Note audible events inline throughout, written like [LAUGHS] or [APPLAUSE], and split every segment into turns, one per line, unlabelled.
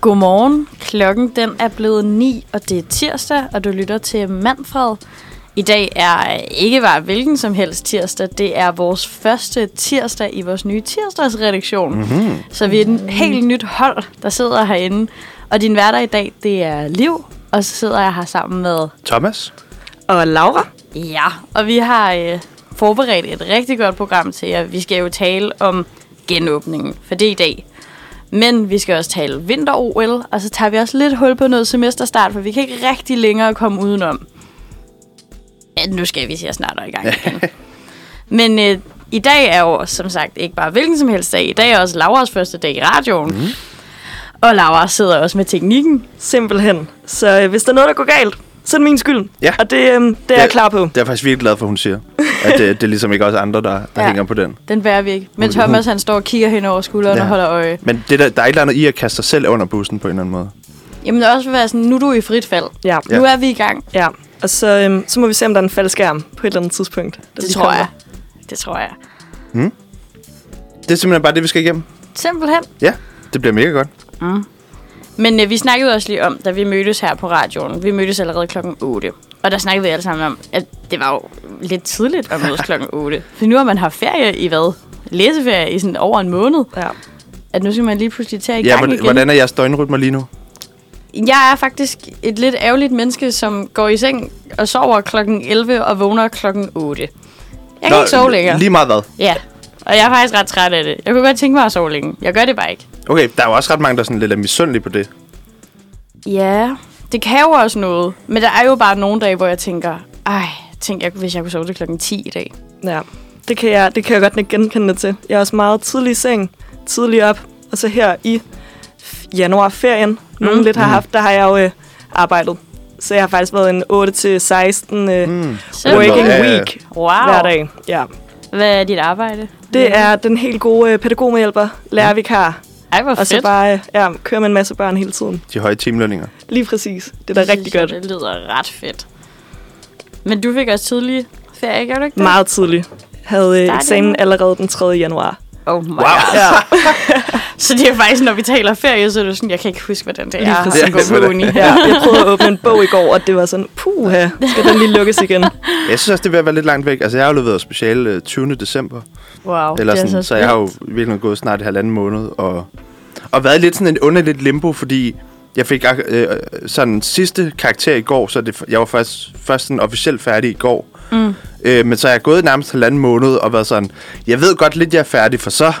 Godmorgen. Klokken den er blevet 9, og det er tirsdag, og du lytter til Manfred. I dag er ikke bare hvilken som helst tirsdag, det er vores første tirsdag i vores nye tirsdagsredaktion. Mm-hmm. Så vi er et helt nyt hold, der sidder herinde. Og din hverdag i dag, det er Liv, og så sidder jeg her sammen med
Thomas?
Og Laura?
Ja, og vi har øh, forberedt et rigtig godt program til jer. Vi skal jo tale om genåbningen, for det er i dag. Men vi skal også tale vinter-OL, og så tager vi også lidt hul på noget semesterstart, for vi kan ikke rigtig længere komme udenom. Ja, nu skal vi se snart er i gang igen. Men øh, i dag er jo som sagt ikke bare hvilken som helst dag. I dag er også Lauras første dag i radioen. Mm. Og Laura sidder også med teknikken.
Simpelthen. Så øh, hvis der er noget, der går galt, så er det min skyld.
Ja.
Og det, øh, det er jeg klar på.
Det er jeg faktisk virkelig glad for, hun siger. At det, det er ligesom ikke også andre, der, der
Ja.
ja. hænger på den.
Den bærer vi ikke. Men Thomas han står og kigger hen over skulderen ja. og holder øje.
Men det der, der er et eller andet i at kaste sig selv under bussen på en eller anden måde.
Jamen det er også være sådan, nu er du i frit fald.
Ja.
Ja. Nu er vi i gang.
ja. Og så, øh, så må vi se, om der er en faldskærm på et eller andet tidspunkt. da
Det
vi
tror
kommer.
jeg. Det tror jeg.
Det er simpelthen bare det, vi skal igennem.
Simpelthen.
Ja, det bliver mega godt.
Men øh, vi snakkede også lige om, da vi mødtes her på radioen. Vi mødtes allerede klokken 8. Og der snakkede vi alle sammen om, at det var jo lidt tidligt at mødes
[LAUGHS]
klokken 8. For nu har man haft ferie i hvad? Læseferie i sådan over en måned.
Ja.
At nu skal man lige pludselig tage i
Ja,
gang
hvordan,
igen.
hvordan er jeres døgnrytmer lige nu?
Jeg er faktisk et lidt ærgerligt menneske, som går i seng og sover klokken 11 og vågner klokken 8. Jeg kan
Nå,
ikke sove længere.
Lige meget hvad?
Ja, og jeg er faktisk ret træt af det. Jeg kunne godt tænke mig at sove længe. Jeg gør det bare ikke.
Okay, der er jo også ret mange, der er sådan lidt er misundelige på det.
Ja, det kan jo også noget. Men der er jo bare nogle dage, hvor jeg tænker, ej, tænk, jeg, hvis jeg kunne sove til klokken 10 i dag.
ja. Det, kan jeg, det kan jeg godt ikke genkende det til. Jeg er også meget tidlig i seng, tidlig op. Og så her i f- januarferien, mm. nogen lidt har haft, der har jeg jo øh, arbejdet. Så jeg har faktisk været en 8-16 øh, mm.
Så
working
Ja, ja, ja.
week
Wow.
hver dag. Ja.
Hvad er dit arbejde?
Det er den helt gode øh, pædagogmedhjælper, lærervikar,
Ej, hvor
Og så
fedt.
bare øh, ja, kører man en masse børn hele tiden.
De høje timelønninger.
Lige præcis. Det er da rigtig godt.
Det lyder ret fedt. Men du fik også tidlig ferie, gjorde du ikke det?
Meget tidligt. Havde
Startede
øh, eksamen
nu.
allerede den 3. januar.
Oh my wow.
Wow.
God.
Ja,
Så det er faktisk, når vi taler ferie, så er det sådan, jeg kan ikke huske, hvordan det er.
Lige præcis.
at gå på
Hvordan-
uni.
ja, jeg prøvede at
[LAUGHS]
åbne en bog i går, og det var sådan, puha, skal den lige lukkes igen?
Jeg synes også, det er ved at være lidt langt væk. Altså, jeg har jo leveret speciale øh, 20. december.
Wow,
Eller
det er
sådan, så, så jeg har jo virkelig gået snart et halvanden måned og, og været lidt sådan en underligt limbo, fordi jeg fik ak- øh, sådan sidste karakter i går, så det, jeg var først, først sådan officielt færdig i går. Mm. Øh, men så har jeg gået nærmest halvanden måned og været sådan, jeg ved godt lidt, jeg er færdig, for så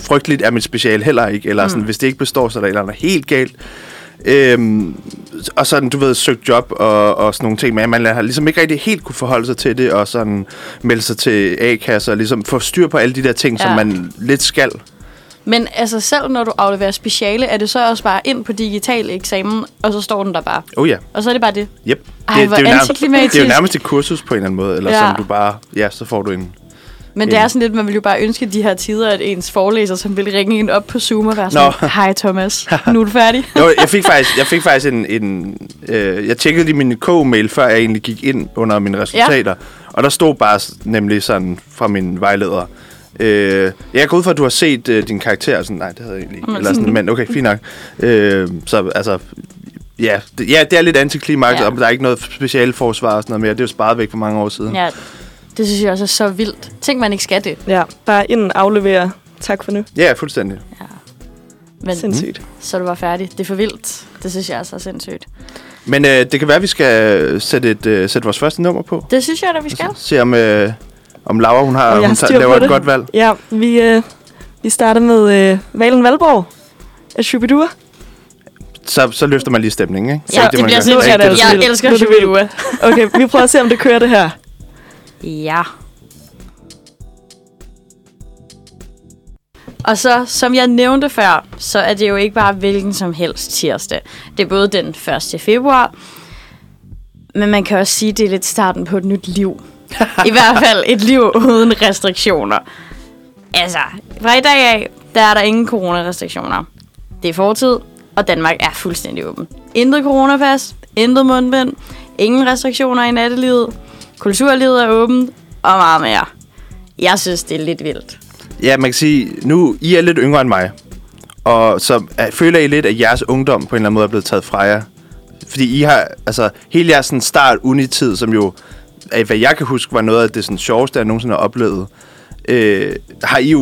frygteligt er mit special heller ikke, eller
Mm.
sådan, hvis det ikke består, så er der et eller andet helt galt. Øhm, og sådan, du ved, søgt job og, og sådan nogle ting, men man har ligesom ikke rigtig helt kunne forholde sig til det, og sådan melde sig til A-kasser, og ligesom få styr på alle de der ting, ja.
Ja.
som man lidt skal.
Men altså selv når du afleverer speciale, er det så også bare ind på digital eksamen, og så står den der bare.
Oh ja,
Og så er det bare det.
yep.
Ej,
det,
hvor
det, er jo nærmest,
antiklimatisk.
det er jo nærmest et kursus på en eller anden måde, eller
Ja.
ja. som du bare, ja, så får du en...
Men det er
Mm.
sådan lidt, man vil jo bare ønske de her tider, at ens forelæser, som vil ringe en op på Zoom og være
Nå.
sådan, hej Thomas, nu er du færdig.
Jo, jeg fik faktisk, jeg fik faktisk en... en øh, jeg tjekkede lige min K-mail, før jeg egentlig gik ind under mine resultater, ja. og der stod bare s- nemlig sådan fra min vejleder, Øh, jeg går ud fra, at du har set øh, din karakter. og Sådan, nej, det havde jeg egentlig ikke. Eller sådan, men okay, fint nok. Øh, så altså, ja det, ja, det er lidt antiklimaks,
Ja.
ja. og der er ikke noget speciale forsvar og sådan noget mere. Det er jo sparet væk for mange år siden. Ja.
ja, det synes jeg også er så vildt. Tænk, man ikke skal det.
Ja, bare ind aflevere. Tak for nu.
ja, fuldstændig.
Men
Sindssygt.
så er du bare færdig. Det er for vildt. Det synes jeg også er sindssygt.
Men øh, det kan være, at vi skal sætte, et, øh, sætte vores første nummer på.
Det synes jeg, da vi skal.
Se om, øh, om Laura hun har,
Om jeg
hun
har styr
tager,
på
laver
det.
et godt valg.
Ja, vi, øh, vi starter med øh, Valen Valborg af Shubidur.
Så, så løfter man lige stemningen, ikke?
Ja,
er
det, det
man
bliver
gør.
Nu er
sindssygt.
det altså
Jeg
vildt.
elsker
Nu er det vildt.
Shubidua.
Okay, vi prøver at se, om det kører det her.
Ja. Og så, som jeg nævnte før, så er det jo ikke bare hvilken som helst tirsdag. Det er både den 1. februar, men man kan også sige, at det er lidt starten på et nyt liv. I hvert fald et liv uden restriktioner. Altså, fra i dag af, der er der ingen coronarestriktioner. Det er fortid, og Danmark er fuldstændig åben. Intet coronapas, intet mundbind, ingen restriktioner i nattelivet, kulturlivet er åbent, og meget mere. Jeg synes, det er lidt vildt.
Ja, man kan sige, nu I er lidt yngre end mig. Og så øh, føler I lidt, at jeres ungdom på en eller anden måde er blevet taget fra jer? Fordi I har, altså, hele jeres sådan, start unitid, som jo, af hvad jeg kan huske, var noget af det sådan, sjoveste, jeg nogensinde har oplevet, øh, har I jo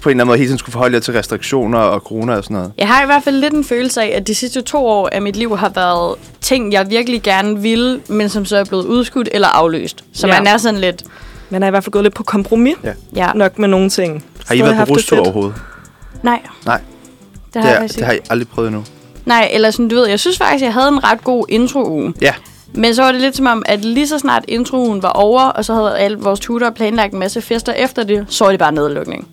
på en eller anden måde hele tiden skulle forholde jer til restriktioner og corona og sådan noget.
Jeg har i hvert fald lidt en følelse af, at de sidste to år af mit liv har været ting, jeg virkelig gerne ville, men som så er blevet udskudt eller afløst. Så
Ja.
man er sådan lidt...
Man er i hvert fald gået lidt på kompromis
Ja.
Ja.
nok med nogle ting.
Har I
Stadig
været
haft
på
det
rustur
fedt.
overhovedet?
Nej.
Nej.
Det
Det,
har,
er,
jeg
det har I aldrig prøvet endnu.
Nej, eller sådan, du ved, jeg synes faktisk, jeg havde en ret god intro-uge.
Ja,
Men så var det lidt som om, at lige så snart introen var over, og så havde alle vores tutorer planlagt en masse fester efter det, så var det bare nedlukning.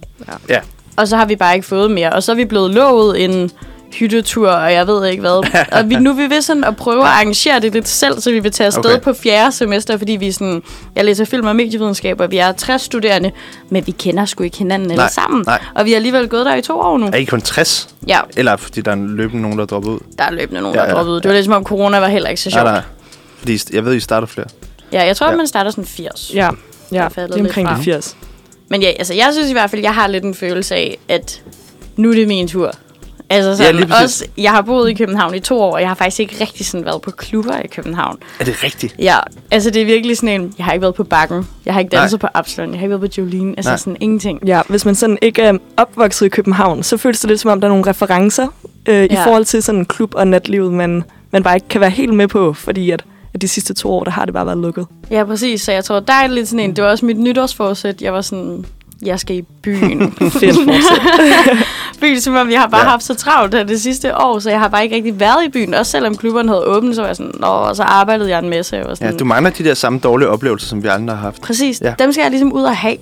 ja.
Og så har vi bare ikke fået mere. Og så er vi blevet lovet en hyttetur, og jeg ved ikke
[LAUGHS]
hvad. og vi, nu er vi ved sådan at prøve at arrangere det lidt selv, så vi vil tage afsted
Okay.
okay. på fjerde semester, fordi vi er sådan, jeg læser film og medievidenskab, og vi er 60 studerende, men vi kender sgu ikke hinanden eller
Nej,
sammen.
nej.
Og vi har alligevel gået der i to år nu.
Er I kun 60?
Ja,
Eller fordi der er løbende nogen, der er droppet ud?
der er løbende nogen,
Ja,
der ja,
ja,
ja, droppede ud. Det var lidt som om corona var heller ikke så sjovt.
Nej, nej. Fordi I st- jeg ved, I starter flere.
Ja, jeg tror,
Ja.
ja. man starter sådan 80.
Ja, ja.
er faldet
det er omkring
lidt
de 80.
Men ja, altså, jeg synes i hvert fald, jeg har lidt en følelse af, at nu er det min tur. Altså sådan,
lige
ja,
præcis.
også, jeg har boet i København i to år, og jeg har faktisk ikke rigtig sådan været på klubber i København.
Er det rigtigt?
Ja, altså det er virkelig sådan en, jeg har ikke været på Bakken, jeg har ikke danset
Nej.
Nej. på Absalon, jeg har ikke været på Jolene, altså
Nej.
Nej. sådan ingenting.
Ja, hvis man sådan ikke er opvokset i København, så føles det lidt som om, der er nogle referencer øh, ja. i
Ja.
forhold til sådan klub- og natlivet, man, man bare ikke kan være helt med på, fordi at, at de sidste to år, der har det bare været
[LAUGHS]
lukket.
Ja, præcis, så jeg tror, der er lidt sådan en, det var også mit nytårsforsæt, jeg var sådan, jeg skal i
[LAUGHS]
byen.
Fedt fortsæt.
byen, som om jeg har bare
Ja.
ja. haft så travlt her det sidste år, så jeg har bare ikke rigtig været i byen. Også selvom klubberne havde åbent, så var jeg sådan, Nå, og så arbejdede jeg en masse. Jeg var sådan,
Ja, du mangler de der samme dårlige oplevelser, som vi andre har haft.
Præcis,
Ja.
ja. dem skal jeg ligesom ud og have.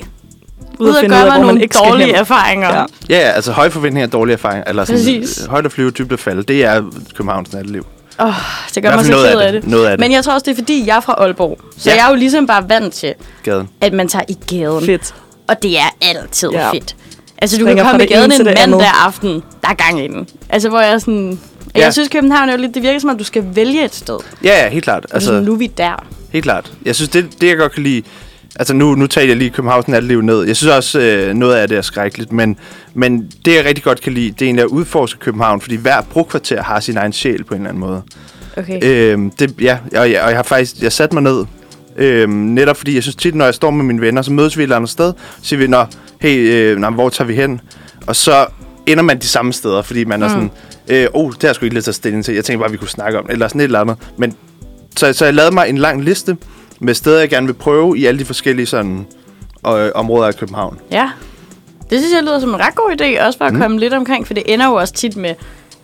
Ud
Ud
at
og
finde ud
gøre
af,
mig
hvor man
nogle
ikke skal
dårlige
hen.
erfaringer.
Ja.
Ja.
Ja, ja, altså høje forventninger og dårlige erfaringer. Eller sådan,
Præcis.
øh, højt at flyve, dybt at falde. Det er københavns natteliv.
Det
I
gør
hvert
mig
fald
så
noget
ked
af
af
det.
det.
Noget af det.
Men jeg tror også, det er fordi, jeg er fra Aalborg. Så
Ja.
ja. jeg er jo ligesom bare vant til,
Gaden.
at man tager i gaden.
Fedt.
Og det er altid
Ja.
ja. fedt. Altså, du
Springer
kan
fra
komme i
det ene
gaden en
til det andet.
mandag aften, der er gang i den. Altså, hvor jeg er sådan...
Ja.
Ja. Jeg synes, København er jo lidt... Det virker som om, du skal vælge et sted.
Ja, ja, helt klart.
Altså, sådan,
Altså,
nu er vi der.
helt klart. Jeg synes, det, det jeg godt kan lide... Altså, nu, nu tager jeg lige Københavns natteliv ned. Jeg synes også, øh, noget af det er skrækkeligt. Men, men det, jeg rigtig godt kan lide, det er egentlig at udforske København. Fordi hver brugkvarter har sin egen sjæl på en eller anden måde.
Okay.
Øhm, det, ja, og jeg, og jeg har faktisk jeg sat mig ned, øhm, netop fordi jeg synes tit, når jeg står med mine venner, så mødes vi et eller andet sted, så siger vi, nå, hey, øh, nå, hvor tager vi hen? Og så ender man de samme steder, fordi man er sådan, øh, oh, det har jeg sgu ikke lige taget stilling til, jeg tænkte bare, vi kunne snakke om det, eller sådan et eller andet. Men, så, så jeg lavede mig en lang liste med steder, jeg gerne vil prøve i alle de forskellige sådan, øh, områder af København.
Ja. Det synes jeg lyder som en ret god idé, også for at mm. komme lidt omkring, for det ender jo også tit med,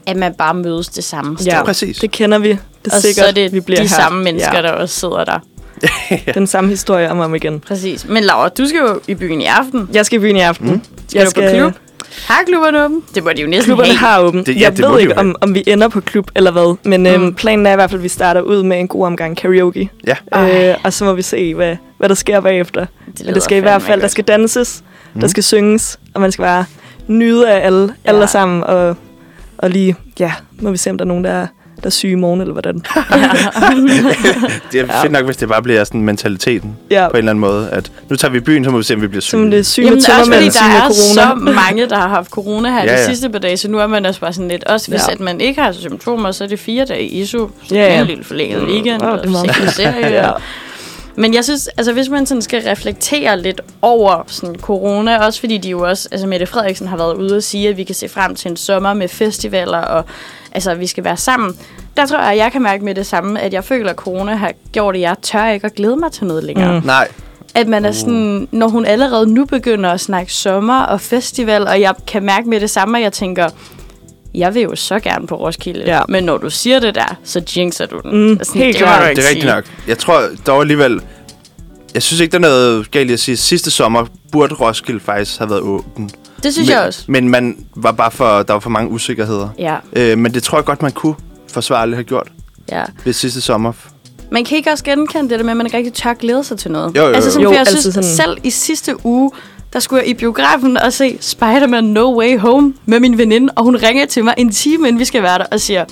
at man bare mødes det samme sted.
Ja,
Præcis.
Det kender vi. Det er
Og
sikkert,
så er det
vi bliver
de
her.
samme mennesker, ja.
ja.
der også sidder der.
Den samme historie om og om igen.
Præcis. Men Laura, du skal jo i byen i aften.
Jeg skal i byen i aften. Mm.
Skal jeg du på klub? Har klubberne åben? Det må de jo næsten
Klubberne
have.
har åbent.
Det- ja,
Det, ja, jeg
det må
ved
de
ikke,
jo have.
om, om vi ender på klub eller hvad, men mm. øhm, planen er i hvert fald, at vi starter ud med en god omgang karaoke.
Ja.
Øh, og så må vi se, hvad, hvad der sker bagefter. Det Men
lyder
det skal i hvert
fandme
fald, der
godt.
skal danses, mm. der skal synges, og man skal bare nyde af alle, ja. alle
Ja.
sammen. Og, og lige, ja, må vi se, om der er nogen, der er, der er syge i morgen, eller [LAUGHS] hvordan.
Det er fedt nok, hvis det bare bliver sådan mentaliteten
Ja.
på en eller anden måde, at nu tager vi i byen, så må vi se, om vi bliver syge.
Som det er syge
Jamen,
med
også fordi
tømmermænd, syge
der
med
er så
corona.
mange, der har haft corona her
Ja,
de
ja.
sidste par dage, så nu er man også bare sådan lidt, også hvis
Ja.
ja. at man ikke har symptomer, så er det fire dage i ISO, så
Ja,
ja, ja.
ja.
en lille forlænget weekend,
Åh,
og
det er meget.
sikkert serie.
[LAUGHS] Ja.
og- Men jeg synes, altså hvis man sådan skal reflektere lidt over sådan corona, også fordi de jo også, altså Mette Frederiksen har været ude og sige, at vi kan se frem til en sommer med festivaler, og altså vi skal være sammen. Der tror jeg, at jeg kan mærke med det samme, at jeg føler, at corona har gjort, at jeg tør ikke at glæde mig til noget længere. Mm.
Nej,
At man er sådan, når hun allerede nu begynder at snakke sommer og festival, og jeg kan mærke med det samme, at jeg tænker, jeg vil jo så gerne på Roskilde.
Ja.
Men når du siger det der, så jinxer du den. Altså,
Mm, helt
må
klart.
du ikke
Det er rigtigt
sige.
nok. Jeg tror dog alligevel... Jeg synes ikke, der er noget galt i at sige, at sidste sommer burde Roskilde faktisk have været åben.
Det synes
men,
jeg også.
Men man var bare for, der var for mange usikkerheder.
Ja,
Øh, men det tror jeg godt, man kunne forsvarligt have gjort
ja.
ved sidste sommer.
Man kan ikke også genkende det der med, at man ikke rigtig tør glæde sig til noget.
Jo, jo, jo.
Altså, sådan,
Jo,
for jeg
altid
synes,
sådan.
sådan... selv i sidste uge, der skulle jeg i biografen og se Spider-Man No Way Home med min veninde, og hun ringer til mig en time, inden vi skal være der, og siger,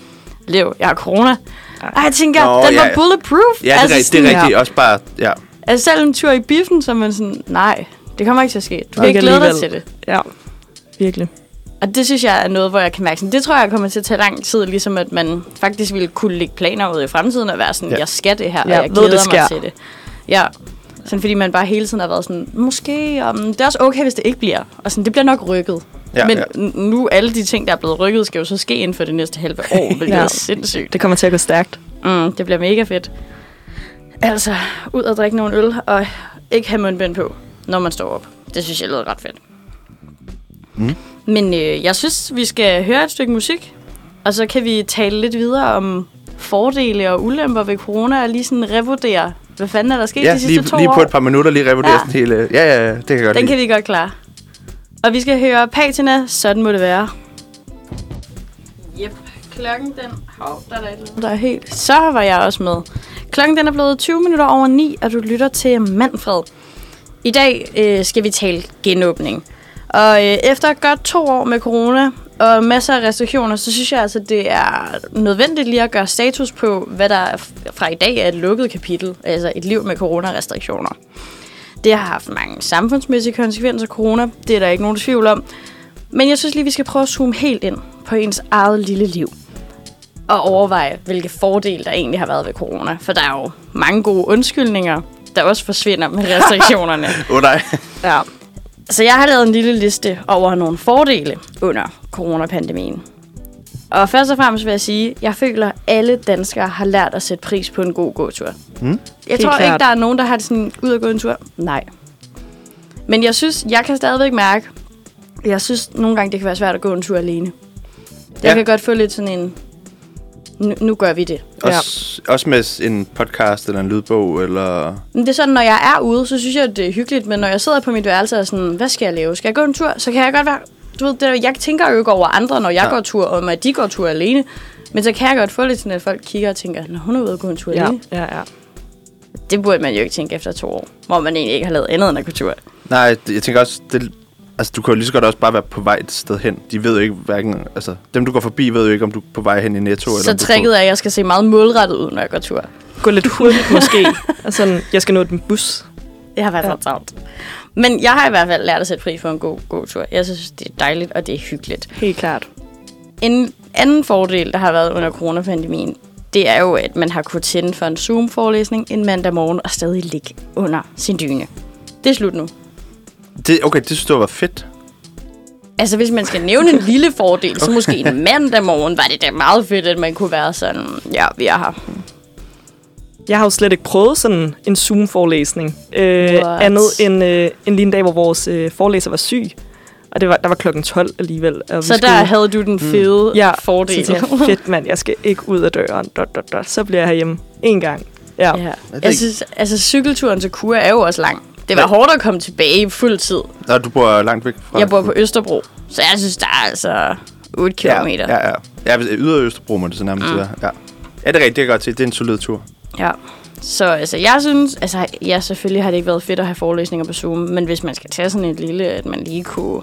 Lev, jeg har corona. Ej, jeg tænker,
Nå,
Nå, den
ja,
var
ja.
bulletproof.
Ja, det, altså, det er
sådan,
rigtigt. Også bare, ja.
Altså, selv en tur i biffen, så er man sådan, nej, det kommer ikke til at ske. Du kan ikke glæde dig til det.
Ja, virkelig.
Og det synes jeg er noget, hvor jeg kan mærke, sådan, det tror jeg kommer til at tage lang tid, ligesom at man faktisk ville kunne lægge planer ud i fremtiden og være sådan,
Ja.
ja. jeg skal det her,
Ja,
og jeg
ved,
glæder
det sker.
mig til det. Ja, sådan fordi man bare hele tiden har været sådan, måske, om det er også okay, hvis det ikke bliver. Og sådan, det bliver nok rykket.
Ja,
Ja, Men
ja.
ja. nu alle de ting, der er blevet rykket, skal jo så ske inden for det næste halve år, hvilket
Ja.
er sindssygt.
Det kommer til at gå stærkt.
Mm, det bliver mega fedt. Altså, ud og drikke nogle øl, og ikke have mundbind på, når man står op. Det synes jeg lyder ret fedt.
Mm.
Men øh, jeg synes, vi skal høre et stykke musik, og så kan vi tale lidt videre om fordele og ulemper ved corona, og lige sådan revurdere, hvad fanden er der sket
Ja,
de sidste
lige,
to
lige
år.
på et par minutter lige revurdere ja.
Ja.
sådan hele... Ja, ja, ja, det kan jeg godt
Den
lide.
kan vi godt klare. Og vi skal høre Patina, sådan må det være. Yep, klokken den... Hov, der er der, der er helt... Så var jeg også med. Klokken den er blevet 20 minutter over 9, og du lytter til Manfred. I dag øh, skal vi tale genåbning. Og øh, efter godt to år med corona og masser af restriktioner, så synes jeg altså, det er nødvendigt lige at gøre status på, hvad der er f- fra i dag er et lukket kapitel, altså et liv med coronarestriktioner. Det har haft mange samfundsmæssige konsekvenser, corona. Det er der ikke nogen tvivl om. Men jeg synes lige, vi skal prøve at zoome helt ind på ens eget lille liv. Og overveje, hvilke fordele der egentlig har været ved corona. For der er jo mange gode undskyldninger, der også forsvinder med restriktionerne.
Åh, oh, nej.
Ja. Så jeg har lavet en lille liste over nogle fordele under coronapandemien. Og først og fremmest vil jeg sige, at jeg føler, at alle danskere har lært at sætte pris på en god gåtur. Mm. Jeg
Helt
tror ikke,
klart.
der er nogen, der har det sådan ud og gå en tur. Nej. Men jeg synes, jeg kan stadigvæk mærke, at jeg synes nogle gange, det kan være svært at gå en tur alene. Jeg
Ja.
kan godt få lidt sådan en, nu, nu gør vi det.
Også, også med en podcast eller en lydbog, eller...
Men det er sådan, når jeg er ude, så synes jeg, at det er hyggeligt, men når jeg sidder på mit værelse og er sådan, hvad skal jeg lave? Skal jeg gå en tur? Så kan jeg godt være... Du ved, det, der- jeg tænker jo ikke over andre, når jeg
Ja.
ja. går tur, og om at de går tur alene. Men så kan jeg godt få lidt sådan, at folk kigger og tænker, når hun er ude og gå en tur ja.
Ja,
alene.
ja, ja.
Det burde man jo ikke tænke efter to år, hvor man egentlig ikke har lavet andet end at gå tur.
Nej, det- jeg tænker også, det, altså, du kan jo lige så godt også bare være på vej et sted hen. De ved jo ikke hverken, altså, dem du går forbi ved jo ikke, om du er på vej hen i Netto. eller
Så
om du er på-
tricket er, at jeg skal se meget målrettet ud, når jeg går tur.
Gå lidt
[LAUGHS]
hurtigt måske. Og sådan, jeg skal nå den bus.
Jeg har været ja. travlt. Men jeg har i hvert fald lært at sætte pris på en god, god tur. Jeg synes, det er dejligt, og det er hyggeligt.
Helt klart.
En anden fordel, der har været under coronapandemien, det er jo, at man har kunnet tænde for en Zoom-forelæsning en mandag morgen og stadig ligge under sin dyne. Det er slut nu.
Det, okay, det synes du var fedt.
Altså, hvis man skal nævne en lille fordel, så måske en mandag morgen var det da meget fedt, at man kunne være sådan, ja, vi er her.
Jeg har jo slet ikke prøvet sådan en Zoom-forelæsning. Øh,
What?
andet end, øh, end lige en dag, hvor vores øh, forelæser var syg. Og det var, der var klokken 12 alligevel. Og vi
Så der havde du den fede
ja,
fordel. [LAUGHS]
Så tænkte jeg, fedt mand, jeg skal ikke ud af døren. Dot, dot, dot. Så bliver jeg herhjemme en gang. Ja.
Ja.
det
Jeg
ikke-
synes, altså, cykelturen til Kura er jo også lang. Det var
Ja.
hårdt at komme tilbage i fuld tid.
Nå, du bor langt væk fra...
Jeg bor på Østerbro, så jeg synes, der er altså 8
ja,
kilometer.
ja, ja. ja, hvis- yder Østerbro må det så nærmest mm. være. Ja. ja, det er rigtigt, det kan jeg godt se. Det er en solid tur.
Ja. Så altså, jeg synes, altså, ja, selvfølgelig har det ikke været fedt at have forelæsninger på Zoom, men hvis man skal tage sådan et lille, at man lige kunne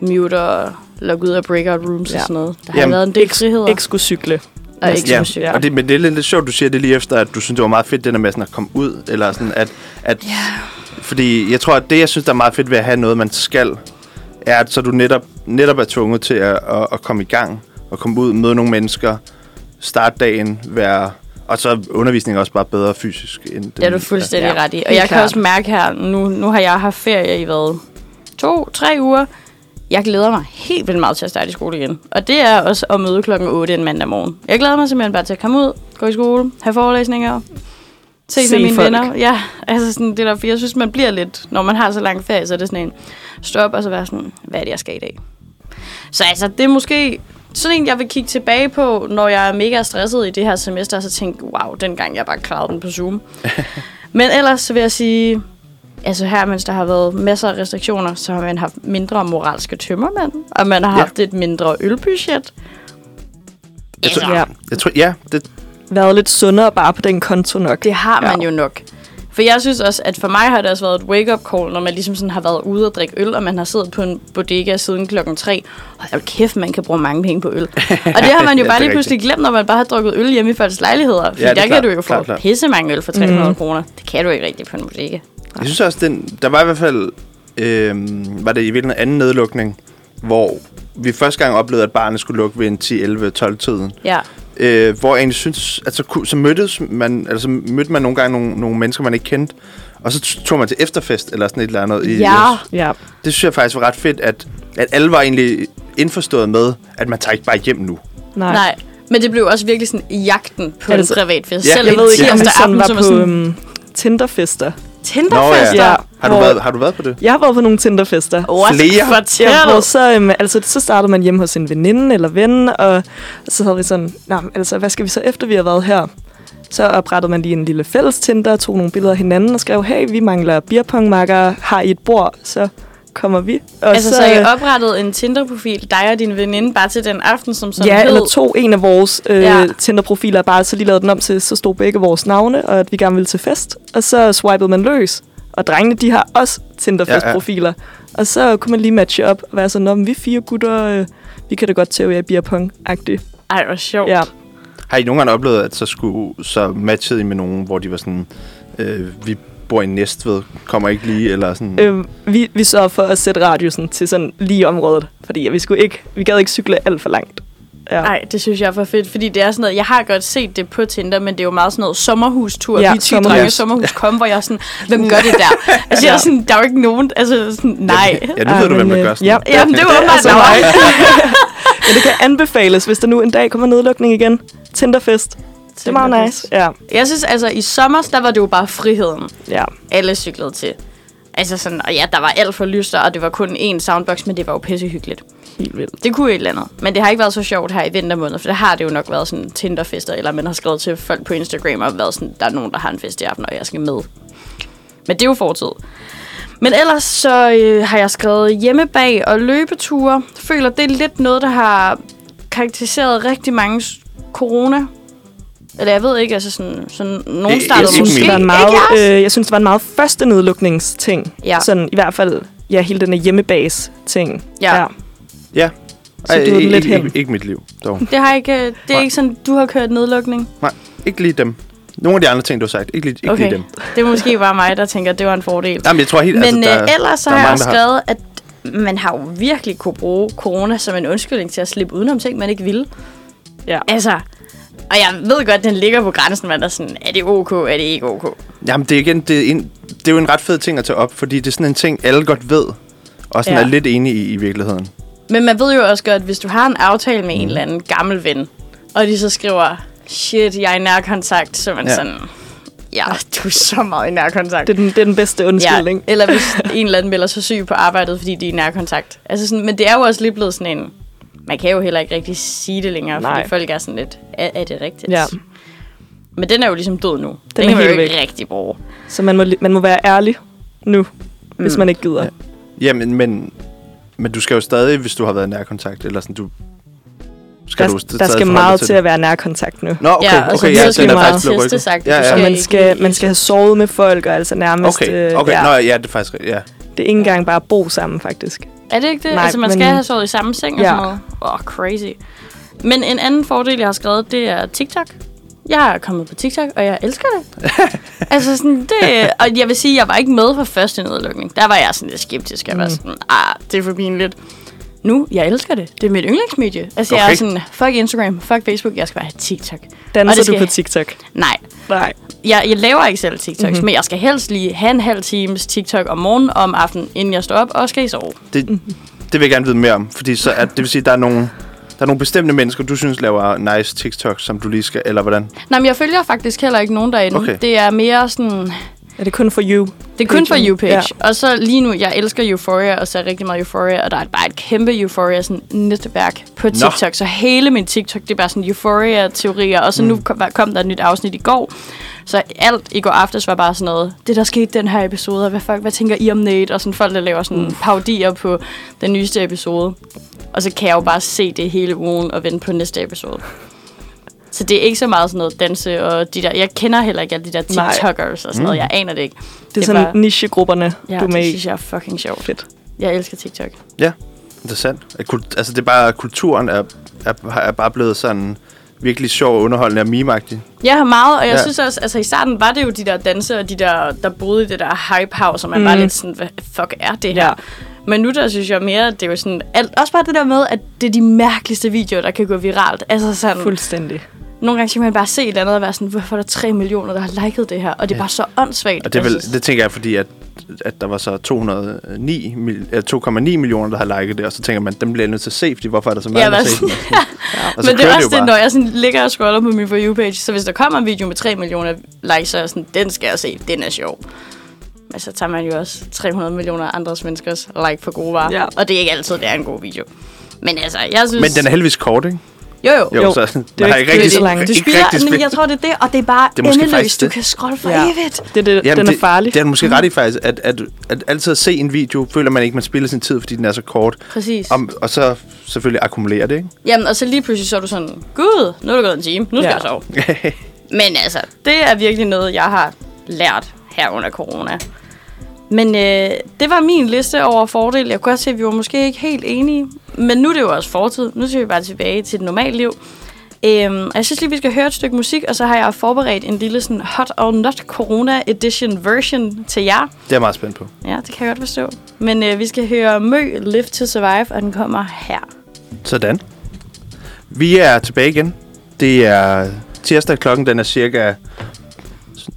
mute og logge ud af breakout rooms ja.
Ja.
og sådan noget. Der har
Jamen,
været en del friheder.
Ikke skulle cykle.
og ikke
Ja,
ja.
ja. Og det, men det er lidt, lidt sjovt, du siger det lige efter, at du synes, det var meget fedt, det der med sådan at komme ud, eller sådan at... at yeah. Fordi jeg tror, at det, jeg synes, der er meget fedt ved at have noget, man skal, er, at så du netop, netop er tvunget til at, at, at komme i gang, og komme ud, møde nogle mennesker, starte dagen, være... Og så er undervisningen også bare bedre fysisk. End den,
det er du fuldstændig
Ja.
ja. ret i. Og
Helt
jeg kan
klart.
også mærke her, nu, nu har jeg haft ferie i hvad? To, tre uger. Jeg glæder mig helt vildt meget til at starte i skole igen. Og det er også at møde klokken 8 en mandag morgen. Jeg glæder mig simpelthen bare til at komme ud, gå i skole, have forelæsninger, se,
Se
med mine
folk.
folk. venner. Ja, altså sådan det der, for jeg synes, man bliver lidt, når man har så lang ferie, så er det sådan en stop, og så være sådan, hvad er det, jeg skal i dag? Så altså, det er måske sådan en, jeg vil kigge tilbage på, når jeg er mega stresset i det her semester, og så tænke, wow, dengang jeg bare klarede den på Zoom. Men ellers så vil jeg sige, altså her, mens der har været masser af restriktioner, så har man haft mindre moralske tømmermænd, og man har
Ja.
ja. haft et mindre ølbudget.
Jeg tror,
Ja.
jeg tror, ja, det,
Været lidt sundere bare på den konto nok.
Det har man
Ja.
ja. jo nok. For jeg synes også, at for mig har det også været et wake-up call, når man ligesom sådan har været ude og drikke øl, og man har siddet på en bodega siden klokken 3. Og hold kæft, man kan bruge mange penge [LAUGHS] på øl. Og det har man jo
Ja, det er
bare lige pludselig glemt, når man bare har drukket øl hjemme i folks lejligheder. For
Ja,
ja,
det er
der
klart,
kan du jo få
klart, klart.
pisse mange øl for 300 mm. kroner. Det kan du ikke rigtig på en bodega.
øhm, Jeg synes også, den, der var i hvert fald, øh, var det i virkeligheden anden nedlukning, hvor vi første gang oplevede, at barnet skulle lukke ved en 10, 11, 12 tiden.
Ja.
Øh, hvor jeg egentlig synes, altså, ku- så, mødtes man, altså, så mødte man nogle gange nogle, nogle mennesker, man ikke kendte. Og så t- tog man til efterfest eller sådan et eller andet. I,
Ja.
Ja.
Det synes jeg faktisk var ret fedt, at, at alle var egentlig indforstået med, at man tager ikke bare hjem nu.
Nej.
Nej. Men det blev også virkelig sådan jagten på
Altså,
altså, en privat fest.
ja,
Selv
Jeg ved ikke, om vi
tirsdag aften,
sådan var
som
på
sådan, øhm,
øhm, Tinderfester.
Tinderfester.
Ja.
Har, du
Hvor-
været, har du været på det?
Jeg har været på nogle Tinderfester.
What?
Flere?
Fortæl.
Ja, hvor så, øhm, altså, så startede man hjemme hos en veninde eller ven, og så havde vi sådan, Nå, men altså, hvad skal vi så efter, vi har været her? Så oprettede man lige en lille fælles Tinder, tog nogle billeder af hinanden og skrev, hey, vi mangler beerpongmakker, har I et bord? Så kommer vi. Og øh,
Altså, så I oprettede en Tinder-profil, dig og din veninde, bare til den aften, som sådan
ja,
hed.
eller to en af vores øh,
Ja.
ja. Tinder-profiler, bare så lige lavede den om til, så stod begge vores navne, og at vi gerne ville til fest. Og så swipede man løs. Og drengene, de har også Tinder-fest-profiler. Ja, ja. Og så kunne man lige matche op og være sådan, om vi er fire gutter, øh, vi kan da godt tæve jer i beer pong-agtigt.
Ej, hvor sjovt.
Ja.
Har I nogle gange oplevet, at så, skulle, så matchede I med nogen, hvor de var sådan, øh, vi bor i Næstved, kommer ikke lige, eller sådan...
Øhm, vi, vi sørger for at sætte radiusen til sådan lige området, fordi vi, skulle ikke, vi gad ikke cykle alt for langt. Ja.
Nej, det synes jeg er for fedt, fordi det er sådan noget, jeg har godt set det på Tinder, men det er jo meget sådan noget sommerhustur,
Ja,
ja, vi ti
sommerhus.
drenge sommerhus kom, hvor jeg er sådan, hvem gør det [LAUGHS] der? Altså jeg er sådan, der er jo ikke nogen, altså sådan, nej.
Ja, nu ved
Ej,
du, hvad
men,
man
øh,
gør sådan.
ja.
Jamen det var åbenbart,
Altså,
der [LAUGHS] var.
Men det kan anbefales, hvis der nu en dag kommer nedlukning igen. Tinderfest. Det er meget nice. Ja,
Jeg synes altså, i sommer, der var det jo bare friheden,
ja.
alle cyklede til. Altså sådan, og ja, der var alt for lyster, og det var kun én soundbox, men det var jo pissehyggeligt.
Helt vildt.
Det kunne et eller andet. Men det har ikke været så sjovt her i vintermåneden, for der har det jo nok været sådan Tinderfester, eller man har skrevet til folk på Instagram og været sådan, der er nogen, der har en fest i aften, og jeg skal med. Men det er jo fortid. Men ellers så øh, har jeg skrevet hjemmebag og løbeture. Føler, det er lidt noget, der har karakteriseret rigtig mange s- corona. Eller jeg ved ikke, altså sådan, sådan nogen
Det
startede
er ikke
Jeg synes,
måske.
det var en
Ikke
meget,
jeres?
øh, jeg synes, det var en meget første nedlukningsting.
Ja.
Sådan i hvert fald, ja, hele den her hjemmebase-ting.
Ja.
Ja.
Så du er den
ikke,
lidt
ikke,
hen.
ikke mit liv, dog.
Det, har ikke, øh, det er
Nej.
ikke sådan, du har kørt nedlukning.
Nej, ikke lige dem. Nogle af de andre ting, du har sagt, ikke lige, ikke okay. lige dem.
det er måske bare mig, der tænker, at det var en fordel.
Jamen, jeg tror helt,
Men
altså,
altså,
der,
øh, ellers så
der er
har jeg
mange,
også
der har-
skrevet, at man har jo virkelig kunne bruge corona som en undskyldning til at slippe udenom ting, man ikke ville.
ja.
Altså, og jeg ved godt, den ligger på grænsen, man er sådan, er det ok, er det ikke ok?
Jamen, det er, igen, det, er en, det er jo en ret fed ting at tage op, fordi det er sådan en ting, alle godt ved, og sådan
Ja.
er lidt enige i i virkeligheden.
Men man ved jo også godt, hvis du har en aftale med en eller anden gammel ven, og de så skriver, shit, jeg er i nærkontakt, så er man
Ja.
ja. sådan, ja, du er så meget i nærkontakt.
Det, er den, det er den bedste undskyldning.
Ja, eller hvis en eller anden melder sig syg på arbejdet, fordi de er i nærkontakt. Altså sådan, men det er jo også lige blevet sådan en... Man kan jo heller ikke rigtig sige det længere, Nej.
Nej.
fordi folk er sådan lidt... Er, er det rigtigt?
Ja.
Men den er jo ligesom død nu. Den,
er
den kan man jo
helt
ikke rigtig bruge.
Så man må, li- man må være ærlig nu, mm. hvis man ikke gider. Ja.
Jamen, men, men du skal jo stadig, hvis du har været i nærkontakt, eller sådan, du... Skal du
Der,
st-
der
stadig
skal
forholde
meget
dig
til at være nærkontakt nu.
Nå, okay,
Ja, og så
okay,
videre
ja,
skal
den er
man
faktisk
meget
blevet
teste
rykket.
sagt,
Ja,
du
ja,
Og
skal-
man skal, man skal have sovet med folk, og altså nærmest...
Okay,
øh,
okay,
ja.
nå ja, det er faktisk, rigtigt, ja.
Det er ikke engang bare at bo sammen, faktisk.
Er det ikke det?
Nej,
Nej, altså, man
men-
skal have sovet i samme seng og
Ja.
sådan noget. Åh, oh, crazy. Men en anden fordel, jeg har skrevet, det er TikTok. Jeg er kommet på TikTok, og jeg elsker det.
[LAUGHS]
altså sådan, det... Og jeg vil sige, jeg var ikke med på første nedlukning. Der var jeg sådan lidt skeptisk. Jeg var
Mm.
sådan, ah, det er for pinligt. Nu, jeg elsker det. Det er mit yndlingsmedie. Altså, okay. jeg
Okay.
er sådan, fuck Instagram, fuck Facebook, jeg skal bare have TikTok. Og
Danser
det
du
skal-
på TikTok?
Nej,
Nej.
jeg, jeg laver ikke selv TikToks,
Mhm.
mm-hmm. men jeg skal helst lige have en halv times TikTok om morgenen og om aftenen, inden jeg står op og skal i sove.
Det, det vil jeg gerne vide mere om, fordi så er, det vil sige, der er nogle... Der er nogle bestemte mennesker, du synes laver nice TikTok, som du lige skal, eller hvordan?
Nej, men jeg følger faktisk heller ikke nogen derinde.
Okay.
Okay. Det er mere sådan...
Er det kun for you?
Det er kun for
Pagen.
YouPage. Ja. Og så lige nu, jeg elsker Euphoria, og ser rigtig meget Euphoria, og der er bare et kæmpe Euphoria sådan, netværk på TikTok. Så hele min TikTok, det er bare sådan Euphoria-teorier, og så mm. nu kom, kom der et nyt afsnit i går. Så alt i går aftes var bare sådan noget, det der skete i den her episode, og hvad, fuck, hvad tænker I om Nate? Og sådan folk, der laver sådan mm. parodier på den nyeste episode. Og så kan jeg jo bare se det hele ugen og vente på næste episode. Så det er ikke så meget sådan noget danse og de der... Jeg kender heller ikke alle de der
Nej.
TikTokers og sådan noget. Jeg aner det ikke.
Det er sådan nichegrupperne,
Ja,
du er
det
med i.
synes jeg er fucking sjovt.
Fedt.
Jeg elsker TikTok.
Ja, interessant. At Kult, altså det er bare, kulturen er, er, er bare blevet sådan virkelig sjov og underholdende og mimagtig.
Jeg har meget, og jeg
Ja.
ja. synes også, altså i starten var det jo de der danser, og de der, der boede i det der hype house, og man mm. var lidt sådan, hvad fuck er det her?
Mhm. Ja.
Ja. Men nu der synes jeg mere, at det er jo sådan... Alt, også bare det der med, at det er de mærkeligste videoer, der kan gå viralt. Altså sådan...
Fuldstændig.
Nogle gange kan man bare se et eller andet og være sådan, hvorfor er der 3 millioner, der har liket det her? Og det er
Ja.
bare så åndssvagt.
Og det, er
altså,
vel, det tænker jeg, fordi at, at der var så 209 mil, eh, 2,9 millioner, der har liket det, og så tænker man, dem bliver jeg nødt til at se, fordi hvorfor er der så mange,
Ja,
der har
hvad-
set den? Og så
Men det
kører
er også det,
jo
når
bare.
jeg sådan ligger og scroller på min For You-page, så hvis der kommer en video med 3 millioner likes, så er jeg sådan, den skal jeg se, den er sjov. Men så tager man jo også 300 millioner andres menneskers like for gode varer,
Ja.
ja. og det er ikke altid, det er en god video. Men altså, jeg synes...
Men den er heldigvis kort, ikke?
Jo, jo.
Jo,
Jo,
så
det er
der
jo
er ikke
ikke
rigtig,
så langt.
Du
ikke rigtig
spilder,
spil-
men jeg tror, det er det, og det er bare
Det
det
er
er
måske faktisk
endeløst. Du
det.
kan scrolle for
Ja.
evigt.
Det, er det,
Jamen,
den er
det-
farlig.
Det er måske ret i faktisk, at, at, at altid at se en video, føler man ikke, man spilder sin tid, fordi den er så kort.
Præcis.
Om, og så selvfølgelig akkumulerer det, ikke? [LAUGHS]
Jamen, og så lige pludselig så er du sådan, gud, nu er det gået en time, nu skal
Ja.
ja. jeg sove. Men altså, det er virkelig noget, jeg har lært her under corona. Men øh, det var min liste over fordele. Jeg kunne godt se, at vi var måske ikke helt enige. Men nu er det jo også fortid. Nu skal vi bare tilbage til et normalt liv. Øhm, og jeg synes lige, vi skal høre et stykke musik, og så har jeg forberedt en lille sådan hot or not corona edition version til jer.
Det er jeg meget spændt på.
Ja, det kan jeg godt forstå. Men øh, vi skal høre Mø, Live to Survive, og den kommer her.
Sådan. Vi er tilbage igen. Det er tirsdag, klokken den er cirka 9.30,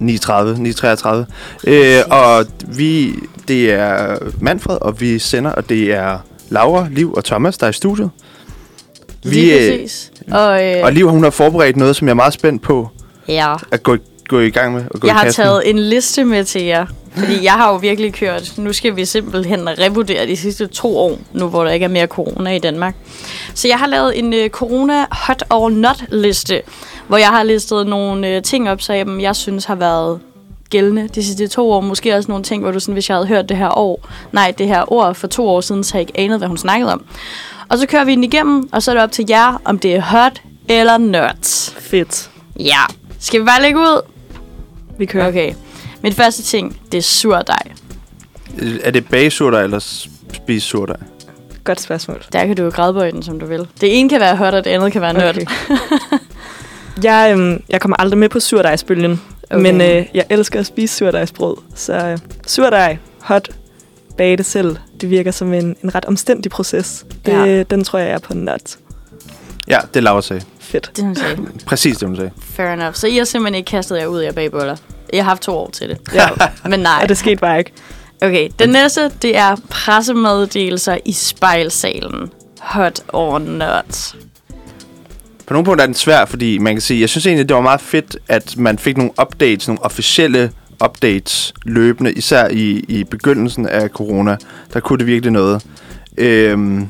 9.33. Øh, og vi, det er Manfred, og vi sender, og det er Laura, Liv og Thomas, der er i studiet.
Lige
øh,
præcis. Og, øh,
og Liv, hun har forberedt noget, som jeg er meget spændt på
ja.
at gå, gå i gang med. Og gå
Jeg
i
har
kassen.
taget en liste med til jer, fordi jeg har jo virkelig kørt. Nu skal vi simpelthen revurdere de sidste to år, nu hvor der ikke er mere corona i Danmark. Så jeg har lavet en øh, corona hot or not liste, hvor jeg har listet nogle øh, ting op, som jeg synes har været gældende de sidste to år. Måske også nogle ting, hvor du sådan, hvis jeg havde hørt det her år, nej, det her ord for to år siden, så jeg ikke anede, hvad hun snakkede om. Og så kører vi den igennem, og så er det op til jer, om det er hot eller not.
Fedt.
Ja. Skal vi bare lægge ud?
Vi kører. Okay.
Okay. Min første ting, det er surdej.
Øh, Er det bagesurter eller spisesurter?
Godt spørgsmål.
Der kan du jo grædbøje den, som du vil. Det ene kan være hot, og det andet kan være [LAUGHS] nødt.
Okay. jeg, øhm, jeg kommer aldrig med på surdejsbølgen,
Okay.
okay. men øh, jeg elsker at spise surdejsbrød. Så øh, surdej, hot, bage det selv. Det virker som en, en ret omstændig proces. Det,
Ja.
ja. Den tror jeg, jeg er på nut.
Ja, det er Laura sagde.
Fedt.
Det er hun sagde.
Præcis det, hun sagde.
Fair enough. Så I har simpelthen ikke kastet jer ud af bagboller. Jeg har haft to år til det.
Ja.
Men nej.
Og det skete bare ikke.
Okay, den næste, det er pressemeddelelser i spejlsalen. Hot or not.
På nogle punkter er den svær, fordi man kan sige, jeg synes egentlig, det var meget fedt, at man fik nogle updates, nogle officielle updates løbende, især i, i begyndelsen af corona. Der kunne det virkelig noget. Øhm,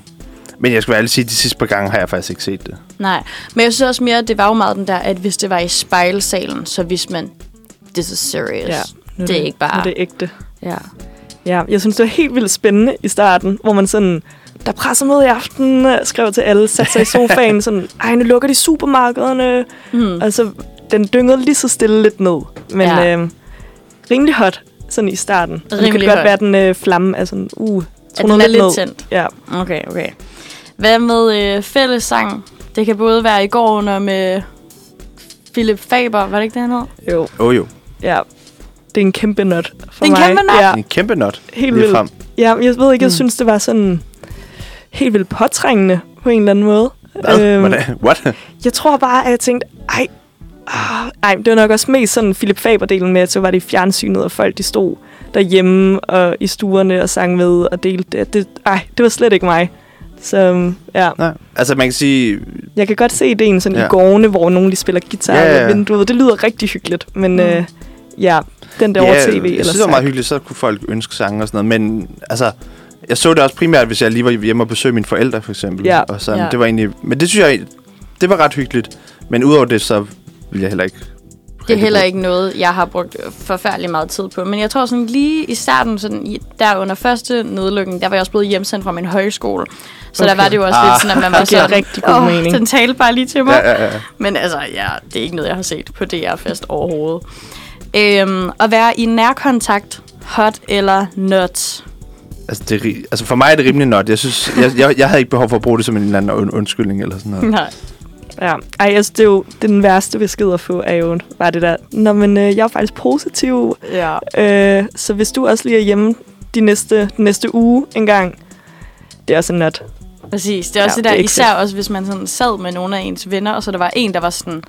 men jeg skal være ærlig at sige, at de sidste par gange har jeg faktisk ikke set det.
Nej, men jeg synes også mere, at det var jo meget den der, at hvis det var i spejlsalen, så vidste man, this is serious. Ja.
nu
Det er ikke bare-
Nu er det ægte.
ja.
Ja, jeg synes, det var helt vildt spændende i starten, hvor man sådan, der presser med i aften, øh, skrev til alle, satte sig i
[LAUGHS]
sofaen, sådan, ej, nu lukker de supermarkederne.
Mm.
Altså, den dyngede lige så stille lidt ned, men
Ja.
ja. øh, rimelig hot, sådan i starten. Og det kan
Rimelig
godt
hot.
være, den øh, flamme er sådan, uh,
At den er lidt tændt.
Ja,
Okay, okay. Hvad med øh, fællessang? Det kan både være i går under med Philip Faber, var det ikke det, han hed?
jo,
Åh oh, jo,
ja. Det er en kæmpe not for
Det er en
mig.
kæmpe nut.
Ja,
en kæmpe not.
Ah. helt
lige
vildt.
frem.
Ja, jeg ved ikke, jeg
Mm.
synes, det var sådan helt vildt påtrængende på en eller anden måde.
Hvad?
Øhm,
Hvordan? What? [LAUGHS]
Jeg tror bare, at jeg tænkte, ej, ah, ej, det var nok også mest sådan Philip Faber-delen med, at så var det i fjernsynet, og folk de stod derhjemme og i stuerne og sang med og delte det. det ej, det var slet ikke mig. Så øhm, ja,
Nej. Altså man kan sige,
jeg kan godt se ideen sådan
Ja.
i gårdene, hvor nogen lige spiller guitar
Ja, ja,
yeah.
ja.
ved vinduet. Det lyder rigtig hyggeligt, men
Mm.
mm. øh, ja, den der over tv.
jeg synes, det var
sang.
meget hyggeligt, så kunne folk ønske sange og sådan noget, men altså, jeg så det også primært, hvis jeg lige var hjemme og besøgte mine forældre, for eksempel.
Ja.
Og sådan.
Ja.
Det var egentlig, men det synes jeg, det var ret hyggeligt. Men udover det, så ville jeg heller ikke...
Det er
rigtig
heller
bruge-
ikke noget, jeg har brugt forfærdelig meget tid på. Men jeg tror sådan lige i starten, sådan, i- der under første nedlukning, der var jeg også blevet hjemsendt fra min højskole. Så okay. der
[LAUGHS] Okay.
var det jo også ah.
Ah.
lidt sådan, at man var
Det giver
sådan,
rigtig god
"Åh,
mening."
den talte bare lige til mig.
Ja, ja, ja.
Men altså, ja, det er ikke noget, jeg har set på DR-fest overhovedet. Øhm, at være i nærkontakt, hot eller not.
Altså, det, er ri- altså, for mig er det rimelig not. Jeg, synes, jeg, jeg, jeg havde ikke behov for at bruge det som en eller anden und- undskyldning eller sådan
[LAUGHS]
noget.
Nej.
Ja, ej, altså, det er jo det er den værste besked at få, er jo bare det der, Nå, men øh, jeg er faktisk positiv,
Ja.
Øh, så hvis du også lige er hjemme de næste, den næste uge en gang, det er også en nat.
Præcis, det er også
Ja,
ja, det der,
det er
det
ikke
især også hvis man sådan sad med nogle af ens venner, og så der var en, der var sådan,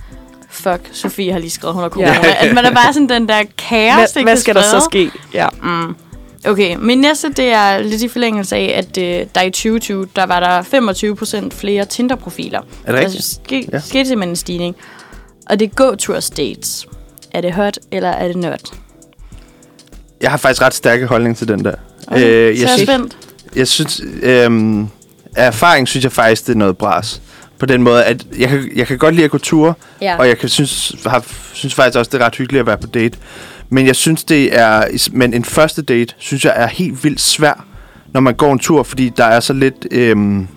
fuck, Sofie har lige skrevet, hun har corona. Ja. At man er bare sådan den der kaos,
Hvad, hvad skal der så ske? Ja.
ske? Okay, min næste, det er lidt i forlængelse af, at øh, der i 2020, der var der 25 procent flere Tinder-profiler.
Er det rigtigt?
Altså, ske,
Ja.
ja. skete simpelthen en stigning. Og det er gåtur dates. Er det hot, eller er det nørd?
Jeg har faktisk ret stærke holdning til den der.
Okay,
Øh,
så er jeg
jeg, synes,
spændt.
jeg synes, øhm, af erfaring synes jeg faktisk, det er noget bras. På den måde, at jeg kan, jeg kan godt lide at gå ture,
Ja.
og jeg kan synes, har, synes faktisk også, det er ret hyggeligt at være på date. Men jeg synes, det er... Men en første date, synes jeg, er helt vildt svær, når man går en tur, fordi der er så lidt... Øhm,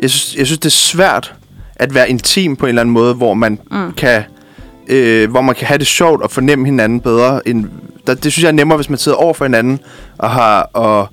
jeg, synes, jeg synes, det er svært at være intim på en eller anden måde, hvor man mm. kan... Øh, hvor man kan have det sjovt og fornemme hinanden bedre. End, der, det synes jeg er nemmere, hvis man sidder over for hinanden og har, og,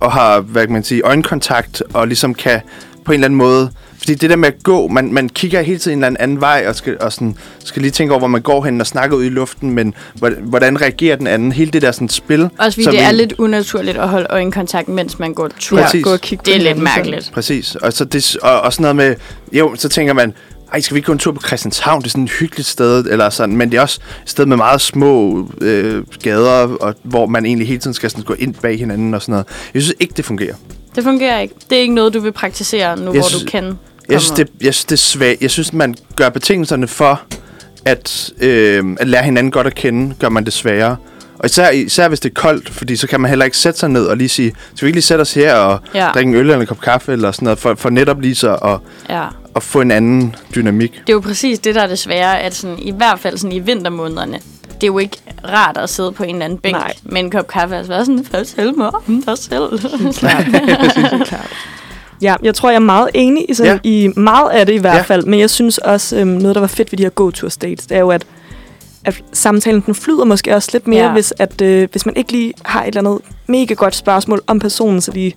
og har hvad kan man sige, øjenkontakt og ligesom kan på en eller anden måde... Fordi det der med at gå, man, man kigger hele tiden en eller anden vej og skal, og sådan, skal lige tænke over, hvor man går hen og snakker ud i luften, men hvor- hvordan reagerer den anden? Hele det der sådan spil.
Også fordi
som
det er
en-
lidt unaturligt at holde øjenkontakt, mens man går tur.
Præcis.
Gå og kigge på
Det er lidt
hinanden sådan.
mærkeligt.
Præcis. Og, så det, og, og sådan noget med, jo, så tænker man, ej, skal vi ikke gå en tur på Christianshavn? Det er sådan et hyggeligt sted, eller sådan, men det er også et sted med meget små øh, gader, og, hvor man egentlig hele tiden skal sådan gå ind bag hinanden og sådan noget. Jeg synes ikke, det fungerer.
Det fungerer ikke. Det er ikke noget, du vil praktisere nu,
Jeg
hvor
synes-
du kan. komme
Jeg synes, det, jeg synes, det er svagt. Jeg synes, man gør betingelserne for at, øh, at lære hinanden godt at kende, gør man det sværere. Og især, især hvis det er koldt, fordi så kan man heller ikke sætte sig ned og lige sige, skal vi ikke lige sætte os her og ja.
Ja.
drikke en øl eller en kop kaffe eller sådan noget, for, for netop lige så at,
op. Ja.
at få en anden dynamik.
Det er jo præcis det, der er det svære, at sådan, i hvert fald sådan, i vintermånederne, det er jo ikke rart at sidde på en eller anden bænk
Nej.
Nej. med en kop kaffe og så være sådan, fortæl mig om dig
[LAUGHS]
selv. [LAUGHS]
Ja, jeg tror, jeg er meget enig i, sådan, ja. i meget af det i hvert
Ja.
ja. fald, men jeg synes også, øhm, noget, der var fedt ved de her go-tour dates, det er jo, at, at samtalen den flyder måske også lidt mere,
Ja.
ja. hvis, at, øh, hvis man ikke lige har et eller andet mega godt spørgsmål om personen, så lige,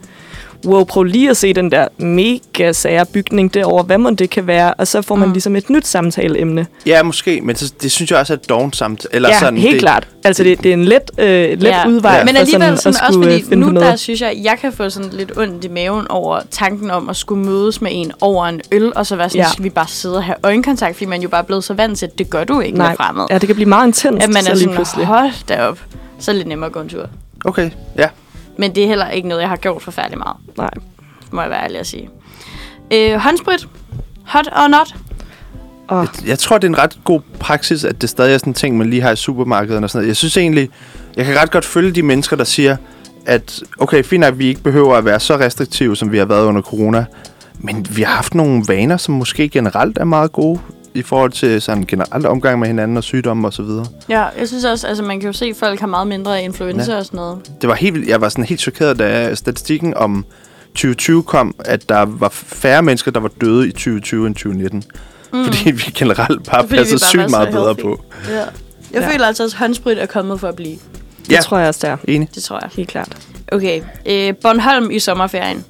wow, prøv lige at se den der mega sære bygning derovre, hvad må det kan være, og så får man
Mm.
ligesom et nyt samtaleemne.
Ja, måske, men så, det synes jeg også er doven samt. Eller
ja,
sådan,
helt
det,
klart. Altså, det, det er en let, øh, let
Ja.
udvej.
Men
for
alligevel sådan, også
at skulle, øh,
fordi
finde på
nu
noget.
der synes jeg, jeg kan få sådan lidt ondt i maven over tanken om at skulle mødes med en over en øl, og så være sådan,
Ja.
ja. skal vi bare sidde og have øjenkontakt, fordi man jo bare er blevet så vant til, at det gør du ikke med fremmed.
Ja, det kan blive meget intenst,
At man
så
er
lige
sådan,
pludselig.
hold da op, så er det lidt nemmere at gå en tur.
Okay, ja.
Men det er heller ikke noget, jeg har gjort forfærdelig meget.
Nej.
må jeg være ærlig at sige. Øh, håndsprit. Hot or not?
Og,
Jeg tror, det er en ret god praksis, at det stadig er sådan en ting, man lige har i supermarkederne og sådan noget. Jeg synes egentlig, jeg kan ret godt følge de mennesker, der siger, at okay, fint nok, vi ikke behøver at være så restriktive, som vi har været under corona. Men vi har haft nogle vaner, som måske generelt er meget gode i forhold til sådan generelt omgang med hinanden og sygdomme og så videre.
Ja, jeg synes også, altså man kan jo se, at folk har meget mindre influenza
Ja.
ja. og sådan noget.
det var helt, vildt- jeg var sådan helt chokeret, da statistikken om 2020 kom, at der var færre mennesker, der var døde i 2020 end 2019. Mm. Fordi vi generelt bare
Fordi vi
passede
bare var
sygt
så
meget bedre
healthy.
på.
Ja. Jeg
Ja.
ja. føler altså også, at håndsprit er kommet for at blive.
det
Ja.
tror jeg også, der er.
Enig?
Det tror jeg.
Helt klart.
Okay. Øh, Bornholm i sommerferien.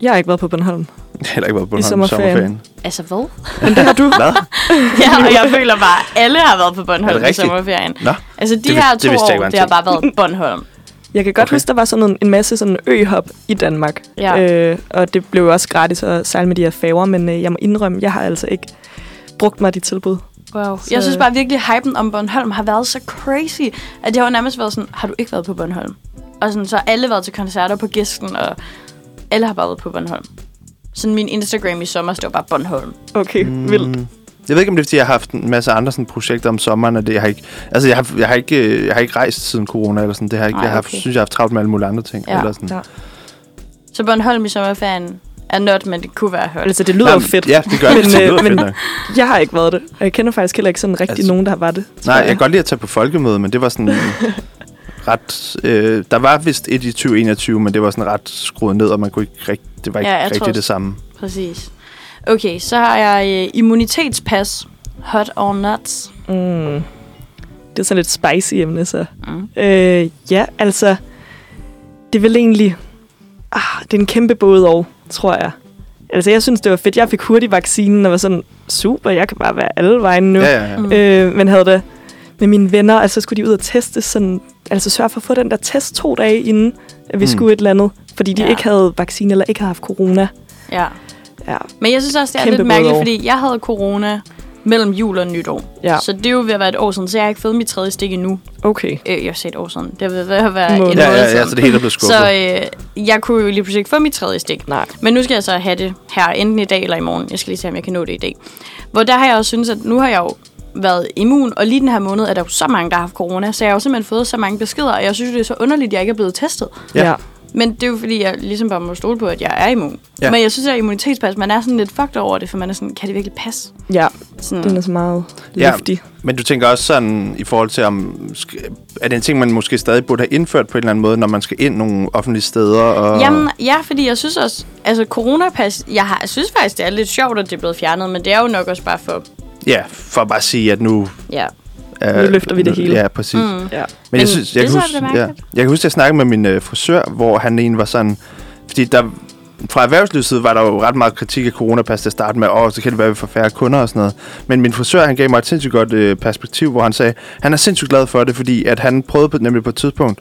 Jeg har ikke været på Bornholm.
Jeg har heller ikke været på
I
Bornholm i
sommerferien.
sommerferien.
Altså hvad?
Men det har
[LAUGHS]
du.
Hvad?
[LAUGHS] ja, og
[LAUGHS]
jeg føler bare, at alle har været på
Er
Bornholm
det
i
rigtigt?
sommerferien.
Nå,
Altså de
Det
det,
vid-
her
det
to
vidste jeg ikke var
år,
en
det har
ting.
bare været Bornholm.
Jeg kan godt
Okay.
okay. huske, der var sådan en, en masse sådan øhop i Danmark.
Ja.
Øh, og det blev jo også gratis at sejle med de her færger, men øh, jeg må indrømme, jeg har altså ikke brugt mig af de tilbud.
Wow. Så... Jeg synes bare virkelig, at hypen om Bornholm har været så crazy, at det har jo nærmest været sådan, har du ikke været på Bornholm? Og sådan, så har alle været til koncerter på Gisken, og alle har bare været på Bornholm. Sådan min Instagram i sommer står bare Bornholm.
Okay, mm. vildt.
Jeg ved ikke, om det er, fordi jeg har haft en masse andre sådan, projekter om sommeren, og det jeg har ikke... Altså, jeg har, jeg har, ikke, øh, jeg har ikke rejst siden corona, eller sådan. Det har jeg, ikke,
Ej,
jeg har,
okay.
synes, jeg har haft travlt med alle mulige andre ting.
Ja.
eller sådan.
Ja.
Så Bornholm i sommerferien er not, men det kunne være højt.
Altså, det lyder jo
Jamen,
fedt.
Ja, det gør
Men,
det. det.
øh,
lyder
men-
fedt nok.
Jeg har ikke været det. Og jeg kender faktisk heller ikke sådan rigtig
Altså-
altså, nogen, der har været det. tror
Nej, jeg kan godt lide at tage på folkemøde, men det var
[LAUGHS]
sådan ret... Øh, der var vist et i 2021, men det var sådan ret skruet ned, og man kunne ikke rigt, det var ikke
Ja,
ja,
jeg
rigtig
tror
det
også-
samme.
Præcis. Okay, så har jeg øh, immunitetspas. Hot or nuts.
Mm. Det er sådan lidt spicy emne, så.
Mm.
Øh, ja, altså, det er vel egentlig... Ah, det er en kæmpe både og, tror jeg. Altså, jeg synes, det var fedt. Jeg fik hurtigt vaccinen og var sådan, super, jeg kan bare være alle vejen nu.
Ja, ja, ja.
Mm.
Øh, men havde det med mine venner, altså skulle de ud og teste sådan, altså sørge for at få den der test to dage inden, at vi
Mm.
mm. skulle et eller andet. fordi de
Ja.
ja. ikke havde vaccine eller ikke havde haft corona.
Ja.
Ja,
Men jeg synes også, det er
Kæmpe
lidt mærkeligt,
både-og.
fordi jeg havde corona mellem jul og nytår.
Ja.
Så det er jo ved at være et år siden, så jeg har ikke fået mit tredje stik endnu.
okay.
Øh, jeg har set år siden. Det er ved at være en
Måned.
måned
Ja, ja, ja,
siden.
så det hele er blevet
[LAUGHS]
skubbet.
Så øh, jeg kunne jo lige pludselig ikke få mit tredje stik.
Nej.
Men nu skal jeg så have det her, enten i dag eller i morgen. Jeg skal lige se, om jeg kan nå det i dag. Hvor der har jeg også synes, at nu har jeg jo været immun, og lige den her måned er der jo så mange, der har haft corona, så jeg har jo simpelthen fået så mange beskeder, og jeg synes, det er så underligt, at jeg ikke er blevet testet.
Ja.
Ja. ja.
Men det er jo fordi, jeg ligesom bare må stole på, at jeg er immun.
Ja.
Ja. Men jeg synes, at immunitetspas, man er sådan lidt fucked over det, for man er sådan, kan det virkelig passe?
ja. Den
Sådan,
er så meget
Ja.
luftig.
Men du tænker også sådan i forhold til, om sk- er det en ting, man måske stadig burde have indført på en eller anden måde, når man skal ind nogle offentlige steder? Og...
Jamen, ja, fordi jeg synes også, altså coronapas, jeg, har, jeg synes faktisk, det er lidt sjovt, at det er blevet fjernet, men det er jo nok også bare for,
Ja, for at bare sige, at nu...
ja,
øh,
Nu løfter vi det hele.
Ja, præcis. Mm.
Ja.
Men jeg,
Men
synes,
det
jeg, kan
synes
huske,
jeg er
ja, jeg
bemærket.
kan huske, at jeg snakkede med min øh, frisør, hvor han egentlig var sådan... Fordi der, fra erhvervslivets side var der jo ret meget kritik af coronapas til at starte med. Åh, så kan det være, at vi får færre kunder og sådan noget. Men min frisør, han gav mig et sindssygt godt øh, perspektiv, hvor han sagde, han er sindssygt glad for det, fordi at han prøvede på, nemlig på et tidspunkt,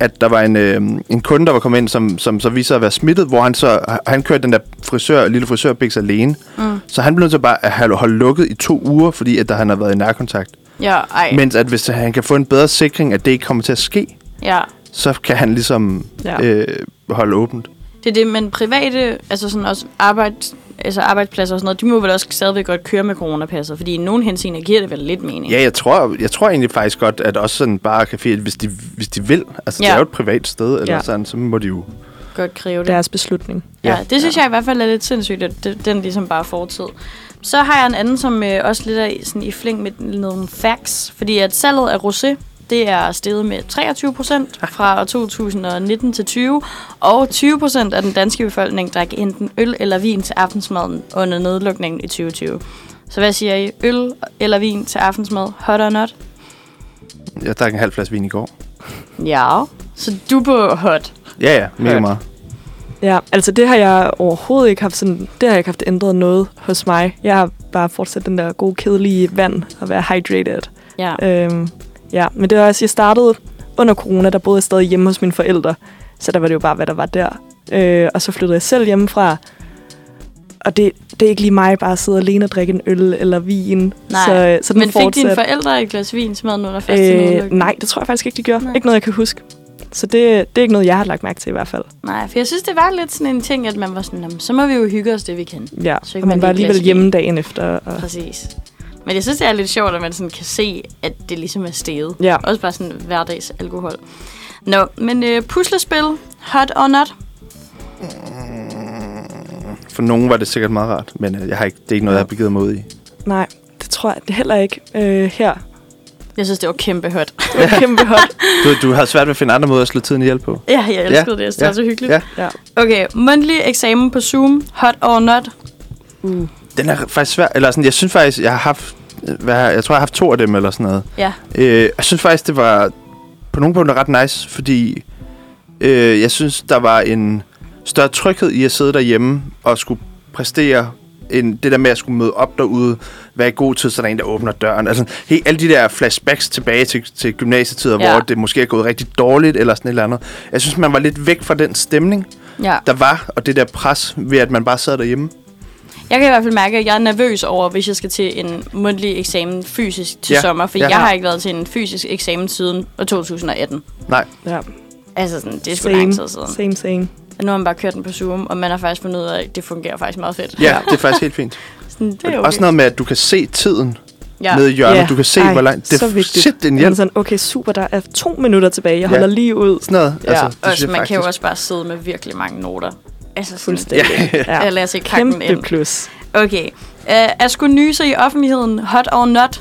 at der var en, øh, en kunde, der var kommet ind, som, som så viste sig at være smittet, hvor han så han kørte den der frisør, lille frisørbiks alene. Mm. Så han blev nødt til bare at have- holde lukket i to uger, fordi at der, han har været i nærkontakt.
ja, ej, men,
Mens at hvis han kan få en bedre sikring, at det ikke kommer til at ske,
ja.
så kan han ligesom ja.
Ja.
øh, holde åbent.
Det er det, men private, altså sådan også arbejde, altså arbejdspladser og sådan noget, de må vel også stadigvæk godt køre med coronapasset, fordi i nogen henseender giver det vel lidt mening.
Ja, jeg tror, jeg tror egentlig faktisk godt, at også sådan bare caféer, hvis de, hvis de vil, altså ja. det
Ja.
er jo et privat sted, eller ja.
Ja.
sådan, så må de jo...
Godt kræve det.
Deres beslutning.
Ja,
Ja.
det synes jeg i hvert fald er lidt sindssygt, at det- den ligesom bare er fortid. Så har jeg en anden, som øh, også lidt er i- sådan i flæng med nogle facts, fordi at salget af rosé, det er steget med 23 procent fra år 2019 til 20, og 20 procent af den danske befolkning drak enten øl eller vin til aftensmaden under nedlukningen i 2020. Så hvad siger I? Øl eller vin til aftensmad? Hot or not?
Jeg drak en halv flaske vin i går.
Ja. Så du er på hot.
Ja, ja, mega
Hørt.
meget.
Ja, altså det har jeg overhovedet ikke haft sådan, det har jeg ikke haft ændret noget hos mig. Jeg har bare fortsat den der gode, kedelige vand og være hydrated.
Ja.
Øhm, ja, men det var også, jeg startede under corona, der boede jeg stadig hjemme hos mine forældre. Så der var det jo bare, hvad der var der. Øh, og så flyttede jeg selv hjemmefra. Og det, det er ikke lige mig bare at sidde alene og drikke en øl eller vin.
Nej.
så, så den
Men fik dine
fortsatte.
forældre et glas vin til maden under første
Øh,
nedlukning?
nej, det tror jeg faktisk ikke, de gjorde.
Nej.
Nej. Ikke noget, jeg kan huske. Så det, det er ikke noget, jeg har lagt mærke til i hvert fald.
Nej, for jeg synes, det var lidt sådan en ting, at man var sådan, "Nå, så må vi jo hygge os det, vi kan.
Ja,
Så kan
og
man
man
lige
var alligevel
klasse
hjemme dagen efter. Og,
Præcis. Men jeg synes, det er lidt sjovt, at man sådan kan se, at det ligesom er steget.
Ja.
Også bare sådan hverdags alkohol. Nå, men øh, puslespil, hot or not?
For nogen var det sikkert meget rart, men øh, jeg har ikke, det er ikke noget, jeg har begivet mig ud i.
nej, det tror jeg det heller ikke øh, her.
Jeg synes, det var kæmpe hot. [LAUGHS]
Det var kæmpe hot.
Du, du har svært ved at finde andre måder at slå tiden ihjel på.
ja, jeg elskede det. Jeg synes, det var så hyggeligt.
Ja.
Ja.
Okay, mundtlig eksamen på Zoom, hot or not?
Den er faktisk svær, eller sådan, jeg synes faktisk, jeg har haft, hvad, har jeg jeg tror, jeg har haft to af dem eller sådan noget.
Ja,
Øh, jeg synes faktisk, det var på nogle punkter ret nice, fordi øh, jeg synes, der var en større tryghed i at sidde derhjemme og skulle præstere end det der med at skulle møde op derude, være i god tid, så der er en, der åbner døren. Altså, he, alle de der flashbacks tilbage til, til gymnasietider,
Ja.
hvor det måske er gået rigtig dårligt, eller sådan et eller andet. Jeg synes, man var lidt væk fra den stemning,
ja.
der var, og det der pres ved, at man bare sad derhjemme.
Jeg kan i hvert fald mærke, at jeg er nervøs over, hvis jeg skal til en mundtlig eksamen fysisk til
Ja,
sommer, for
ja.
jeg har ikke været til en fysisk eksamen siden år 2018.
Nej,
ja.
Altså, sådan, det er sgu
Same,
lang tid siden.
Same, same.
Og nu har man bare kørt den på Zoom, og man har faktisk fundet ud af, at det fungerer faktisk meget fedt.
ja, det er faktisk helt fint.
Sådan, det er
Okay.
okay.
Også noget med, at du kan se tiden ja.
ja.
nede i hjørnet.
Ja.
Du kan se,
Ej,
hvor langt... Det
så
er
vigtigt.
shit en
Men
hjælp.
sådan, okay, super, der er to minutter tilbage. Jeg
Ja.
holder lige ud.
Sådan noget.
Ja,
altså, det synes
også,
jeg
man kan jo
faktisk-
også bare sidde med virkelig mange noter. Altså sådan,
Fuldstændig.
Ja. Ja, lad os ikke hakke den
Kæmpe
ind.
plus.
Okay. Uh, at skulle nyse i offentligheden, hot or not,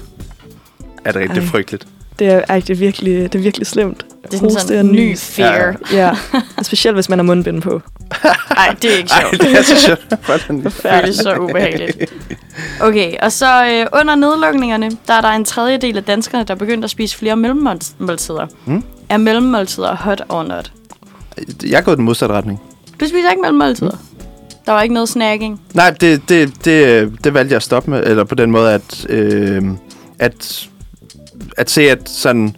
Er det rigtigt det er
Ej.
frygteligt?
Det er, ej, det er virkelig, det er virkelig slemt.
det er sådan,
Hoste
sådan
og
en ny
nys.
fear. [LAUGHS]
Ja.
Ja, og specielt hvis man har mundbind på.
Nej, det er ikke
Ej,
sjovt.
det er så sjovt. Hvordan-
Det føles så ubehageligt. Okay, og så øh, under nedlukningerne, der er der en tredjedel af danskerne, der begyndte at spise flere mellemmåltider.
Mm.
Er mellemmåltider hot or not?
Jeg er gået den modsatte retning.
Du spiser ikke mellemmåltider? Der var ikke noget snacking?
Nej, det, det, det, det valgte jeg at stoppe med. Eller på den måde, at, øh, at, at se, at sådan...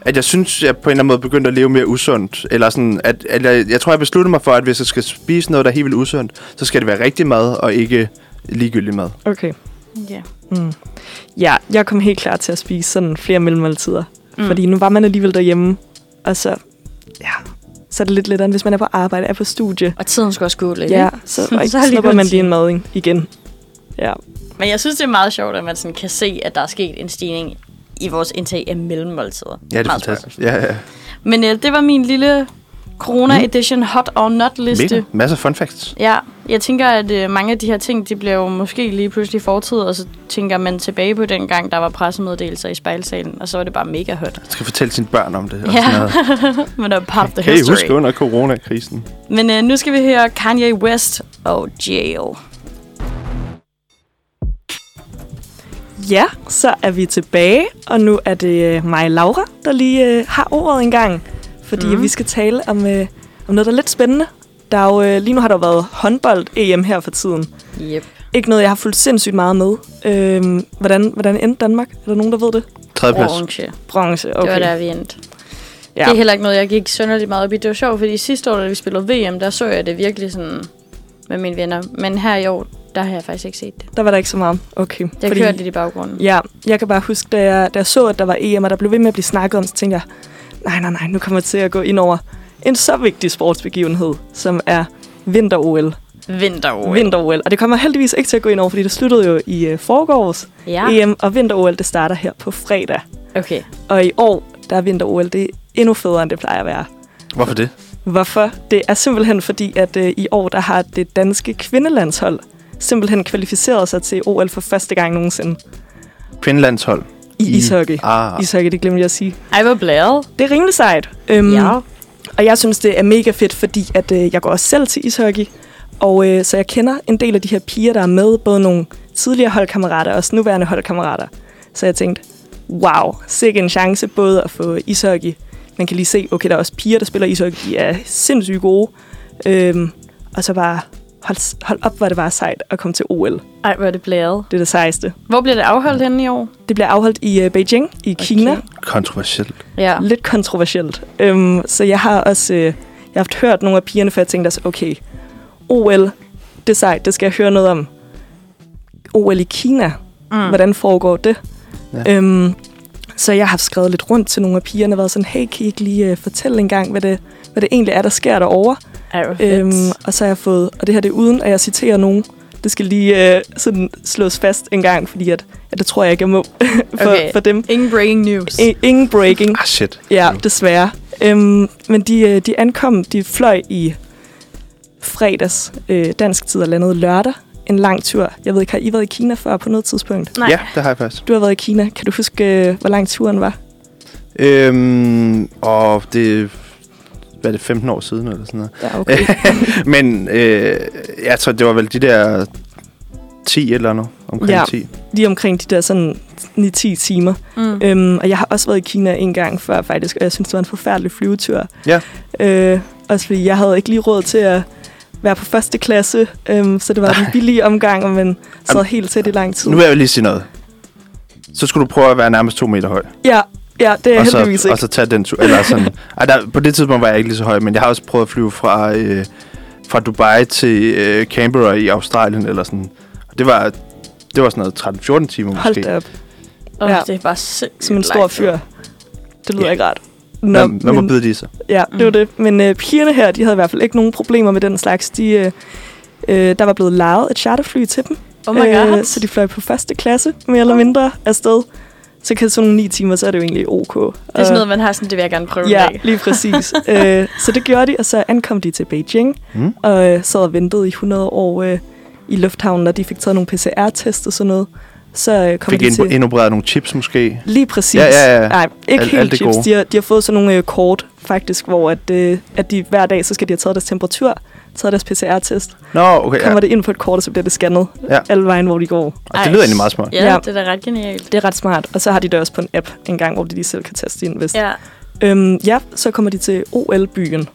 at jeg synes, jeg på en eller anden måde begyndte at leve mere usundt. Eller sådan, at, at jeg, jeg tror, jeg besluttede mig for, at hvis jeg skal spise noget, der er helt vildt usundt, så skal det være rigtig mad og ikke ligegyldig mad.
Okay.
Ja.
Mm. Ja, jeg kom helt klar til at spise sådan flere mellemmåltider. Mm. Fordi nu var man alligevel derhjemme, og så, ja, så er det lidt lettere, end hvis man er på arbejde, er på studie.
Og tiden skulle også gå lidt.
[LAUGHS] Ja,
ikke?
Øh.
[LAUGHS]
så,
Så er det
så slipper
lige
man
godt
lige en mad ikke? igen. Ja.
Men jeg synes, det er meget sjovt, at man sådan kan se, at der er sket en stigning i vores indtag af mellemmåltider.
Ja, det er
Meget
fantastisk. Ja, ja.
smart. Men øh, det var min lille Corona Edition Hot or Not liste.
Mm. Mega. Masser af fun facts.
Ja, jeg tænker, at øh, mange af de her ting, de bliver jo måske lige pludselig fortid, og så tænker man tilbage på den gang, der var pressemeddelelser i spejlsalen, og så var det bare mega hot.
Jeg skal fortælle sine børn om [LAUGHS] det. Og
Ja.
sådan noget.
Men det var part of the
Kan I
history.
huske under coronakrisen?
Men øh, nu skal vi høre Kanye West og Jail.
ja, så er vi tilbage, og nu er det øh, mig, Laura, der lige øh, har ordet en gang. Fordi mm. vi skal tale om, øh, om noget, der er lidt spændende. Der er jo, øh, lige nu har der jo været håndbold-EM her for tiden.
Yep.
Ikke noget, jeg har fulgt sindssygt meget med. Øhm, hvordan, hvordan endte Danmark? Er der nogen, der ved det?
Tredje plads.
Orange. Okay.
Bronze,
Det
okay.
var der, vi endte.
Ja.
Ja. Det er heller ikke noget, jeg gik synderligt meget op i. Det var sjovt, fordi sidste år, da vi spillede VM, der så jeg det virkelig sådan med mine venner. Men her i år, der har jeg faktisk ikke set det.
Der var der ikke så meget. Okay.
Jeg Fordi... kørte lidt i baggrunden.
Ja, jeg kan bare huske, da jeg, da jeg så, at der var EM, og der blev ved med at blive snakket om, så tænkte jeg, nej, nej, nej, nu kommer jeg til at gå ind over en så vigtig sportsbegivenhed, som er vinter-OL.
Vinter-OL.
Vinter-OL. Og det kommer jeg heldigvis ikke til at gå ind over, fordi det sluttede jo i øh, forgårs
Ja,
EM, og vinter-OL, det starter her på fredag.
okay.
Og i år, der er vinter-OL, det er endnu federe, end det plejer at være.
Hvorfor det?
Hvorfor? Det er simpelthen fordi, at øh, i år der har det danske kvindelandshold simpelthen kvalificeret sig til OL for første gang nogensinde
Kvindelandshold.
i, I ishockey.
Ah.
Ishockey, det glemte jeg at sige.
Ej, hvor blæret.
Det er rimelig sejt. Øhm,
Ja.
Og jeg synes, det er mega fedt, fordi at, øh, jeg går også selv til ishockey. Og øh, så jeg kender en del af de her piger, der er med. Både nogle tidligere holdkammerater og også nuværende holdkammerater. Så jeg tænkte, wow, sikke en chance både at få ishockey. Man kan lige se, okay, der er også piger, der spiller ishockey. De er sindssygt gode. Øhm, og så bare, hold, hold op, hvor det var sejt at komme til OL.
Ej, hvor er det blæret.
Det er det sejeste.
Hvor bliver det afholdt henne i år?
Det bliver afholdt i øh, Beijing i Kina.
Kontroversielt.
Ja.
lidt kontroversielt. Øhm, så jeg har også øh, jeg har haft hørt nogle af pigerne, for jeg tænkte også, okay, OL, det er sejt, det skal jeg høre noget om. OL i Kina, mm. hvordan foregår det?
Ja.
Ja. Øhm, så jeg har skrevet lidt rundt til nogle af pigerne, og været sådan, hey, kan I ikke lige øh, fortælle en gang, hvad det, hvad det egentlig er, der sker derovre?
Ej, hvor fedt.
Øhm, og så har jeg fået, og det her det er uden, at jeg citerer nogen. Det skal lige øh, sådan slås fast en gang, fordi at, at det tror jeg ikke, jeg må [LAUGHS] for,
Okay.
for dem.
Ingen breaking news.
I, ingen breaking.
Ah, shit.
Ja, desværre. Øhm, men de, øh, de ankom, de fløj i fredags øh, dansk tid og landede lørdag. En lang tur. Jeg ved ikke, har I været i Kina før på noget tidspunkt?
Nej.
Ja, det har jeg faktisk.
Du har været i Kina. Kan du huske, øh, hvor lang turen var?
Øhm, og det... Hvad er det, 15 år siden eller sådan noget?
Ja, okay.
Men øh, jeg tror, det var vel de der 10 eller noget. Omkring
Ja.
10.
Lige omkring de der sådan 9-10 timer.
Mm.
Øhm, og jeg har også været i Kina en gang før faktisk, og jeg synes, det var en forfærdelig flyvetur.
Ja.
Øh, også fordi jeg havde ikke lige råd til at være på første klasse, øhm, så det var en billig omgang, og man sad
Jamen,
helt tæt i lang tid.
Nu vil jeg jo lige sige noget. Så skulle du prøve at være nærmest to meter høj.
Ja, ja, det er jeg
og,
heldigvis
så,
ikke.
og så tage den tur. Eller sådan. Ej, der, på det tidspunkt var jeg ikke lige så høj, men jeg har også prøvet at flyve fra, øh, fra Dubai til øh, Canberra i Australien. Eller sådan. Og det var, det var sådan noget 13-14 timer
Hold
måske.
da op,
Åh,
Ja.
det er bare sindssygt
som en stor
langt.
fyr. Det lyder
Ja.
ikke rart.
Nå, Hvad må
men-
bide de sig?
Ja, det var
Mm.
det. Men øh, pigerne her, de havde i hvert fald ikke nogen problemer med den slags. De, øh, øh, der var blevet lejet et charterfly til dem.
Oh my god.
Øh, så de fløj på første klasse, mere eller mindre, afsted. Så kan sådan nogle ni timer, så er det jo egentlig ok.
Det er sådan noget, man har sådan, det vil jeg gerne prøve
Øh. Ja,
en dag.
lige
[LAUGHS]
præcis. øh, så det gjorde de, og så ankom de til Beijing,
Mm.
Hmm?
mm. og øh, sad og ventede i 100 år øh, i lufthavnen, og de fik taget nogle PCR-test og sådan noget. Så øh, kom
Fik
de til...
ind, indopereret nogle chips måske?
Lige præcis. Ah,
Ja, ja, ja.
Nej, ikke
Alt-
helt
alt det
chips.
gode.
De har, de har fået sådan nogle øh, kort, faktisk, hvor at, øh, at de hver dag, så skal de have taget deres temperatur, taget deres PCR-test.
Nå, okay. Ja.
Kommer det ind på et kort, og så bliver det scannet
Ja.
alle vejen, hvor de går.
Og det lyder egentlig meget smart.
Ja,
Ja.
det er da ret genialt.
Det er ret smart. Og så har de det også på en app en gang, hvor de lige selv kan teste ind, hvis...
Ja.
Øhm, ja, så kommer de til OL-byen.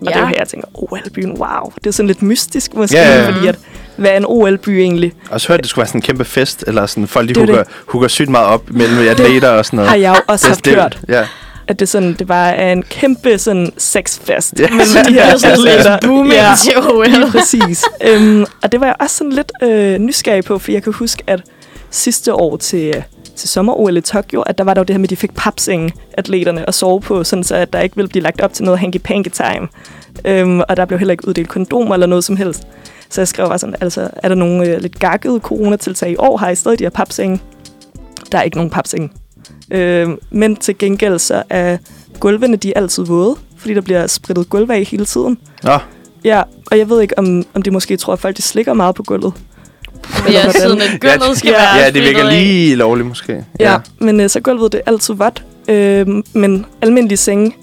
Og det er jo
Ja.
her, jeg tænker, OL-byen, wow. Det er sådan lidt mystisk måske,
Ja, ja, ja.
fordi at, hvad er en OL-by egentlig?
Og så hørte, det skulle være sådan en kæmpe fest, eller sådan folk, de
Det er
hugger,
det.
hugger sygt meget op mellem atleter og sådan noget.
Har jeg jo også haft
det,
hørt.
Ja.
at det, sådan, det bare er en kæmpe sådan sexfest.
Ja.
mellem de her
Det er sådan lidt
atleter.
booming [LAUGHS]
Ja.
til OL.
Lige præcis. øhm, og det var jeg også sådan lidt øh, nysgerrig på, for jeg kan huske, at sidste år til, til sommer-OL i Tokyo, at der var der jo det her med, at de fik papsenge, atleterne, at sove på, sådan så at der ikke ville blive lagt op til noget hanky-panky-time. Øhm, og der blev heller ikke uddelt kondomer eller noget som helst. Så jeg skrev bare sådan, altså, er der nogle øh, lidt gakkede coronatiltag i år? Har I stadig de her papsenge? Der er ikke nogen papsenge. Øhm, men til gengæld så er gulvene, de er altid våde, fordi der bliver spritet gulv af hele tiden.
Nå,
Ja, og jeg ved ikke, om, om de måske tror, at folk de slikker meget på gulvet.
Ja, siden at gulvet skal
Ja,
være
ja, det virker
fedtet af.
lige lovligt måske.
Ja. Men øh, så gulvet, det er altid vådt. Øh, men almindelige senge,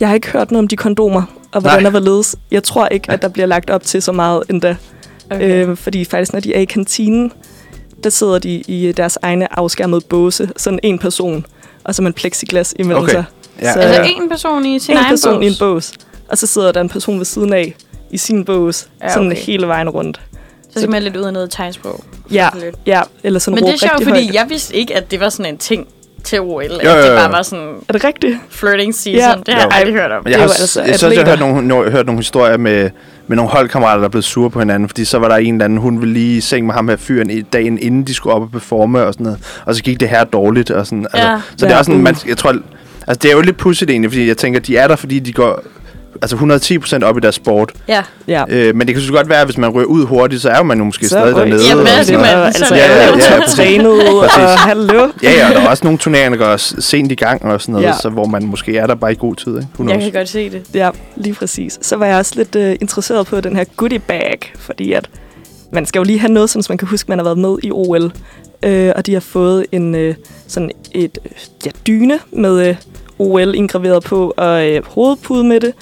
jeg har ikke hørt noget om de kondomer, og hvordan
Nej.
der var ledes. Jeg tror ikke, at der bliver lagt op til så meget endda.
Okay.
Okay. Øh, fordi faktisk, når de er i kantinen, der sidder de i øh, deres egne afskærmede båse, sådan en person, og så med en plexiglas imellem
Okay.
sig.
Ja,
Så-
Altså
ja.
en person i sin
en
egen
person
bås.
i en bås, og så sidder der en person ved siden af i sin bås,
Ja,
ja, sådan
okay.
hele vejen rundt.
Så skal man lidt ud af noget tegnsprog.
Ja,
Sådan lidt.
ja, eller sådan
Men det
råbe
er sjovt,
rigtig
fordi
højt.
jeg vidste ikke, at det var sådan en ting til OL. At
Jo, jo,
det
jo.
bare var sådan
Er det rigtigt?
flirting season.
Ja.
Det har jeg
Jo.
aldrig hørt om.
Men jeg har
Det er jo
s-
altså
jeg synes, jeg har
atleter.
hørt nogle, no, hørt nogle historier med, med nogle holdkammerater, der er blevet sure på hinanden, fordi så var der en eller anden, hun ville lige i seng med ham her fyren i dagen, inden de skulle op og performe og sådan noget, og så gik det her dårligt. Og sådan, altså,
Ja.
så det er
Ja,
også sådan,
uh.
man, jeg tror, altså, det er jo lidt pudsigt egentlig, fordi jeg tænker, de er der, fordi de går altså 110% op i deres sport.
Ja.
Ja.
Øh, men det kan så godt være, at hvis man rører ud hurtigt, så er man jo måske
Så
stadig
ryger-
dernede.
Jamen,
og
hvad
sådan
skal
noget.
man-
Altså,
så-
ja, ja, ja, [LAUGHS] ja,
præcis.
trænet, og
Præcis.
hallo.
Ja, ja, og der er også nogle turneringer, der går s- sent i gang og sådan noget,
Ja.
ja. så hvor man måske er der bare i god tid. Ikke? Who
Jeg
knows?
kan godt se det.
Ja, lige præcis. Så var jeg også lidt øh, interesseret på den her goodie bag, fordi at man skal jo lige have noget, sådan, så man kan huske, man har været med i OL. Øh, og de har fået en øh, sådan et øh, ja, dyne med øh, OL indgraveret på og øh, hovedpude med det.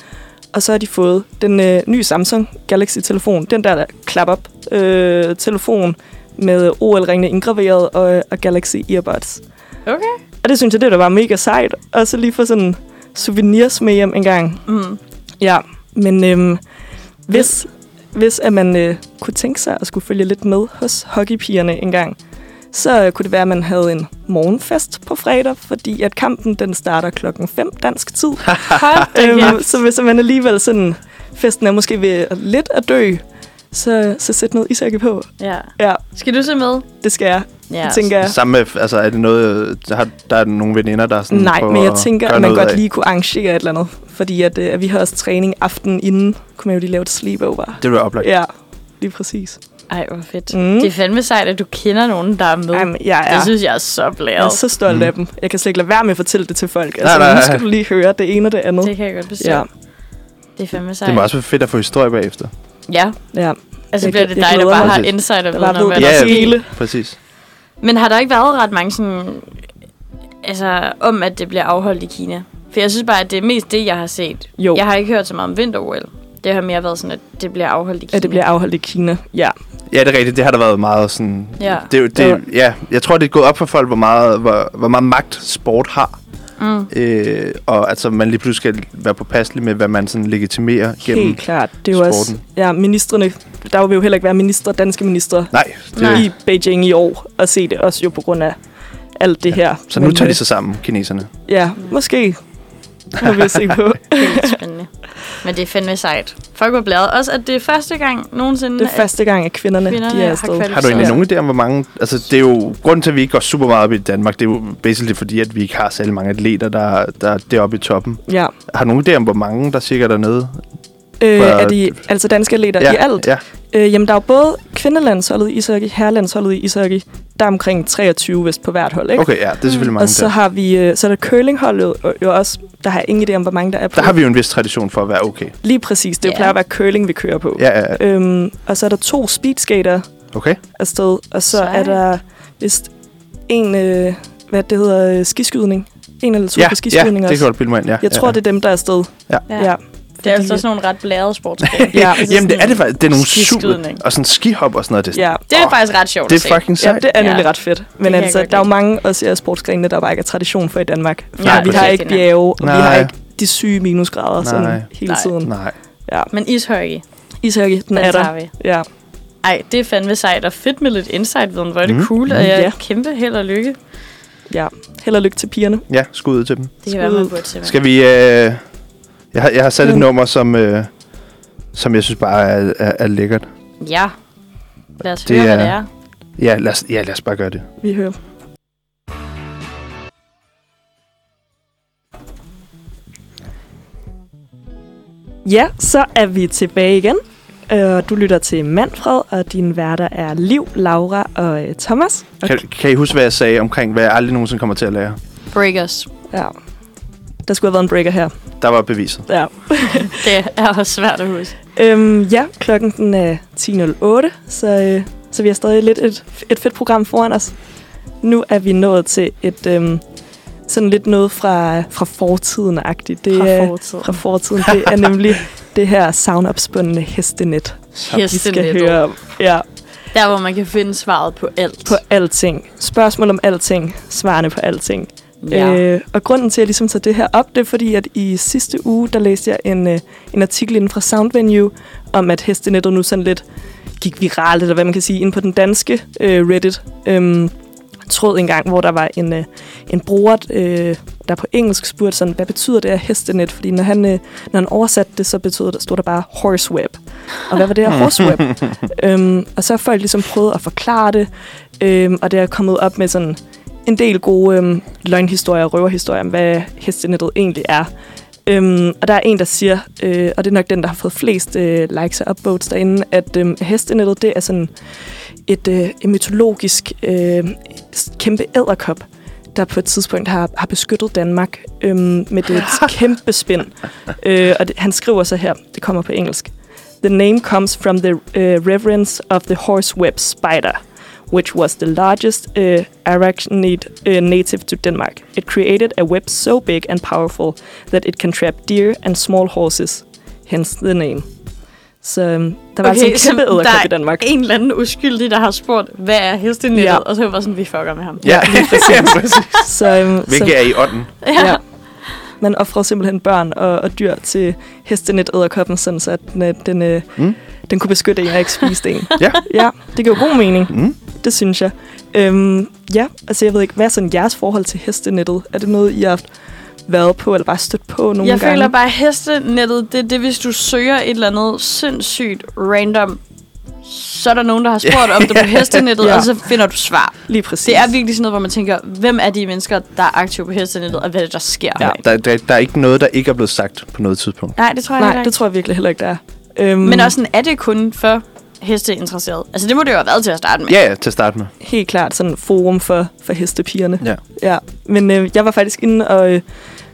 Og så har de fået den øh, nye Samsung Galaxy-telefon, den der, der klap-op-telefon med OL-ringene indgraveret og, øh, og Galaxy Earbuds.
Okay.
Og det synes jeg, det der var mega sejt. Og så lige få sådan souvenirs med hjem en gang.
Mm.
Ja, men øhm, hvis, hvis at man øh, kunne tænke sig at skulle følge lidt med hos hockeypigerne en gang, så øh, kunne det være, at man havde en morgenfest på fredag, fordi at kampen den starter klokken 5 dansk
[LAUGHS]
tid.
Hold da
øhm,
kæft.
så hvis man alligevel sådan, festen er måske ved at- lidt at dø, så, så sæt noget ishockey på.
Ja.
Ja,
Skal du se med?
det skal jeg.
Ja.
Det tænker jeg.
Sammen med, altså er det noget, øh, har, der er nogle veninder, der er sådan
Nej,
på
men jeg
at
tænker,
gøre
at man
noget
godt
af?
lige kunne arrangere et eller andet. Fordi at, øh, at vi har også træning aftenen inden, kunne man jo lige lave et sleepover.
Det vil være oplagt.
Ja, lige præcis.
Ej, hvor fedt.
Mm.
Det er fandme sejt, at du kender nogen, der er med.
Jamen, jeg er,
Det synes jeg er så
jeg er
blæret.
så stolt mm. af dem. Jeg kan slet ikke lade være med at fortælle det til folk. Altså,
nej,
nu
nej.
skal du lige høre det ene og det andet.
Det kan jeg godt bestå.
ja,
Det er fandme sejt.
Det må også være fedt at få historie bagefter.
Ja.
ja.
Altså
Jeg
bliver
glæ-
det
jeg
dig, der
glæder
bare
mig.
har insight og
Jeg bare
viden om, hvad
ved det
der
Ja,
sker.
hele.
Præcis.
Men har der ikke været ret mange sådan... Altså, om at det bliver afholdt i Kina? For jeg synes bare, at det er mest det, jeg har set.
Jo.
Jeg har ikke hørt så meget om vinter-OL. Det har mere været sådan, at det bliver afholdt i Kina.
At det bliver afholdt i Kina. Ja,
Ja, det er rigtigt. Det har der været meget sådan...
Ja.
Det, er jo- det, ja. Jeg tror, det er gået op for folk, hvor meget, hvor, hvor meget magt sport har.
Mm.
Øh, og altså, man lige pludselig skal være påpasselig med, hvad man sådan legitimerer
Gennem
gennem...
helt klart. Det er jo også,
sporten.
ja, ministerne, der vil jo heller ikke være minister, danske minister
Nej, det,
Nej.
Nej.
i Beijing i år, og se det også jo på grund af alt det her.
Så nu
Men,
tager de
øh,
sig sammen, kineserne.
Ja, måske. Må vi se
[LAUGHS]
på.
Vildt spændende. Men det er fandme sejt. Folk var blæret. Også, at det er første gang nogensinde,
Det er første gang, at kvinderne,
Kvinderne
de er
har
afsted.
kvalificeret.
Har du egentlig
Så-
nogen idé om, hvor mange... Altså, det er jo... Grunden til, at vi ikke går super meget op i Danmark, det er jo basically fordi, at vi ikke har særlig mange atleter, der, der er deroppe i toppen.
Ja.
Har du nogen idé om, hvor mange der cirka er dernede?
Øh,
Hvor-
er de altså danske atleter i alt?
Ja.
Øh, jamen, der er jo både kvindelandsholdet i ishockey, herrelandsholdet i ishockey. Der er omkring 23 vist på hvert hold, ikke? Mm,
Okay, ja, det er selvfølgelig mange
Og så
der.
har vi øh, så er der curlingholdet og jo også. Der har jeg ingen idé om, hvor mange der er på.
Der har vi jo en vis tradition for at være okay.
Lige præcis. Det
Ja.
yeah. plejer at være curling, vi kører på.
Ja, ja, ja.
Øhm, og så er der to speedskater
okay.
afsted. Og så
Sejt.
er der vist en, øh, hvad det hedder, øh, skiskydning. En eller to
ja,
på
ja,
skiskydning
det
også.
kan du godt bilde mig ind, ja.
Jeg
ja,
tror,
ja.
det er dem, der er afsted.
Ja.
Ja.
ja. Det er altså
Fordi-
sådan nogle ret blærede sportsgrene.
[LAUGHS] Ja,
Altså
Jamen, det
sådan-
er det faktisk. Det er nogle
skiskydning.
super... Og sådan skihop og sådan noget. Det,
øh, ja.
Det er faktisk ret sjovt
det
at se.
er fucking
Ja,
sejt.
det er nemlig
Ja.
ret fedt.
kan
Men
jeg
altså,
godt
der er jo
lide.
mange også af sportsgrenene, der bare ikke er tradition for i Danmark. Fordi
Nej,
vi har
præcis.
ikke bjerge, og vi har
Nej.
ikke de syge minusgrader sådan
Nej.
hele
Nej.
tiden.
Nej.
Ja.
Men ishockey,
Ishockey, den
den
er
tager
der.
vi.
Ja.
Ej, det er fandme sejt og fedt med lidt insight-viden. Hvor er det
Mm.
cool, og jeg
Ja.
er kæmpe held og lykke.
ja, held og lykke til pigerne.
Ja, skud ud til dem.
Det kan være, man burde til.
Skal vi... Øh, jeg, har, jeg har sat et
Mm.
nummer, som, øh, som jeg synes bare er, er, er lækkert.
Ja. Lad os
Det
høre, hvad
er-
det er.
Ja lad, os, ja, lad os bare gøre det.
Vi hører. Ja, så er vi tilbage igen. Øh, Du lytter til Manfred, og dine værter er Liv, Laura og øh, Thomas.
Kan, kan I huske, hvad jeg sagde omkring, hvad jeg aldrig nogensinde kommer til at lære?
Breakers.
Ja. Der skulle have været en breaker her.
Der var beviset.
Ja.
Det er også svært at huske.
Øhm, ja, klokken den er 10.08, så, øh, så vi har stadig lidt et, et fedt program foran os. Nu er vi nået til et øhm, sådan lidt noget fra, fra fortiden-agtigt. Det,
Fra
er-
fortiden.
fra fortiden. Det er
[LAUGHS]
nemlig det her savnopspundne hestenet, vi skal
Hestenettet.
høre om. Ja,
Der, hvor man kan finde svaret på alt.
på alting. Spørgsmål om alting. Svarene på alting.
ja. Øh,
Øh, og grunden til, at jeg ligesom tager det her op, det er fordi, at i sidste uge, der læste jeg en, øh, en artikel inden fra Soundvenue, om at hestenettet nu sådan lidt gik viralt, eller hvad man kan sige, ind på den danske øh, Reddit. Øhm, tråd engang, hvor der var en, øh, en bruger, øh, der på engelsk spurgte sådan, hvad betyder det her hestenet? Fordi når han, øh, når han oversatte det, så betød der, stod der bare horseweb. Og hvad var det her horseweb? øhm, og så har folk ligesom prøvet at forklare det, øhm, og det er kommet op med sådan en del gode øhm, løgnhistorier og røverhistorier om, hvad hestenettet egentlig er. Øhm, og der er en, der siger, øh, og det er nok den, der har fået flest øh, likes og upvotes derinde, at øhm, hestenettet, det er sådan et øh, en mytologisk øh, s- kæmpe æderkop, der på et tidspunkt har, har beskyttet Danmark øhm, med
[LAUGHS]
det kæmpe spind. Øh, og det, han skriver så her, det kommer på engelsk. The name comes from the uh, reverence of the horseweb spider, which was the largest uh, arachnid uh, native to Denmark. It created a web so big and powerful that it can trap deer and small horses, hence the name. Så øhm, der var okay, altså en kæmpe
så der
æderkop
er
i Danmark.
en eller anden uskyldig, der har spurgt, hvad er hestenettet?
Ja.
Ja. Og så var sådan, vi fucker med [LAUGHS] ham.
[LAUGHS] Ja, lige præcis.
[LAUGHS]
Så, øhm,
Hvilket er i ånden.
ja. [LAUGHS] Man offrer simpelthen børn og, og dyr til hestenet æderkoppen, sådan så at den, øh, den, øh,
Mm.
den kunne beskytte en og ikke
[LAUGHS]
spise en.
Ja.
ja, det giver god mening.
Mm.
Det synes jeg. Øhm, ja, altså jeg ved ikke, hvad er sådan jeres forhold til hestenettet? Er det noget, I har været på eller bare stødt på nogle
jeg
gange?
føler bare, at hestenettet, det er det, hvis du søger et eller andet sindssygt random, så er der nogen, der har spurgt om det på hestenettet,
[LAUGHS] Ja.
ja. og så finder du svar.
Lige præcis.
Det er virkelig sådan noget, hvor man tænker, hvem er de mennesker, der er aktive på hestenettet, og hvad er det, der sker?
Ja, der, der, der er ikke noget, der ikke er blevet sagt på noget tidspunkt.
Nej, det tror jeg
Nej,
ikke.
det tror jeg virkelig heller ikke, der er. Øhm,
Men også sådan, er det kun for hesteinteresserede? Altså, det må det jo have været til at starte med.
Ja, ja, til at starte med.
helt klart sådan et forum for, for hestepigerne.
Ja.
ja. Men øh, jeg var faktisk inde og... Øh,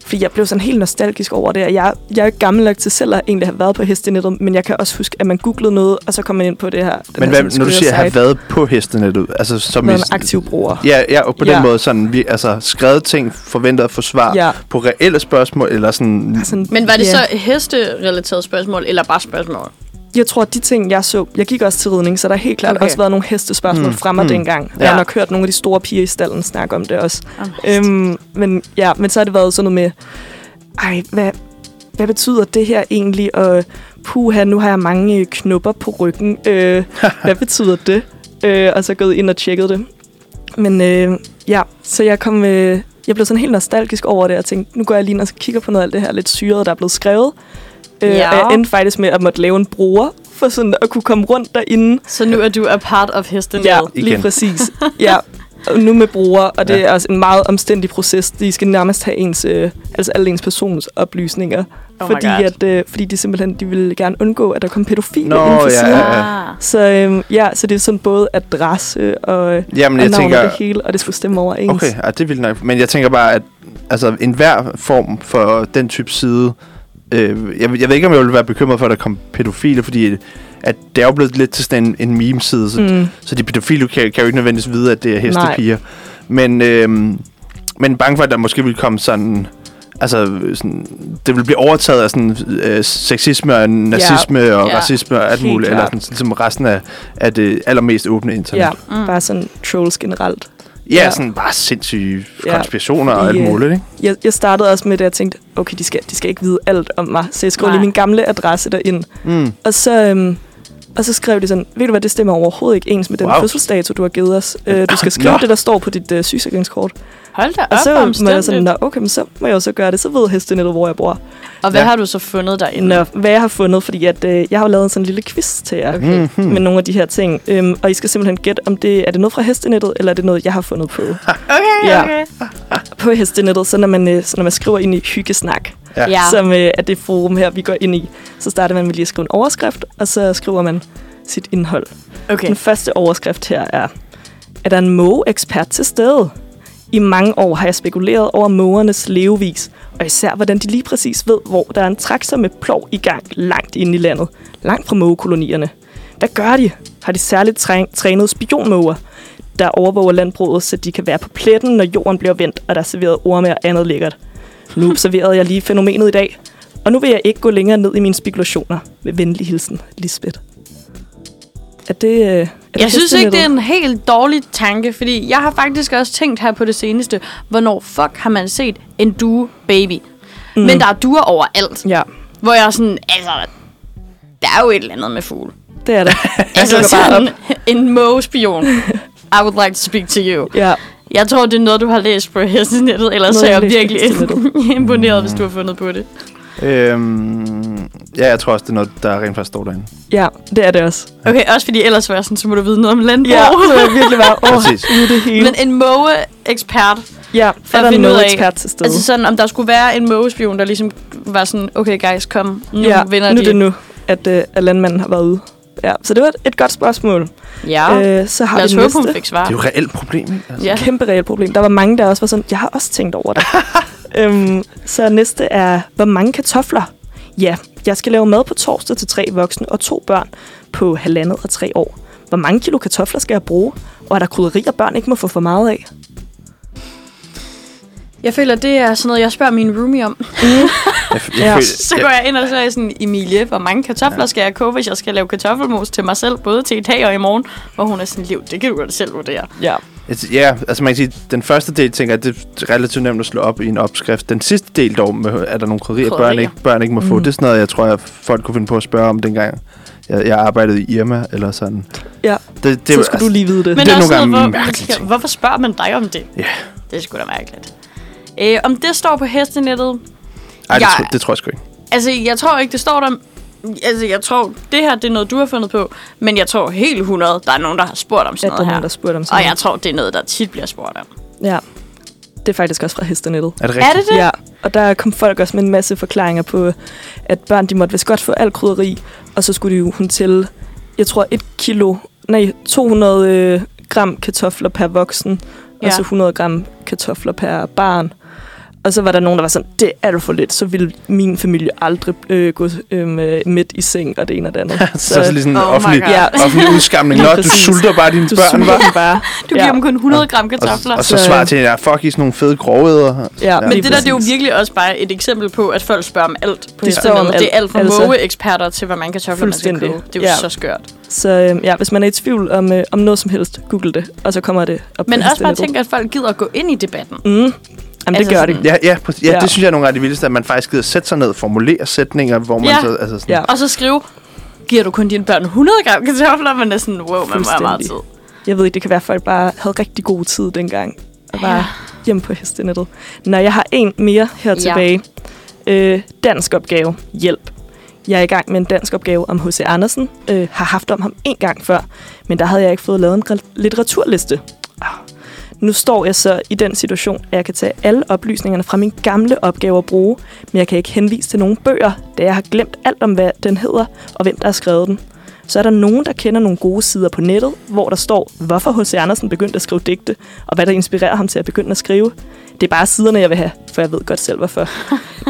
fordi jeg blev sådan helt nostalgisk over det, og jeg, jeg er jo ikke gammel nok til selv at egentlig have været på hestenettet, men jeg kan også huske, at man googlede noget, og så kom man ind på det her. den
Men altså,
her
hvad,
sådan
når du
skøre
siger, at have
site,
været på hestenettet, altså som...
været
i-
en aktiv bruger.
Ja, ja, og på ja.
Ja.
den måde sådan, vi, altså skrevet ting, forventet at få svar
Ja.
ja. Altså, på reelle spørgsmål, eller sådan...
Sådan,
Men var det
ja.
yeah. så hesterelateret spørgsmål, eller bare spørgsmål?
Jeg tror, at de ting, jeg så... Jeg gik også til ridning, så der har helt klart okay.
Okay.
også været nogle hestespørgsmål mm. fremme mm. dengang. Ja. Jeg har
Ja.
nok hørt nogle af de store piger i stallen snakke om det også.
Om
Øhm, men, ja, men så har det været sådan noget med, ej, hvad, hvad betyder det her egentlig? Og puha, nu har jeg mange øh, knopper på ryggen. Øh, hvad betyder det? Øh, og så gået ind og tjekket det. Men øh, ja, så jeg kom... Øh, jeg blev sådan helt nostalgisk over det, og tænkte, nu går jeg lige ind og kigger på noget af alt det her lidt syret, der er blevet skrevet. Øh,
Ja.
Og jeg endte faktisk med at måtte lave en bruger, for sådan at kunne komme rundt derinde.
Så nu er du a part of hestenettet.
Ja,
igen.
lige præcis. ja. Og nu med brugere, og det ja. er også en meget omstændig proces. De skal nærmest have ens, øh, altså alle ens persons oplysninger.
Oh my
fordi,
God.
at, øh, fordi de simpelthen de ville gerne undgå, at der kom pædofile
Nå,
inden for
ja,
siden.
ja.
Ah.
Så, øhm, ja, så det er sådan både adresse og, øh,
Jamen,
og
jeg
navn
tænker...
og det hele, og det skulle stemme overens.
Okay, ja, det er vildt nok. Men jeg tænker bare, at altså, enhver form for den type side... Øh, jeg, jeg ved ikke, om jeg ville være bekymret for, at der kom pædofile, fordi at det er jo blevet lidt til sådan en, en meme-side, så, mm.
Mm.
så de pædofile kan, kan jo ikke nødvendigvis vide, at det er hestepiger. Men, øh, men bange for, at der måske ville komme sådan... Altså, sådan, det vil blive overtaget af sådan, øh, sexisme og nazisme ja, og ja.
Ja.
racisme og alt
Helt
muligt, eller
klart.
sådan, ligesom resten af, af det allermest åbne internet.
Ja,
Ja,
mm. bare sådan trolls generelt.
ja,
Ja.
sådan bare sindssyge
Ja.
konspirationer ja, og
Fordi,
alt
øh,
muligt, ikke?
jeg, jeg startede også med det, og jeg tænkte, okay, de skal, de skal ikke vide alt om mig. Så jeg skrev
Nej.
lige min gamle adresse derind.
Mm.
Og så, øhm, Og så skrev de sådan, ved du hvad, det stemmer overhovedet ikke ens med den
Wow.
wow. fødselsdato, du har givet os. Øh, du skal skrive
Nå.
det, der står på dit øh, sygesikringskort.
Hold da op,
Og så må
Ah, omstændigt.
jeg sådan, nå, okay, men så må jeg jo så gøre det. Så ved hestenettet, hvor jeg bor.
Og hvad
Ja.
har du så fundet derinde?
Nå, hvad jeg har fundet, fordi at, øh, jeg har jo lavet sådan en lille quiz til jer okay.
Mhm.
med nogle af de her ting. Øhm, og I skal simpelthen gætte, om det er det noget fra hestenettet, eller er det noget, jeg har fundet på,
Okay,
Ja. på hestenettet. Så når, man, øh, så når man skriver ind i hyggesnak,
Ja.
Ja.
ja. som øh, er det forum her, vi går ind i, så starter man med lige at skrive en overskrift, og så skriver man sit indhold.
okay.
Den første overskrift her er, er der en mågeekspert til stede? I mange år har jeg spekuleret over mågernes levevis, og især hvordan de lige præcis ved, hvor der er en traktor med plov i gang langt inde i landet, langt fra mågekolonierne. Hvad gør de? Har de særligt træ- trænet spionmåger, der overvåger landbruget, så de kan være på pletten, når jorden bliver vendt, og der er serveret orme og andet lækkert. Nu observerede jeg lige fænomenet i dag, og nu vil jeg ikke gå længere ned i mine spekulationer. Med venlig hilsen, Lisbeth. Er det... øh, Er det
Jeg synes ikke, det er
festemiddag?
en helt dårlig tanke, fordi jeg har faktisk også tænkt her på det seneste, hvornår fuck har man set en due baby? Mm. Men der er duer overalt,
Ja,
hvor jeg er sådan, altså, der er jo et eller andet med fugle.
det
[LAUGHS]
er det.
Altså
dukker bare
sådan en
[LAUGHS]
mågespion. I would like to speak to you.
Ja,
Jeg tror, det er noget, du har læst på hestenettet, ellers
Noget,
er
jeg
jeg
har læst på
virkelig [LAUGHS] imponeret, hvis du har fundet på det.
Øhm, ja, jeg tror også, det er noget, der rent faktisk står derinde.
ja, det er det også.
Okay, også fordi ellers var jeg sådan, så må du vide noget om landbrug.
Ja, så er jeg virkelig bare, åh,
Præcis.
oh, ude det hele.
[LAUGHS] Men en måge-ekspert
ja,
for
er
at finde
der
ud af-
noget ekspert til stede?
Altså sådan, om der skulle være en mågespion, der ligesom var sådan, okay guys, kom, nu
ja,
vinder
nu
de.
er det nu, at, øh, at landmanden har været ude. Ja, så det var et- et godt spørgsmål.
Ja, øh,
Øh, så har
lad os
vi
håbe, hun
næste.
fik svar.
Det er jo et reelt problem, ikke? Altså.
Ja.
Kæmpe reelt problem. Der var mange, der også var sådan, jeg har også tænkt over det. øhm, så næste er, hvor mange kartofler? Ja, jeg skal lave mad på torsdag til tre voksne og to børn på halvandet og tre år. Hvor mange kilo kartofler skal jeg bruge? Og er der krydderier, børn ikke må få for meget af?
Jeg føler, det er sådan noget, jeg spørger min roomie om.
Jeg, Altså, jeg,
Ja.
føler-
Så går jeg ind og så er jeg sådan, Emilie, hvor mange kartofler skal jeg koge, hvis jeg skal lave kartoffelmos til mig selv, både til i dag og i morgen? Hvor hun er sådan, Liv, det kan du godt selv vurdere.
Ja.
Altså, Ja, altså man kan sige, den første del tænker jeg, det er relativt nemt at slå op i en opskrift. Den sidste del dog, med, er der nogle krydderier, børn
Krydderier.
ikke, børn ikke må få. Mm. Det er sådan noget, jeg tror, jeg, folk kunne finde på at spørge om dengang. Jeg, jeg arbejdede i Irma eller sådan.
ja.
Det, det,
så skulle du lige vide det.
Men
Det er
også
nogle gange
noget, hvor,
mærkelige ting.
Hvorfor spørger man dig om det?
Ja,
Det er sgu da mærkeligt. Øh, om det står på hestenettet,
Ej, det,
Jeg-
tror, det tror jeg sgu ikke.
Altså, jeg tror ikke, det står der... Altså, jeg tror, det her, det er noget, du har fundet på. Men jeg tror helt 100, der er nogen, der har spurgt om
Ja,
sådan
der er
noget her.
nogen, der spurgte om
og
sådan
jeg tror, det er noget, der tit bliver spurgt om.
noget. Ja. Det er faktisk også fra hestenettet.
Er det rigtigt?
Er det det?
Ja, og der kom folk også med en masse forklaringer på, at børn de måtte vist godt få alt krydderi, og så skulle de jo hun til, jeg tror, et kilo, nej, 200 øh, gram kartofler per voksen,
Ja.
ja. og så 100 gram kartofler per barn. Og så var der nogen, der var sådan, det er alt for lidt, så ville min familie aldrig øh, gå øh, midt i seng og det ene og det andet.
[LAUGHS] Så, så ligesom en
Oh my
offentlig,
God.
Ja.
offentlig udskamning. Nå,
Lige
du
præcis.
sulter bare dine
du
børn,
suger
var.
dem bare.
Du giver dem kun 100 gram kartofler.
Og, og så
Så-
svarer til, ja, fuck, I er sådan nogle fede grovæder.
Ja,
men
lige
det der, det er jo
præcis.
virkelig også bare et eksempel på, at folk spørger om alt på
De spørger om
hestenettet. Det er
alt,
alt fra
altså.
mågeeksperter til, hvor mange kartofler man skal
Fuldstændig.
koge. Det er jo
Ja.
så skørt.
Så øh, ja, hvis man er i tvivl om, øh, om noget som helst, google det, og så kommer det op. på
Men også bare
internettet.
tænk, at folk gider at gå ind i debatten.
Mm. Jamen, det
Altså
gør
sådan-
det.
Ja, ja, præcis. ja,
Ja.
det synes jeg er nogle af de vildeste, at man faktisk gider sætte sig ned og formulere sætninger, hvor man
Ja.
så... Altså sådan,
Ja.
Og så skrive, giver du kun dine børn 100 gram kartofler? Man er sådan, wow, man må have meget
Fuldstændig.
tid.
Jeg ved ikke, det kan være, at folk bare havde rigtig god tid dengang. Og bare
Ja.
ja. hjemme på hestenettet. Nå, jeg har en mere her
Ja.
tilbage. Øh, dansk opgave. Hjælp. Jeg er i gang med en dansk opgave om H.C. Andersen. Øh, har haft om ham en gang før, men der havde jeg ikke fået lavet en re- litteraturliste. Ah. Nu står jeg så i den situation, at jeg kan tage alle oplysningerne fra min gamle opgave at bruge, men jeg kan ikke henvise til nogen bøger, da jeg har glemt alt om, hvad den hedder og hvem, der har skrevet den. Så er der nogen, der kender nogle gode sider på nettet, hvor der står, hvorfor H.C. Andersen begyndte at skrive digte, og hvad der inspirerer ham til at begynde at skrive. Det er bare siderne, jeg vil have, for jeg ved godt selv,
[LAUGHS]
hvorfor.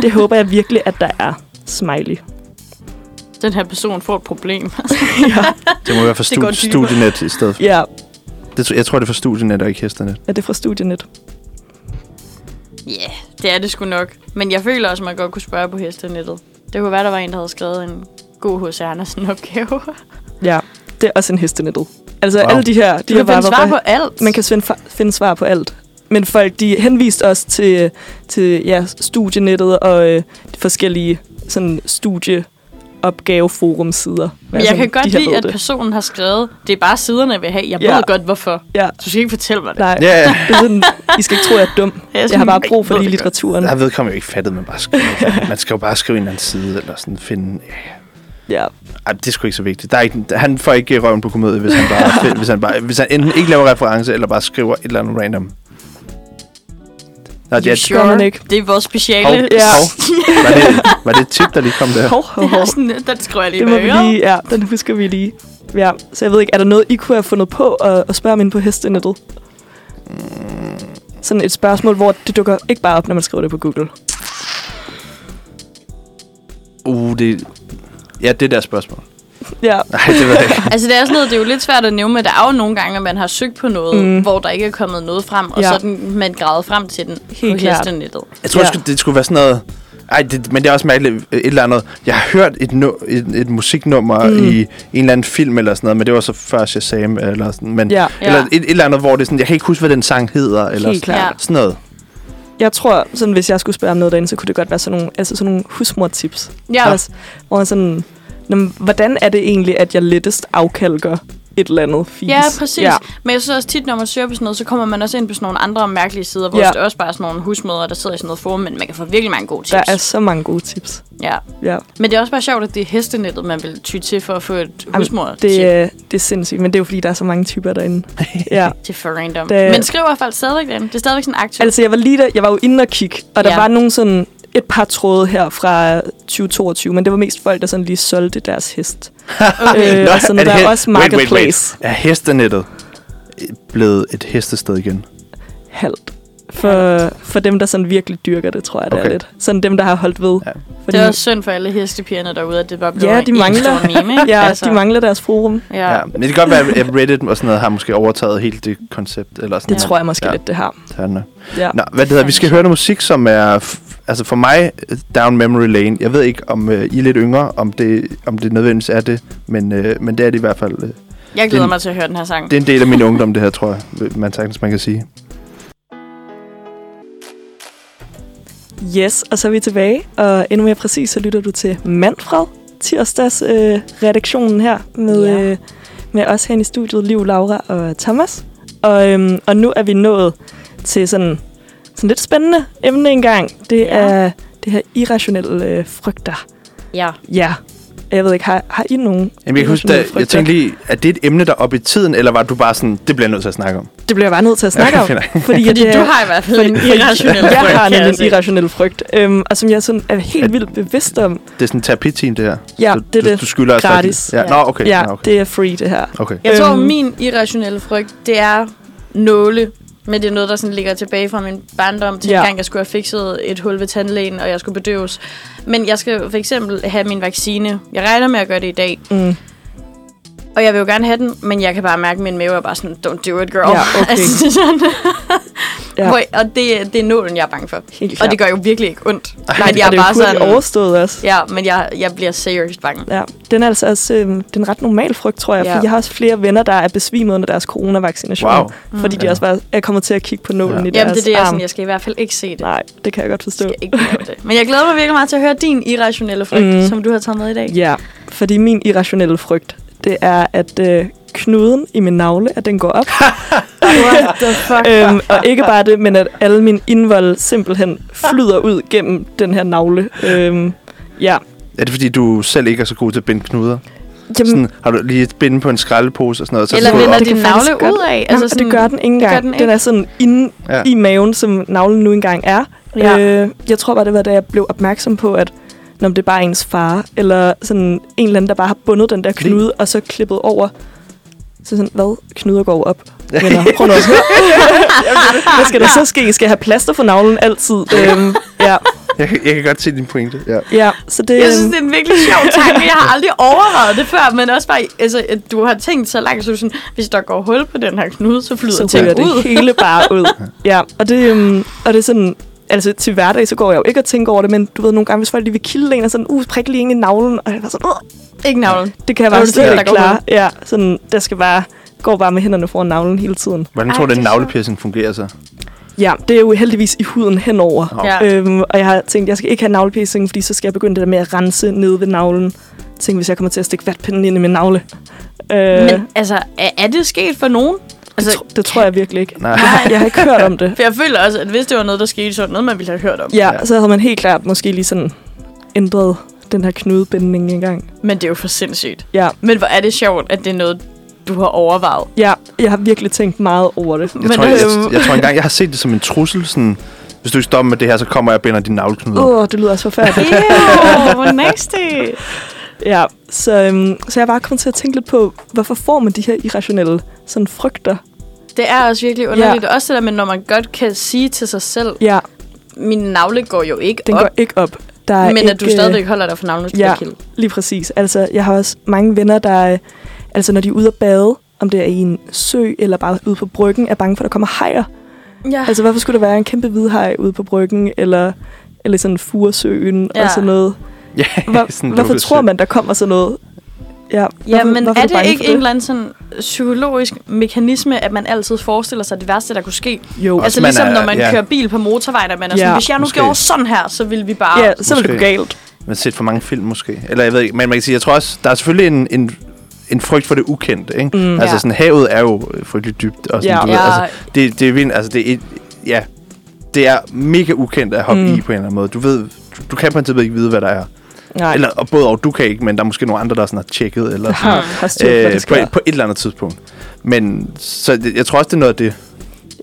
Det håber jeg virkelig, at der er. Smiley.
Den her person får et problem. [LAUGHS]
Det må være for
Det går
stud-
dybere.
studienet i stedet.
Ja,
Det, tr- jeg tror, det er for studienet og ikke hestenet.
er det fra Studienet?
Ja, yeah, det er det sgu nok. Men jeg føler også, at man godt kunne spørge på hestenettet. Det kunne være, der var en, der havde skrevet en god H.C. Andersen-opgave. [LAUGHS]
Ja. Det er også en hestenettet. Altså
Wow.
wow. alle de her... De
Du
her
kan finde
varer,
svar
hvor-
på alt.
Man kan finde, fa- finde svar på alt. Men folk, de henviste også til, til ja, studienettet og øh, de forskellige sådan, studieopgaver opgaveforumsider.
Men jeg kan godt lide, at personen har skrevet, det er bare siderne, jeg vil have. Jeg
Ja.
ved godt, hvorfor.
Ja,
Du skal ikke fortælle mig det.
nej.
Ja, ja.
Det er sådan, I skal ikke tro, jeg er dum.
[LAUGHS] Jeg er
Jeg,
sådan,
jeg har bare brug for
"Jeg ved
lige
det
litteraturen.
Der er vedkommende jo ikke fattet, man bare skriver. man skal jo bare skrive en eller anden side, eller sådan finde... Ja, ja.
Ja.
Ej, det er sgu ikke så vigtigt. Der er ikke, han får ikke røven på komedie, hvis han, bare, hvis, han bare, hvis han enten ikke laver reference, eller bare skriver et eller andet random. Nå, det,
You
er,
gør
sure?
man ikke.
[LAUGHS] Det er vores
hov,
speciale.
Ja.
hov. Var, det, [LAUGHS] var det et tip, der lige kom der?
Hov, hov,
Det er
hov.
sådan, den skriver jeg lige
Det må
bag
vi
øret.
lige, ja, den husker vi lige. Ja, så jeg ved ikke, er der noget, I kunne have fundet på at, at spørge om inde på hestenettet? Sådan et spørgsmål, hvor det dukker ikke bare op, når man skriver det på Google.
Uh, det... Ja, det der spørgsmål.
Ja,
Nej, det ved jeg ikke.
Altså det er sådan noget, det er jo lidt svært at nævne, men der er jo nogle gange, at man har søgt på noget,
Mm.
mm. hvor der ikke er kommet noget frem, og
Ja.
ja. så er den, man gravet frem til den
Helt
Helt på
klart.
hestenettet.
Jeg tror,
Ja.
ja. det, skulle, det skulle være sådan noget... Ej, det, men det er også mærkeligt øh, et eller andet. Jeg har hørt et, no, et, et musiknummer
Mm.
mm. i en eller anden film eller sådan noget, men det var så før Shazam eller sådan. Men,
ja.
Eller
Ja.
et, et eller andet, hvor det er sådan, jeg kan ikke huske, hvad den sang hedder. Eller
Helt
sådan,
klart.
sådan noget.
Jeg tror, sådan, hvis jeg skulle spørge om noget derinde, så kunne det godt være sådan nogle, altså sådan nogle husmortips.
Ja,
Altså, hvor man sådan, "Nå, men hvordan er det egentlig, at jeg lettest afkalker et eller andet fis?
ja præcis. Ja. Men jeg synes også tit, når man søger på sådan noget, så kommer man også ind på sådan nogle andre mærkelige sider, hvor
Ja.
ja. det også bare er sådan nogle husmødre, der sidder i sådan noget forum, men man kan få virkelig mange gode tips.
Der er så mange gode tips.
ja.
Ja,
Men det er også bare sjovt, at det er hestenettet, man vil ty til for at få et husmor
det, er- det er sindssygt, men det er jo fordi, der er så mange
[LAUGHS]
typer derinde.
[LAUGHS]
ja.
Det er for random.
Det-
Det... Men skriver folk stadigvæk den? Det er stadigvæk sådan aktivt.
Altså, jeg var lige der, jeg var jo inde og kigge, og der
Ja.
var nogle sådan et par tråde her fra 2022, men det var mest folk, der sådan lige solgte deres hest.
Okay.
Øh, og sådan, der er
he-
også
wait,
marketplace.
wait, wait. Er hestenettet blevet et hestested igen?
halvt. For, for dem, der sådan virkelig dyrker det, tror jeg, det okay. er
Okay.
lidt. Sådan dem, der har holdt ved.
Ja.
Det er også synd for alle hestepigerne derude, at det bare blev
Ja,
en
de mangler-
stor meme, ikke?
[LAUGHS] ja, altså. de mangler deres forum.
Ja.
Ja. Men det kan godt være, at Reddit og sådan noget har måske overtaget hele det koncept. Eller sådan
Det ja.
noget.
tror jeg måske ja.
Ja.
lidt, det har.
Tandene.
Ja.
Nå, hvad det hedder, vi skal høre noget musik, som er, f- altså for mig, øh, Down Memory Lane. Jeg ved ikke, om øh, I er lidt yngre, om det, om det nødvendigvis er det, men, øh, men det er det i hvert fald. Øh.
Jeg glæder
Den-
mig til at høre den her sang.
Det er en del af min ungdom, det her, tror jeg, vil man sagtens man kan sige.
Yes, og så er vi tilbage. Og endnu mere præcis, så lytter du til Manfred, tirsdags øh, redaktionen her med,
Ja.
ja. øh, med os herinde i studiet, Liv, Laura og Thomas. Og, øhm, og nu er vi nået til sådan, sådan lidt spændende emne engang. Det
Ja.
ja. er det her irrationelle øh, frygter.
Ja.
Ja, jeg ved ikke, har, har I nogen?
Jamen, jeg, kan huske, da,
irrationelle
jeg
frygter?
tænkte lige, er det et emne, der er oppe i tiden, eller var du bare sådan, det bliver jeg nødt til at snakke om?
Det bliver jeg bare nødt til at
[LAUGHS]
snakke om.
Okay, nej.
Fordi, øh,
Fordi
det er-
du har i hvert fald en irrationel
[LAUGHS] Jeg har
kan
nemlig
jeg
en
se.
irrationel frygt, øhm, og som jeg sådan er helt vildt bevidst om.
Det er sådan en terapiteam, det her.
Ja,
du,
det er
du,
det.
Du skylder os faktisk-
Gratis.
Ja. Nå, okay.
Ja,
Nå, okay.
det er free, det her.
okay.
Jeg tror,
Øhm.
min irrationelle frygt, det er nåle. Men det er noget, der sådan ligger tilbage fra min barndom til
Ja.
ja. gang, jeg skulle have fikset et hul ved tandlægen, og jeg skulle bedøves. Men jeg skal for eksempel have min vaccine. Jeg regner med at gøre det i dag.
Mm.
Og jeg vil jo gerne have den, men jeg kan bare mærke, at min mave er bare sådan, don't do it, girl.
Ja,
[LAUGHS]
okay.
altså, det er sådan.
Ja.
Ja. Hvor, og det, det er nålen, jeg er bange for.
Helt
Og det gør jo virkelig ikke ondt.
Nej,
men jeg
og det er
bare
jo hurtigt
sådan...
overstået også.
Ja, men jeg, jeg bliver seriøst bange.
Ja, den er altså også øhm, den er en ret normal frygt, tror jeg. Ja.
Ja.
Fordi jeg har også flere venner, der er besvimet under deres coronavaccination.
Wow.
Fordi de
Ja.
også bare er kommet til at kigge på nålen
Ja.
i
Mm. Jamen,
deres
det er det, jeg,
arm.
sådan, jeg skal i hvert fald ikke se det.
Nej, det kan jeg godt forstå.
Jeg skal ikke lave det. Men jeg glæder mig virkelig meget til at høre din irrationelle frygt,
Mhm.
mm. som du har taget med i dag.
Ja, fordi min irrationelle frygt, det er, at øh, knuden i min navle, at den går
[LAUGHS]
op.
What the fuck?
øhm, og ikke bare det, men at alle mine indvold simpelthen flyder ud gennem den her navle. Øhm, ja.
Er det, fordi du selv ikke er så god til at binde knuder?
Jamen,
Sådan, har du lige et binde på en skraldepose og sådan noget? Så
Eller
du
det
op?
vender
kan
din
faktisk
navle
godt-
ud af?
altså sådan, det gør den ikke engang.
gør den
den
ikke.
er sådan inde ja.
Ja.
i maven, som navlen nu engang er.
Ja.
Øh, jeg tror bare, det var, da jeg blev opmærksom på, at når det er bare ens far, eller sådan en eller anden, der bare har bundet den der knude, og så klippet over. Så sådan, hvad? Knuder går op. Eller, prøv nu at høre. Hvad skal der så ske? Skal jeg have plaster for navlen altid? øhm, ja,
Jeg, kan- jeg kan godt se din pointe. Ja.
ja, så det...
Jeg synes, det er en virkelig sjov tanke. Jeg har aldrig overvejet det før, men også bare, altså, at du har tænkt så langt, så du sådan, hvis der går hul på den her knude, så flyder
så ryger
ting
det
ud.
hele bare
[LAUGHS]
ud. ja, og det, øhm, og det er sådan... Altså, til hverdag, så går jeg jo ikke og tænker over det, men du ved, nogle gange, hvis folk lige vil kilde en, og sådan, uh, prik lige ind i navlen, og jeg var sådan, "Åh,
Ikke navlen.
det kan jeg
Der er
bare
du
slet
der,
ikke
der går
klare. Ja, sådan, der skal bare, går bare med hænderne foran navlen hele tiden.
Hvordan
Ej,
tror du,
det
den
er sjovt.
navlepiercing fungerer så?
Ja, det er jo heldigvis i huden henover.
Nå.
Ja.
Øhm, og jeg har tænkt, jeg skal ikke have navlepiercing, fordi så skal jeg begynde det der med at rense nede ved navlen Tænk, hvis jeg kommer til at stikke vatpinden ind i min navle. Øh,
Men altså, er, er det sket for nogen?
det,
Altså,
tro, det tror jeg virkelig ikke.
Nej.
Jeg, jeg har ikke hørt om det.
for jeg føler også, at hvis det var noget, der skete, så var det noget, man ville have hørt om.
Ja, så havde man helt klart måske lige sådan ændret den her knudebindning engang.
Men det er jo for sindssygt.
Ja,
Men hvor er det sjovt, at det er noget, du har overvejet.
ja, jeg har virkelig tænkt meget over det.
Jeg,
Men
tror,
det
jeg,
er jo-
jeg, jeg tror engang, jeg har set det som en trussel. Sådan, hvis du ikke stopper med det her, så kommer jeg og binder din navleknude.
Åh, oh, det lyder
[LAUGHS]
også forfærdeligt.
Ew, hvor nasty.
ja, så, øhm, så jeg er bare kommet til at tænke lidt på, hvorfor får man de her irrationelle sådan frygter?
Det er også virkelig underligt. Ja. Også det der med, når man godt kan sige til sig selv,
Ja,
min navle går jo ikke
den
op,
går ikke op. Der er
men
ikke,
at du
øh,
stadigvæk holder dig for navlen, hvis
Ja,
du kilde.
lige præcis. Altså, jeg har også mange venner, der, øh, altså når de er ude at bade, om det er i en sø eller bare ude på bryggen, er bange for, at der kommer hajer.
Ja.
Altså, hvorfor skulle der være en kæmpe hvidhaj ude på bryggen, eller, eller sådan Furesøen ja.
Ja.
og sådan noget?
Ja,
Hvor,
[LAUGHS] sådan en
hvorfor
lukket
tror
sø.
man, der kommer sådan noget? Ja,
Ja,
hvorfor,
men
hvorfor
er
du
det
bange
ikke
for
en eller anden sådan psykologisk mekanisme, at man altid forestiller sig det værste, der kunne ske?
Jo,
Også
altså
man
ligesom
er-
når man
ja.
kører bil på motorvejen, at man er
Ja,
sådan, hvis jeg nu
måske.
gjorde sådan her, så ville vi bare...
ja, så er det gå
Måske.
galt.
Man har set for mange film måske. Eller jeg ved ikke, men man kan sige, jeg tror også, der er selvfølgelig en, en, en frygt for det ukendte. Ikke?
Mm.
Mm. Altså
Ja.
sådan, havet er jo øh, frygteligt dybt. Og sådan,
Ja.
ja. du ved, altså, det, det er vildt, altså det er, et, ja, det er mega ukendt at hoppe
Mm.
mm. i på en eller anden måde. Du ved, du, du kan på en tidspunkt ikke vide, hvad der er.
Nej,
Eller, og både og du kan ikke, men der er måske nogle andre, der sådan har tjekket. Eller sådan.
har, har styr på, hvad der
Øh, på,
sker.
et, på et eller andet tidspunkt. Men så det, jeg tror også, det er noget af det.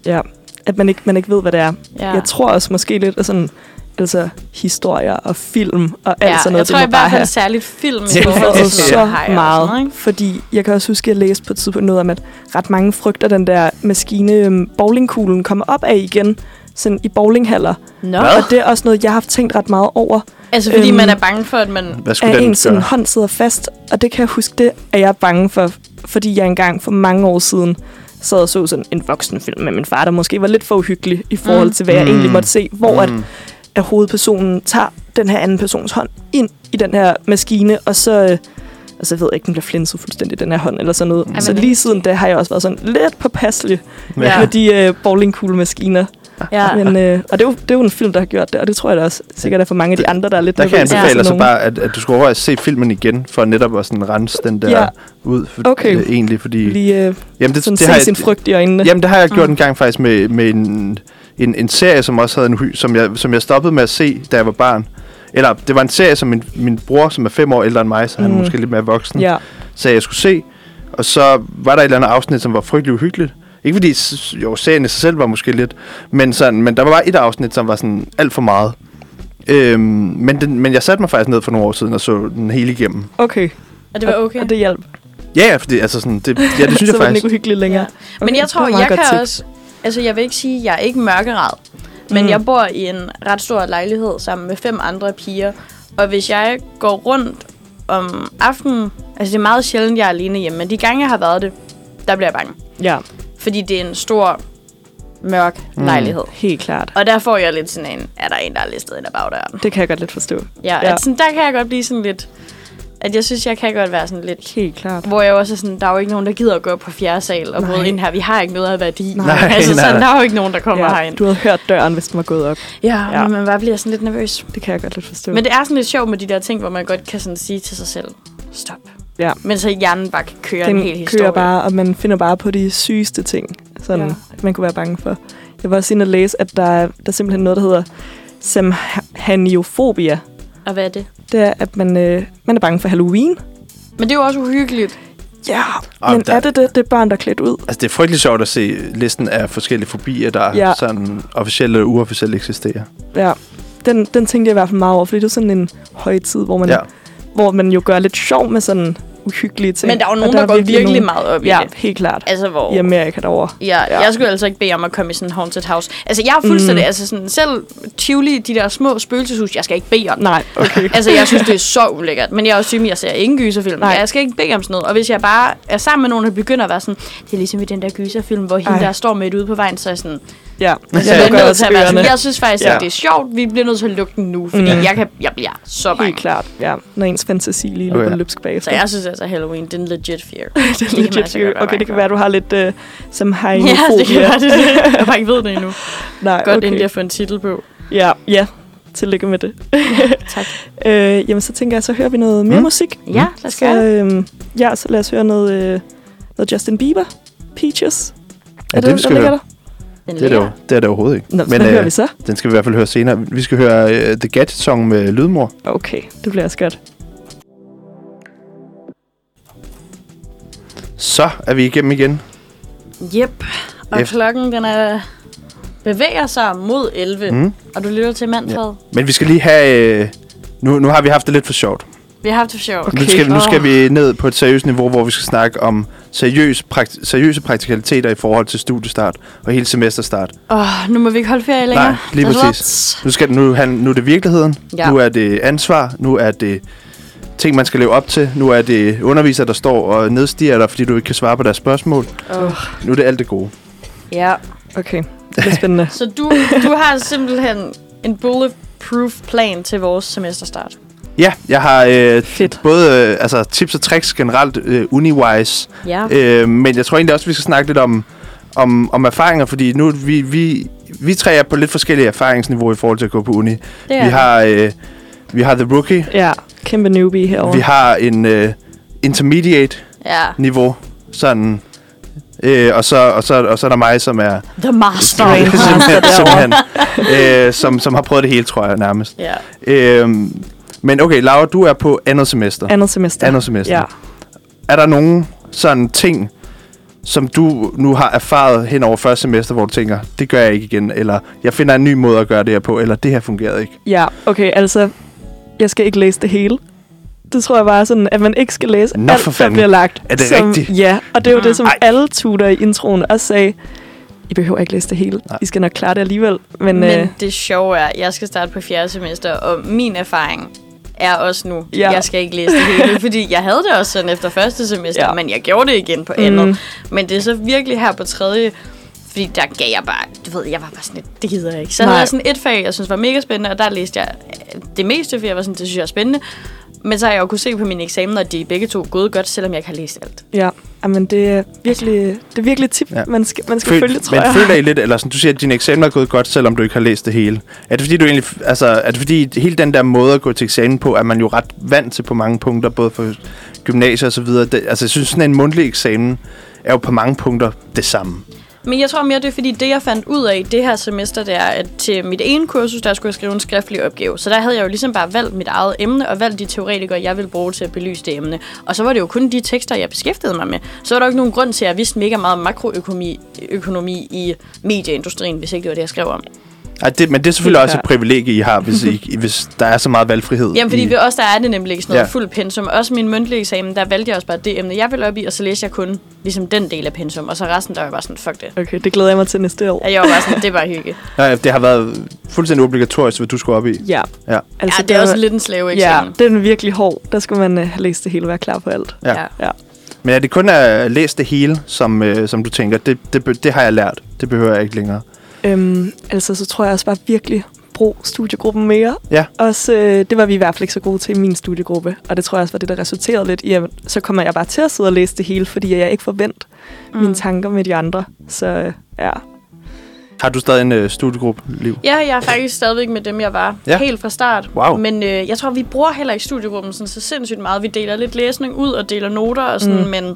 Ja, at man ikke, man ikke ved, hvad det er.
Ja.
Jeg tror også måske lidt, at sådan, altså historier og film og alt
ja,
sådan Altså noget,
jeg tror
det
i
må bare
hvert [LAUGHS]
have
fald særligt film i
Ja.
forhold til
fået
sådan
så
noget hej og
meget.
sådan noget, ikke?
fordi jeg kan også huske, at jeg læste på et tidspunkt noget om, at ret mange frygter den der maskine, øhm, bowlingkuglen kommer op af igen, sådan i bowlinghaller.
Nå,
Hvad?
Og det er også noget, jeg har haft tænkt ret meget over,
altså fordi
Øhm,
man er bange for, at man...
Hvad skulle
at
den
ens sådan,
gøre?
hånd sidder fast. Og det kan jeg huske, det er jeg bange for, fordi jeg engang for mange år siden sad og så sådan en voksenfilm med min far, der måske var lidt for uhyggelig i forhold
Mm.
til, hvad jeg
Mm.
egentlig måtte se, hvor at,
Mm.
at hovedpersonen tager den her anden persons hånd ind i den her maskine, og så, øh, altså jeg ved ikke, den bliver flinset fuldstændig, den her hånd eller sådan noget.
Ej,
så
men-
lige siden da har jeg også været sådan lidt påpasselig
Ja.
ja. med de øh, bowlingkuglemaskiner.
Ja.
Men, øh, og det er, jo, det er jo en film, der har gjort det, og det tror jeg da også sikkert er for mange af de andre, der er lidt
Der kan jeg
nervøse for
anbefale
sådan
så
nogle-
bare, at, at du skulle overveje at se filmen igen, for netop at sådan rense den der
Ja.
ja. ud. For,
Okay.
Øh, egentlig, fordi...
lige øh,
jamen,
sådan det, se sin frygt Ah. i øjnene.
Jamen, det har jeg gjort en gang faktisk med, med en, en, en serie, som også havde en hy, som jeg, som jeg stoppede med at se, da jeg var barn. Eller, det var en serie, som min, min bror, som er fem år ældre end mig, så han
Mm.
er måske lidt mere voksen,
Ja,
sagde, jeg skulle se. Og så var der et eller andet afsnit, som var frygtelig uhyggeligt. Ikke fordi, s- jo, serien i sig selv var måske lidt, men, sådan, men der var bare et afsnit, som var sådan alt for meget. Øhm, men, den, men jeg satte mig faktisk ned for nogle år siden og så den hele igennem.
okay.
Og det var okay.
Og det hjalp.
Ja, ja, fordi, altså sådan, det, ja,
[LAUGHS]
det synes
så
jeg
var den
faktisk.
ikke uhyggelig længere. Okay,
Men jeg
det var
tror,
et meget
jeg kan
godt tip.
også... Altså, jeg vil ikke sige, at jeg er ikke mørkeret, men
Mm.
mm. jeg bor i en ret stor lejlighed sammen med fem andre piger, og hvis jeg går rundt om aftenen... Altså, det er meget sjældent, jeg er alene hjemme, men de gange, jeg har været det, der bliver jeg bange.
Ja,
Fordi det er en stor, mørk mm. lejlighed.
helt klart.
Og der får jeg lidt sådan en, er der en, der er listet ind ad bagdøren?
Det kan jeg godt lidt forstå.
Ja,
Ja.
ja. At sådan, der kan jeg godt blive sådan lidt... At jeg synes, jeg kan godt være sådan lidt
Helt klart.
hvor jeg også er sådan, der er jo ikke nogen, der gider at gå op på fjerde sal og
Nej.
bryde ind her. Vi har ikke noget af værdi. [LAUGHS]
Nej,
altså,
nej,
sådan,
nej.
der er jo ikke nogen, der kommer ja,
Ja,
herind.
du havde hørt døren, hvis den var gået op.
Ja,
Ja.
ja, men man bare bliver sådan lidt nervøs.
Det kan jeg godt lidt forstå.
Men det er sådan lidt sjovt med de der ting, hvor man godt kan sådan sige til sig selv, stop.
Ja.
Men så hjernen bare kan køre
den
en hel historie.
kører bare, og man finder bare på de sygeste ting, sådan,
Ja.
ja. man kunne være bange for. Jeg var også inde og læse, at der, er- der er simpelthen noget, der hedder samhaniofobia.
Og hvad er det?
Det er, at man, øh, man er bange for Halloween.
Men det er jo også uhyggeligt.
Ja,
Ah,
men
der-
er det det? Det er børn, der er klædt ud.
Altså, det er frygtelig sjovt at se listen af forskellige fobier, der
Ja.
ja. sådan officielt og uofficielt eksisterer.
Ja. Den, den tænkte jeg i hvert fald meget over, fordi det er sådan en højtid, hvor man,
Ja.
ja. hvor man jo gør lidt sjov med sådan uhyggelige ting.
Men der er jo
Og
nogen, der, går virkelig,
nogen-
meget op
Ja,
i det.
helt klart.
Altså, hvor...
I Amerika derovre.
Ja,
Ja.
ja, jeg skulle altså ikke bede om at komme i sådan en haunted house. Altså, jeg er fuldstændig, mm. altså sådan, selv Tivoli, de der små spøgelseshus, jeg skal ikke bede om det.
Nej, okay.
[LAUGHS] Altså, jeg synes, det er så ulækkert. Men jeg er også syg, jeg ser ingen gyserfilm.
Nej.
Nej. Jeg skal ikke bede om sådan noget. Og hvis jeg bare er sammen med nogen, der begynder at være sådan, det er ligesom i den der gyserfilm, hvor hende
Ej.
der står midt ude på vejen, så er jeg
[LAUGHS]
sådan,
ja,
Jeg
jeg,
lukker
bliver nødt
også
til at være
ørerne.
sådan, Altså, jeg synes faktisk
Ja.
ikke, det er sjovt. Vi bliver nødt til at lukke den nu, fordi
Mm.
jeg, kan, jeg bliver så
Helt
bange.
klart, ja. Når ens fantasi lige
Okay.
løber okay. løbsk bagefter.
Så jeg synes altså, Halloween, det er en legit fear. det
[LAUGHS] det er [LAUGHS] legit fear. Okay, det kan være, du har lidt øh, som har
altså, [LAUGHS] Ja,
[LAUGHS]
det kan være det. er det. Jeg bare ikke ved det endnu.
Nej,
Godt,
okay.
inden jeg får en titel på.
Ja, ja. tillykke med det.
[LAUGHS] Tak.
Øh, jamen, så tænker jeg, så hører vi noget mere
Mm. øh,
musik.
Ja, lad os gøre
Så,
det.
øhm, ja, så lad os høre noget, øh, noget Justin Bieber, Peaches.
Ja, den skal vi
ligger
høre.
der?
Den
Det er det, jo,
ligger.
det er det overhovedet ikke.
Nå, men, hvad øh, hører vi så?
den skal vi i hvert fald høre senere. Vi skal høre uh, The Gadget-song med Lydmor.
Okay, det bliver også godt.
Så er vi igennem igen.
Jep. Og
Ef-
klokken, den er bevæger sig mod 11.
Mm.
Mm. Og du lytter til Manfred. Ja.
Men vi skal lige have... Uh, nu, nu har vi haft det lidt for sjovt.
Vi har haft det sjovt.
Okay. Nu, skal, nu skal vi ned på et seriøst niveau, hvor vi skal snakke om seriøs prakt- seriøse praktikaliteter i forhold til studiestart og hele semesterstart.
Åh, oh, nu må vi ikke holde ferie længere.
Nej, lige
That's
præcis.
what.
Nu, skal, nu, han, nu er det virkeligheden, ja.
Ja.
nu er det ansvar, nu er det ting, man skal leve op til, nu er det undervisere, der står og nedstiger dig, fordi du ikke kan svare på deres spørgsmål.
Åh,
Nu er det alt det gode.
Ja.
Okay, det
[LAUGHS]
er spændende.
Så du, du har simpelthen en bulletproof plan til vores semesterstart.
Ja, jeg har øh,
Fedt.
både øh, altså, tips og tricks generelt, øh, uniwise,
Ja.
Øh, men jeg tror egentlig også, vi skal snakke lidt om, om, om erfaringer, fordi nu er vi, vi, vi tre er på lidt forskellige erfaringsniveauer i forhold til at gå på uni.
Det er
Vi
det.
har, øh, vi har The Rookie,
Ja, kæmpe newbie herovre.
vi har en øh, intermediate-niveau,
Ja.
sådan... Øh, og, så, og, så, og så er der mig, som er
The
[LAUGHS]
master.
Strange.
simpelthen,
altså
derovre.
simpelthen øh, som, som har prøvet det hele, tror jeg nærmest.
Ja.
Øh, men okay, Laura, du er på andet semester.
Andet semester.
Andet semester.
Ja.
Er der nogen sådan ting, som du nu har erfaret hen over første semester, hvor du tænker, det gør jeg ikke igen, eller jeg finder en ny måde at gøre det her på, eller det her fungerede ikke?
ja, okay, altså, jeg skal ikke læse det hele. Det tror jeg bare er sådan, at man ikke skal læse
Nå,
alt,
for
der
fanden.
bliver lagt.
Er det
som,
rigtigt?
Ja, og det er jo det, som
Ej.
alle tutor i introen også sagde. I behøver ikke læse det hele.
Nej.
I skal nok klare det alligevel. Men, øh,
Men det sjove er, at jeg skal starte på fjerde semester, og min erfaring er også nu,
Ja.
ja. jeg skal ikke læse det hele, fordi jeg havde det også sådan efter første semester,
Ja. Mm.
ja. men jeg gjorde det igen på andet. Men det er så virkelig her på tredje, fordi der gav jeg bare, du ved, jeg var bare sådan lidt, det gider jeg ikke. Så
Nej.
havde jeg sådan et fag, jeg synes var mega spændende, og der læste jeg øh, det meste, fordi jeg var sådan, det synes jeg er spændende. Men så har jeg jo kunne se på mine eksamener, at de er begge to gået godt, selvom jeg ikke har læst alt.
ja, men det er virkelig, det er virkelig et tip,
Ja.
ja. man skal, man skal følge, tror
men
jeg.
føler I lidt, eller sådan, du siger, at dine eksamener er gået godt, selvom du ikke har læst det hele. Er det fordi, du egentlig, f- altså, er det fordi hele den der måde at gå til eksamen på, er man jo ret vant til på mange punkter, både for gymnasiet og så videre. Det, altså, jeg synes, sådan en mundtlig eksamen er jo på mange punkter det samme.
Men jeg tror mere, det er fordi, det jeg fandt ud af i det her semester, det er, at til mit ene kursus, der skulle jeg skrive en skriftlig opgave. Så der havde jeg jo ligesom bare valgt mit eget emne, og valgt de teoretikere, jeg ville bruge til at belyse det emne. Og så var det jo kun de tekster, jeg beskæftigede mig med. Så var der jo ikke nogen grund til, at jeg vidste mega meget om makroøkonomi økonomi i medieindustrien, hvis ikke det var det, jeg skrev om.
Ej, det, men det er selvfølgelig
Helt
også et
klart.
privilegie, I har, hvis, I, hvis der er så meget valgfrihed.
Jamen, fordi
i,
ved os, der er det nemlig ikke sådan noget
Mm. Ja.
ja. fuld pensum. Også min mundtlige eksamen, der valgte jeg også bare det emne, jeg ville op i, og så læste jeg kun ligesom den del af pensum. Og så resten, der var jeg bare sådan, fuck det.
Okay, det glæder jeg mig til næste år.
Og Jeg var bare sådan, det var hygge.
Nej, det har været fuldstændig obligatorisk, hvad du skulle op i.
Ja.
Ja.
Altså, ja, det er
der-
også lidt en slave
Ja,
eksamen.
den er virkelig hård. Der skulle man øh, have læst det hele og være klar på alt.
Ja.
Ja.
Men er det kun at læse det hele, som, øh, som du tænker, det, det, be- det har jeg lært, det behøver jeg ikke længere?
Øhm, altså, så tror jeg også bare virkelig, brug studiegruppen mere.
Ja.
Også, øh, det var vi i hvert fald ikke så gode til i min studiegruppe, og det tror jeg også var det, der resulterede lidt i, at så kommer jeg bare til at sidde og læse det hele, fordi jeg ikke forvent mm. mine tanker med de andre. Så øh, ja,
Har du stadig en øh, studiegruppe, Liv?
Ja, jeg er faktisk stadigvæk med dem, jeg var
Ja.
ja. helt fra start.
Wow.
Men øh, jeg tror, vi bruger heller ikke studiegruppen sådan, så sindssygt meget. Vi deler lidt læsning ud og deler noter og sådan, mm. men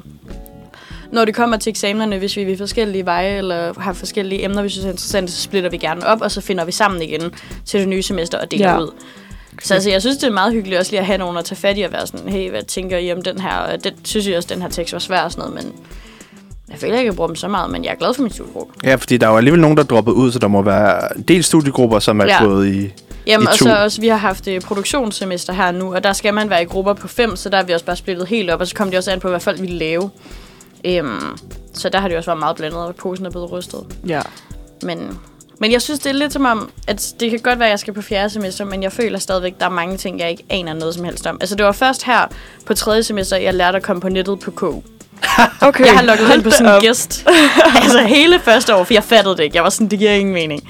når det kommer til eksamenerne, hvis vi er ved forskellige veje eller har forskellige emner, vi synes er interessante, så splitter vi gerne op, og så finder vi sammen igen til det nye semester og deler
Ja.
ja. ud. Så altså, jeg synes, det er meget hyggeligt også lige at have nogen at tage fat i og være sådan, hey, hvad tænker I om den her? Og det synes jeg også, den her tekst var svær og sådan noget, men jeg føler ikke, at jeg bruger dem så meget, men jeg er glad for min studiegruppe.
Ja, fordi der er jo alligevel nogen, der er droppet ud, så der må være en del studiegrupper, som er ja.
Ja.
gået i...
Jamen,
I
og
to.
så også, vi har haft øh, produktionssemester her nu, og der skal man være i grupper på fem, så der er vi også bare splittet helt op, og så kom det også an på, hvad folk ville lave. Øhm, så der har det også været meget blandet, og posen er blevet rystet.
ja.
Men, men jeg synes, det er lidt som om, at det kan godt være, at jeg skal på fjerde semester, men jeg føler stadigvæk, at der er mange ting, jeg ikke aner noget som helst om. Altså, det var først her på tredje semester, jeg lærte at komme på nettet [LAUGHS] på KU.
Okay.
Jeg har logget ind på sådan en
Hold
[LAUGHS]
da op.
gæst. altså hele første år, for jeg fattede det ikke. Jeg var sådan, det giver ingen mening.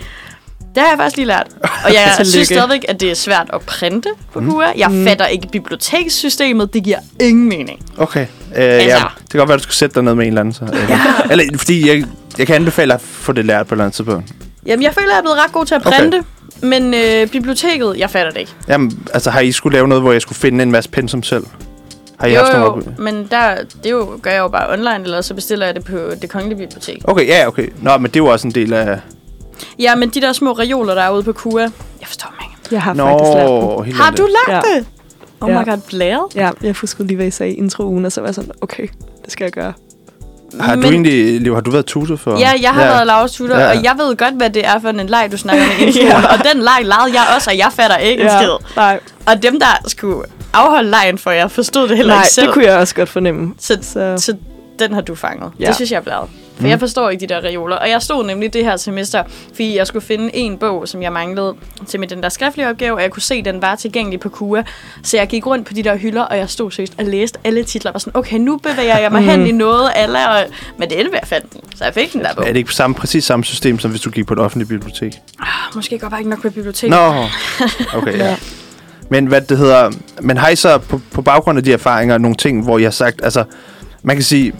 Det har jeg faktisk lige lært. Og [LAUGHS] jeg synes
Tillykke.
stadigvæk, at det er svært at printe på KUA. Jeg fatter ikke bibliotekssystemet. Det giver ingen mening.
Okay. Øh, altså. ja,
Altså.
det kan godt være, at du skulle sætte dig ned med en eller anden. Så, øh. ja. Eller, fordi jeg, jeg kan anbefale at få det lært på et eller andet tidspunkt.
Jamen, jeg føler, at jeg er blevet ret god til at
Okay.
printe. Men øh, biblioteket, jeg fatter det ikke.
Jamen, altså har I skulle lave noget, hvor jeg skulle finde en masse pensum selv? Har I haft
jo,
nogle
jo,
op-
men der, det jo, gør jeg jo bare online, eller så bestiller jeg det på det kongelige bibliotek.
Okay, ja, okay. Nå, men det er jo også en del af...
Ja, men de der små reoler, der er ude på KUA. Jeg forstår dem ikke.
Jeg har
Nå,
faktisk lært den.
helt
Har
andet.
du lagt
Ja.
ja. det? Oh
Ja.
my god, blæret.
Ja, jeg huskede lige, hvad I sagde i introen, og så var jeg sådan, okay, det skal jeg gøre.
Har du
Men-
egentlig, Liv, har du været tutor for?
Ja, jeg har ja. været Lauras tutor,
Ja.
ja. og jeg ved godt, hvad det er for en leg, du snakker [LAUGHS] med i introen.
Ja.
Og den leg legede jeg også, og jeg fatter ikke ja. en skid.
nej,
Og dem, der skulle afholde lejen for jer, forstod det heller
nej
ikke selv.
det kunne jeg også godt fornemme.
Så,
Så-
så. så den har du fanget.
Ja.
Ja. Det synes jeg er bladet. For mm. jeg forstår ikke de der reoler. Og jeg stod nemlig det her semester, fordi jeg skulle finde en bog, som jeg manglede til med den der skriftlige opgave, og jeg kunne se, at den var tilgængelig på KUA. Så jeg gik rundt på de der hylder, og jeg stod seriøst og læste alle titler. Og var sådan, okay, nu bevæger jeg mig hen i noget, alle, og... men det endte med, at jeg fandt den. Så jeg fik den der bog.
Er det ikke samme, præcis samme system, som hvis du gik på et offentligt bibliotek?
Måske går bare ikke nok på biblioteket. [LAUGHS]
Nå, okay, ja. Men hvad det hedder... Men har I så på, på baggrund af de erfaringer nogle ting, hvor jeg har sagt... Altså, man kan sige...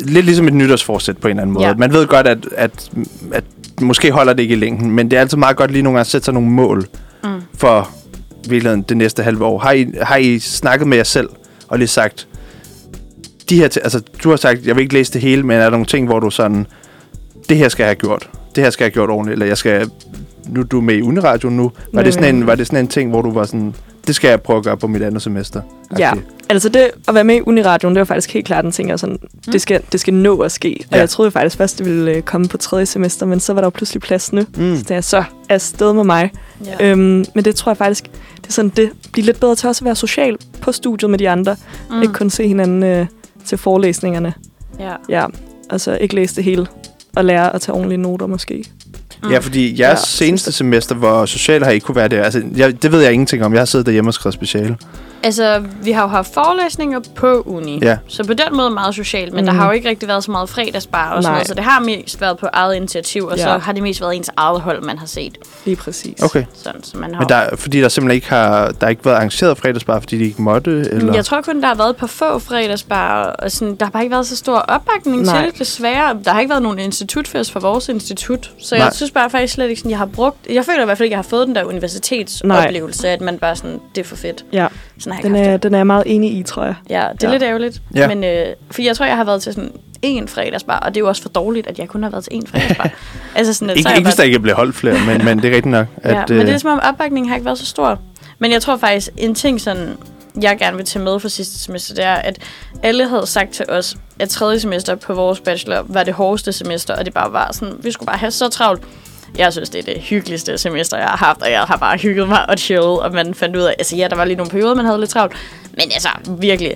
Lidt ligesom et nytårsforsæt på en eller anden måde.
Ja.
Man ved godt, at, at, at måske holder det ikke i længden, men det er altid meget godt lige nogle gange at sætte sig nogle mål mm. for i virkeligheden det næste halve år. Har I, har I snakket med jer selv og lige sagt, de her ti- altså, du har sagt, jeg vil ikke læse det hele, men er der nogle ting, hvor du sådan, det her skal jeg have gjort. Det her skal jeg have gjort ordentligt, eller jeg skal, nu du er med i Uniradio nu. Var,
er
det sådan
vi-
en, var det sådan en ting, hvor du var sådan, det skal jeg prøve at gøre på mit andet semester?
Ja,
Agtigt.
altså det at være med i Uniradioen, det var faktisk helt klart en ting, jeg var sådan,
Mm.
det skal, det skal nå at ske. Og
Ja.
jeg troede faktisk først, det ville øh, komme på tredje semester, men så var der jo pludselig plads nu.
Mm.
Så da jeg så afsted med mig.
Ja.
Ja. Øhm, men det tror jeg faktisk, det er sådan, det bliver lidt bedre til også at være social på studiet med de andre. Mm. Ikke kun se hinanden øh, til forelæsningerne.
Ja.
Ja, altså ikke læse det hele og lære at tage ordentlige noter måske.
Ja, fordi jeres
Ja.
ja. seneste semester, hvor social har I kunne være det, altså, jeg, det ved jeg ingenting om. Jeg har siddet derhjemme og skrevet speciale.
Altså, vi har jo haft forelæsninger på uni.
Ja.
Så på den måde meget socialt, men mm. der
Mhm.
har jo ikke rigtig været så meget fredagsbar og sådan
Nej.
noget, så det har mest været på eget initiativ, og
Ja.
ja. så har det mest været ens eget hold, man har set.
Lige præcis.
Okay.
Sådan, så man har...
Men der, fordi der simpelthen ikke har, der har ikke været arrangeret fredagsbar, fordi de ikke måtte? Eller?
Mm, Jeg tror kun, der har været på få fredagsbar, og sådan, der har bare ikke været så stor opbakning
Nej.
Nej. til det, desværre. Der har ikke været nogen institutfest for vores institut, så Nej.
Nej.
jeg synes bare faktisk slet ikke, sådan, jeg har brugt... Jeg føler i hvert fald ikke, jeg har fået den der universitetsoplevelse, at man bare sådan, det er for fedt.
Ja,
Sådan har jeg ikke
den
haft det.
er, den er jeg meget enig i, tror jeg.
Ja, det er
Ja.
ja. lidt ærgerligt.
Ja.
Ja. Men, øh, for jeg tror, jeg har været til sådan én fredagsbar, og det er jo også for dårligt, at jeg kun har været til én
[LAUGHS]
fredagsbar. altså sådan, at så
ikke,
har jeg
ikke hvis der
været-
ikke bliver holdt flere, men, men det er rigtigt nok.
ja,
At,
men det
øh,
er som om opbakningen har ikke været så stor. Men jeg tror faktisk, en ting, sådan, jeg gerne vil tage med fra sidste semester, det er, at alle havde sagt til os, at tredje semester på vores bachelor var det hårdeste semester, og det bare var sådan, vi skulle bare have så travlt. Jeg synes, det er det hyggeligste semester, jeg har haft, og jeg har bare hygget mig og chillet, og man fandt ud af, altså ja, der var lige nogle perioder, man havde lidt travlt, men altså virkelig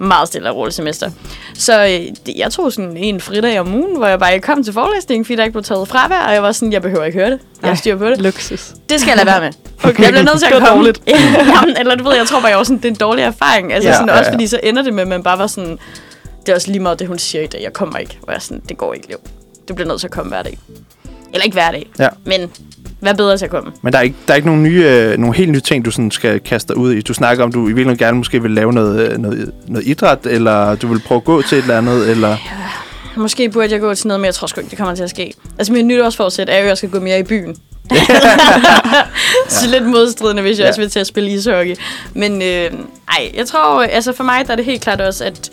meget stille og roligt semester. Så øh, det- jeg tog sådan en fridag om ugen, hvor jeg bare ikke kom til forelæsningen, fordi der ikke blev taget fravær, og jeg var sådan, jeg behøver ikke høre det. Jeg har styr på det.
Luksus.
Det skal jeg lade være med.
Okay.
Okay. Jeg bliver nødt til
Det
at
var
komme.
dårligt.
[LAUGHS] Jamen, eller du ved, jeg tror bare, jeg var sådan, det er en dårlig erfaring. Altså,
Ja,
ja, sådan,
ja,
også
ja.
fordi så ender det med, at man bare var sådan, det er også lige meget det, hun siger i dag. Jeg kommer ikke. Hvor jeg er sådan, det går ikke, liv. Du bliver nødt til at komme hver dag. Eller ikke hver dag,
Ja.
men hvad bedre til at komme.
Men der er ikke, der er ikke nogen, nye, øh, nogle helt nye ting, du sådan skal kaste dig ud i. Du snakker om, du i virkeligheden gerne måske vil lave noget, øh, noget, noget idræt, eller du vil prøve at gå til et eller andet, eller...
Måske burde jeg gå til noget, men jeg tror sgu ikke, det kommer til at ske. Altså, min nytårsforsæt er jo, at jeg skal gå mere i byen. så lidt modstridende, hvis jeg
Ja.
også vil til at spille ishockey. Men øh, ej, jeg tror, øh, altså for mig der er det helt klart også, at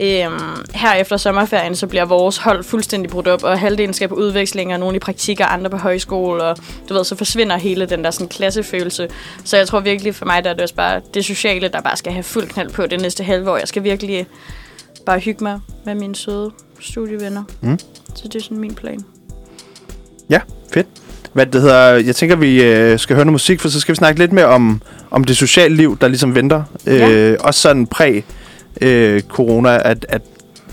øh, her efter sommerferien, så bliver vores hold fuldstændig brudt op, og halvdelen skal på udvekslinger, nogle i praktik og andre på højskole, og du ved, så forsvinder hele den der sådan, klassefølelse. Så jeg tror virkelig for mig, der er det også bare det sociale, der bare skal have fuld knald på det næste halve år. Jeg skal virkelig bare hygge mig med mine søde studievenner.
Mm.
Så det er sådan min plan.
Ja, fedt. Hvad det hedder, jeg tænker, vi øh, skal høre noget musik, for så skal vi snakke lidt mere om, om det sociale liv, der ligesom venter. Øh,
Ja.
Også sådan præ-corona, at, at,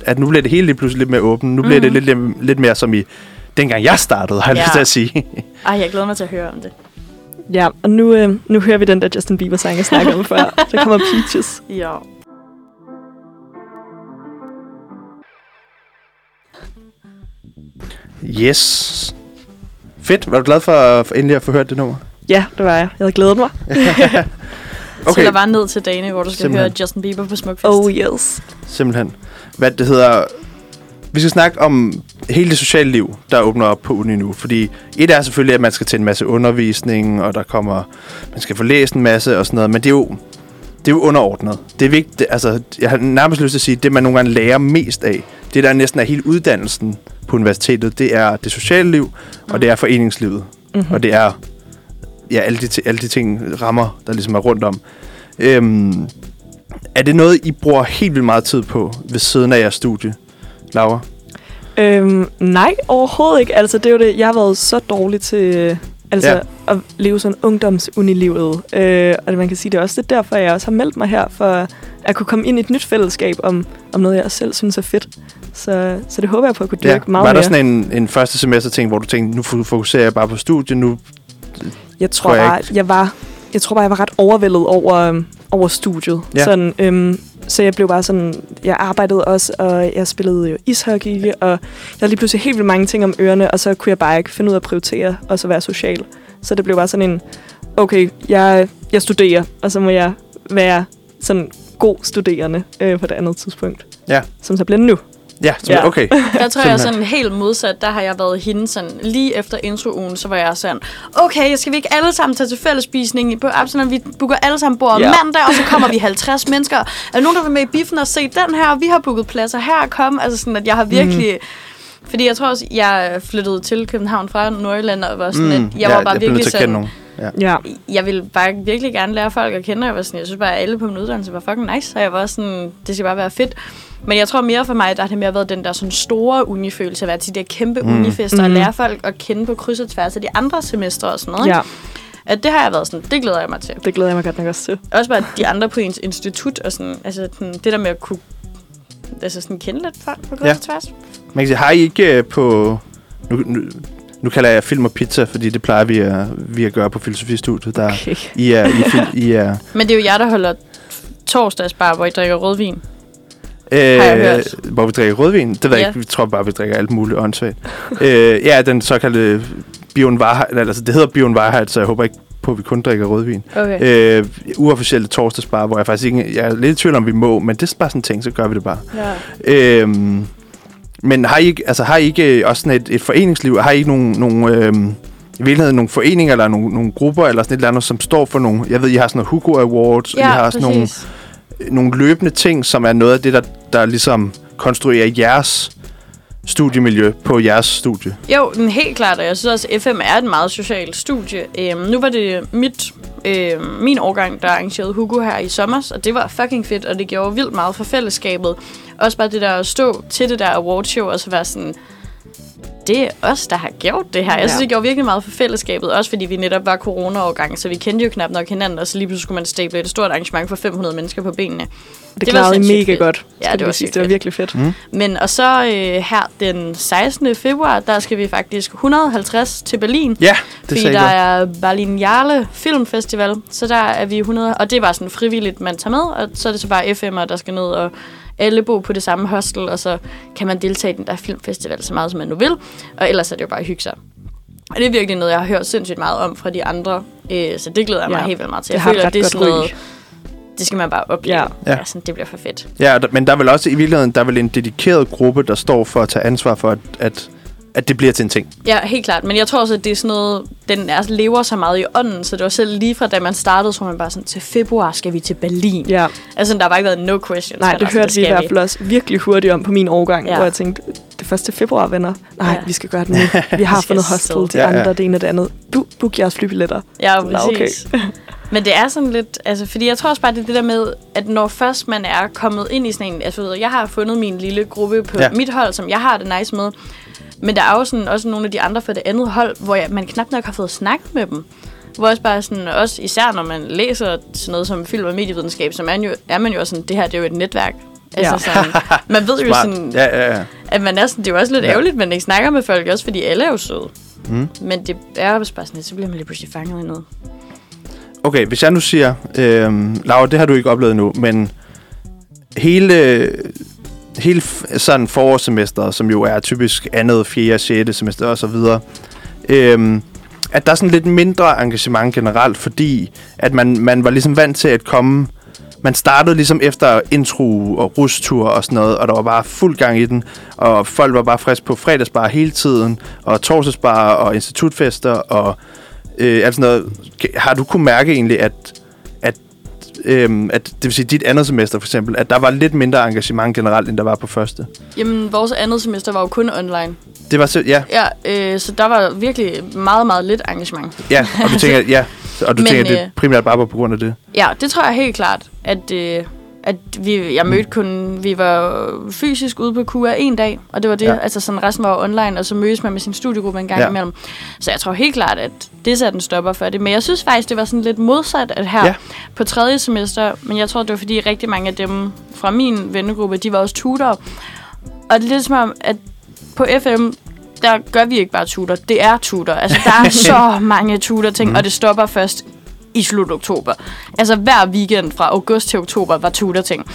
at nu bliver det hele lige pludselig lidt mere åbent. Nu bliver mm. det lidt, lidt mere som i dengang jeg startede, har jeg
Mhm. Ja.
lyst til at sige.
Ej, jeg glæder mig til at høre om det.
Ja, og nu, øh, nu hører vi den der Justin Bieber-sang, jeg snakkede om før. Der kommer Peaches.
Ja.
yes. Fedt. Var du glad for, for endelig at få hørt det nummer?
Ja, det var jeg. Jeg havde glædet mig.
Okay. Tæller bare ned til dagene, hvor du skal
Simpelthen. Oh,
Simpelthen. høre Justin Bieber på Smukfest.
Oh yes.
Simpelthen. Hvad det hedder... Vi skal snakke om hele det sociale liv, der åbner op på uni nu. Fordi et er selvfølgelig, at man skal til en masse undervisning, og der kommer, man skal få læst en masse og sådan noget. Men det er jo, det er jo underordnet. Det er vigtigt, altså, jeg har nærmest lyst til at sige, det man nogle gange lærer mest af, det der næsten er hele uddannelsen på universitetet, det er det sociale liv, og det er foreningslivet. Mm-hmm. Og det er ja, alle, de, ti- alle de ting, rammer, der ligesom er rundt om. Øhm, er det noget, I bruger helt vildt meget tid på ved siden af jeres studie, Laura?
Øhm, nej, overhovedet ikke. Altså, det er jo det. Jeg har været så dårlig til øh, altså,
Ja.
ja. at leve sådan ungdomsunilivet. Øh, og man kan sige, det er også det er derfor, jeg også har meldt mig her, for at kunne komme ind i et nyt fællesskab om, om noget, jeg også selv synes er fedt. Så, så det håber jeg på at kunne dyrke meget
Var
mere.
der sådan en, en første semester ting, hvor du tænkte, nu fo- fokuserer jeg bare på studiet, nu...
Jeg tror,
Tror jeg
jeg bare, jeg var, jeg tror bare, jeg var ret overvældet over, øhm, over studiet.
Ja.
Ja. Sådan, øhm, så jeg blev bare sådan, jeg arbejdede også, og jeg spillede jo ishockey, og jeg havde lige pludselig helt vildt mange ting om ørerne, og så kunne jeg bare ikke finde ud af at prioritere, og så være social. Så det blev bare sådan en, okay, jeg, jeg studerer, og så må jeg være sådan god studerende øh, på det andet tidspunkt.
Ja.
Som så bliver nu.
Ja, så,
Ja.
okay.
Der tror jeg er
Simpelthen.
[LAUGHS] sådan helt modsat. Der har jeg været hende sådan, lige efter introugen, så var jeg sådan, okay, skal vi ikke alle sammen tage til fællesspisning på Absalon? Vi booker alle sammen bord om
Ja.
mandag, og så kommer
[LAUGHS]
vi 50 mennesker. Er der nogen, der vil med i biffen og se den her? Vi har booket pladser her og kom. Altså sådan, at jeg har virkelig... Mm. Fordi jeg tror også, jeg flyttede til København fra Nordjylland, og var sådan, mm, at jeg
ja,
var bare
jeg bliver nødt
virkelig
til at
sådan...
kende nogen. Ja.
Ja.
Jeg ville bare virkelig gerne lære folk at kende, og jeg var sådan, jeg synes bare, at alle på min uddannelse var fucking nice, og jeg var også sådan, det skal bare være fedt. Men jeg tror mere for mig, der har det mere været den der sådan store unifølelse, at være til de der kæmpe mm. unifester, og lære folk at kende på kryds og tværs af de andre semestre og sådan noget.
ja,
ikke? At det har jeg været sådan, det glæder jeg mig til.
det glæder jeg mig godt nok også til.
Også bare de andre på ens institut, og sådan, altså sådan, det der med at kunne altså sådan kende lidt folk på kryds
Ja.
ja. og tværs.
Man kan sige, har I ikke øh, på... Nu, nu, nu kalder jeg film og pizza, fordi det plejer vi at, vi at gøre på filosofistudiet. Der, okay.
Okay.
I er... I, er fil,
[LAUGHS]
I er
Men det er jo jeg, der holder torsdagsbar, hvor I drikker rødvin. jeg
øh,
hørt.
hvor vi drikker rødvin. Det ved jeg
Ja.
ikke. Vi tror bare, vi drikker alt muligt åndssvagt. øh, ja, den såkaldte Bion Varheit, eller, altså det hedder Bion Varheit, så jeg håber ikke på, at vi kun drikker rødvin.
Okay.
Øh, uofficielle torsdagsbar, hvor jeg faktisk ikke... Jeg er lidt i tvivl om, vi må, men det er bare sådan en ting, så gør vi det bare.
Ja.
Øhm, men har I, ikke- altså, har I ikke også sådan et, et foreningsliv? Har I ikke nogle, nogle, øhm, i virkeligheden nogle foreninger eller nogle, nogle grupper eller sådan et eller andet, som står for nogle... Jeg ved, I har sådan noget Hugo Awards, og I har også nogle, nogle løbende ting, som er noget af det, der, der ligesom konstruerer jeres studiemiljø på jeres studie.
Jo, men helt klart, og jeg synes også, at FM er et meget socialt studie. Øhm, nu var det mit, øhm, min årgang, der arrangerede Hugo her i sommer, og det var fucking fedt, og det gjorde vildt meget for fællesskabet. Også bare det der at stå til det der awardshow, og så være sådan, det er os, der har gjort det her. Jeg synes,
Ja.
det gjorde virkelig meget for fællesskabet, også fordi vi netop var corona-årgang, så vi kendte jo knap nok hinanden, og så lige pludselig skulle man stable et stort arrangement for 500 mennesker på benene.
Det,
var
klarede I
sindssygt
mega
fedt.
godt.
Ja,
skal
det
lige
var
sige.
sygt
Det var
fedt.
virkelig fedt. Mm.
Men og så øh, her den 16. februar, der skal vi faktisk 150 til Berlin.
Ja, det
Fordi
sagde
der
jeg.
er Berlinale Filmfestival, så der er vi 100, og det er bare sådan frivilligt, man tager med, og så er det så bare FM'er, der skal ned, og alle bor på det samme hostel, og så kan man deltage i den der filmfestival så meget, som man nu vil, og ellers er det jo bare at hygge sig. Og det er virkelig noget, jeg har hørt sindssygt meget om fra de andre, øh, så det glæder jeg mig
Ja,
helt vildt meget til.
det
Jeg
har et
føler,
ret
at det er
godt
sådan noget,
ry.
det skal man bare opleve.
Ja.
Ja.
ja sådan, det bliver for fedt.
Ja, og der, men der er vel også i virkeligheden, der er vel en dedikeret gruppe, der står for at tage ansvar for, at, at, at det bliver til en ting.
Ja, helt klart. Men jeg tror også, at det er sådan noget, den er, altså, lever så meget i ånden, så det var selv lige fra da man startede, så var man bare sådan, til februar skal vi til Berlin.
Ja.
Altså, der har bare ikke været no questions.
Nej,
men
det
altså,
hørte vi i
skal
hvert fald også virkelig hurtigt om på min årgang,
Ja.
ja. hvor jeg tænkte, det 1. februar, venner. Nej,
Ja.
ja. vi skal gøre det nu. [LAUGHS] Vi har
Vi skal
fundet
afsted.
hostel,
Ja,
de ja,
ja.
ja. andre, det ene og det andet. Du, book jeres flybilletter.
Ja,
Nå,
præcis. [LAUGHS] Okay. Men det er sådan lidt, altså, fordi jeg tror også bare, det er det der med, at når først man er kommet ind i sådan en, altså, du ved, jeg har fundet min lille gruppe på
Ja.
ja. mit hold, som jeg har det nice med, men der er jo sådan, også nogle af de andre fra det andet hold, hvor jeg, man knap nok har fået snakket med dem. Hvor også bare sådan, også især når man læser sådan noget som film og medievidenskab, så er man jo, er man jo også sådan, det her det er jo et netværk. Altså
Ja.
sådan, man
[LAUGHS]
ved jo sådan,
Ja, ja, ja.
at man er sådan, det er jo også lidt
Ja.
ja. ærgerligt, at man ikke snakker med folk, også fordi alle er jo søde. Mm. Men det er jo også bare sådan, at så bliver man lige pludselig fanget i noget.
Okay, hvis jeg nu siger, øh, Laura, det har du ikke oplevet nu, men hele, hele f- sådan forårssemesteret, som jo er typisk andet, fjerde, sjette semester og så videre, øh, at der er sådan lidt mindre engagement generelt, fordi at man, man var ligesom vant til at komme man startede ligesom efter intro og rustur og sådan noget, og der var bare fuld gang i den, og folk var bare friske på fredagsbar hele tiden, og torsdagsbar og institutfester og øh, alt sådan noget. Har du kunne mærke egentlig, at, at, øh, at det vil sige dit andet semester for eksempel, at der var lidt mindre engagement generelt, end der var på første?
Jamen, vores andet semester var jo kun online.
Det var så, ja,
Ja, øh, så der var virkelig meget, meget lidt engagement.
ja, og
[LAUGHS]
du tænker, ja, og du
Men,
Men, tænker, at
øh,
det primært bare var på grund af det.
Ja, det tror jeg helt klart, at, øh, at vi, jeg mødte kun, vi var fysisk ude på KUA en dag, og det var det, ja.
Ja.
altså sådan resten var online, og så mødes man med sin studiegruppe en gang ja.
Ja.
imellem. Så jeg tror helt klart, at det satte en stopper for det, men jeg synes faktisk, det var sådan lidt modsat, at her ja.
Ja.
på tredje semester, men jeg tror, det var fordi rigtig mange af dem fra min vennegruppe, de var også tutorer, og det er lidt som om, at på FM, der gør vi ikke bare tutor, det er tutor. Altså, der er
[LAUGHS]
så mange tutor ting, mm. og det stopper først i slut oktober. Altså, hver weekend fra august til oktober var tutor ting.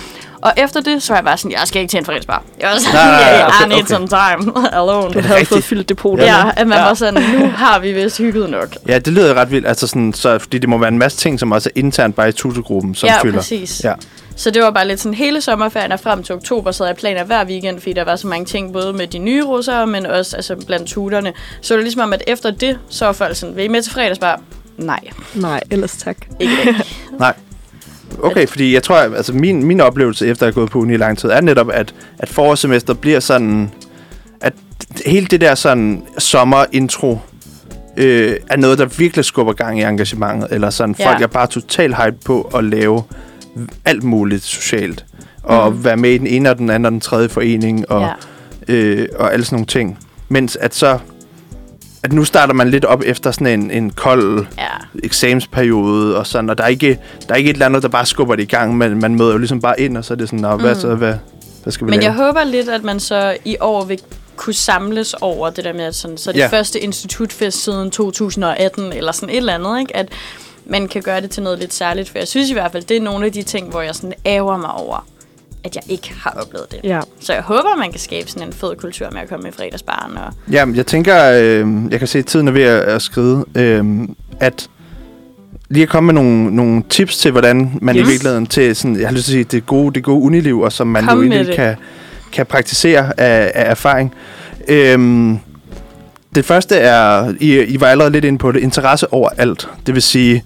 Og efter det, så var jeg bare sådan, jeg skal ikke til en fredagsbar. Jeg var sådan,
Nej, nej, nej,
yeah, I
okay,
need
okay.
some time [LAUGHS] alone.
Jeg havde
Rigtigt.
fået fyldt depotet.
Ja, at man var sådan, nu har vi vist hygget nok.
Ja, det lyder ret vildt, altså sådan, så, fordi det må være en masse ting, som også er internt bare i tutorgruppen, som
Ja,
fylder.
præcis.
Ja,
Så det var bare lidt sådan hele sommerferien og frem til oktober, så jeg planer hver weekend, fordi der var så mange ting, både med de nye russere, men også altså, blandt tuterne. Så det var ligesom om, at efter det, så var folk sådan, vil I med til fredagsbar? Nej,
Nej, ellers tak.
[LAUGHS] ikke det.
nej. Okay, fordi jeg tror, at- altså min, min oplevelse efter at have gået på uni i lang tid, er netop, at, at forårssemester bliver sådan, at hele det der sådan sommerintro, øh, er noget, der virkelig skubber gang i engagementet, eller sådan,
Ja.
folk er bare totalt hype på at lave alt muligt socialt, og mm. være med i den ene og den anden og den tredje forening, og
Mhm. Ja.
øh, og alle sådan nogle ting. Mens at så, at nu starter man lidt op efter sådan en, en kold
Ja.
eksamensperiode og sådan, og der er, ikke, der er ikke et eller andet, der bare skubber det i gang, men man møder jo ligesom bare ind, og så er det sådan, Nå, hvad så, hvad, hvad skal vi
Mm. Men
lave?
jeg håber lidt, at man så i år vil kunne samles over det der med, at sådan, så det ja.
Ja.
første institutfest siden 2018, eller sådan et eller andet, ikke? at man kan gøre det til noget lidt særligt. For jeg synes i hvert fald, det er nogle af de ting, hvor jeg sådan æver mig over, at jeg ikke har oplevet det.
Ja.
Så jeg håber, man kan skabe sådan en fed kultur med at komme i fredagsbaren. Og...
Jamen, jeg tænker, øh, jeg kan se, at tiden er ved at, at skride, øh, at lige at komme med nogle, nogle tips til, hvordan man
Yes.
yes. i virkeligheden til sådan, jeg har lyst til at sige, det gode, det gode uniliv, og som man
Kom
jo
med
egentlig
det.
kan, kan praktisere af, af erfaring. Øhm, det første er, I, I var allerede lidt inde på det, interesse over alt. Det vil sige,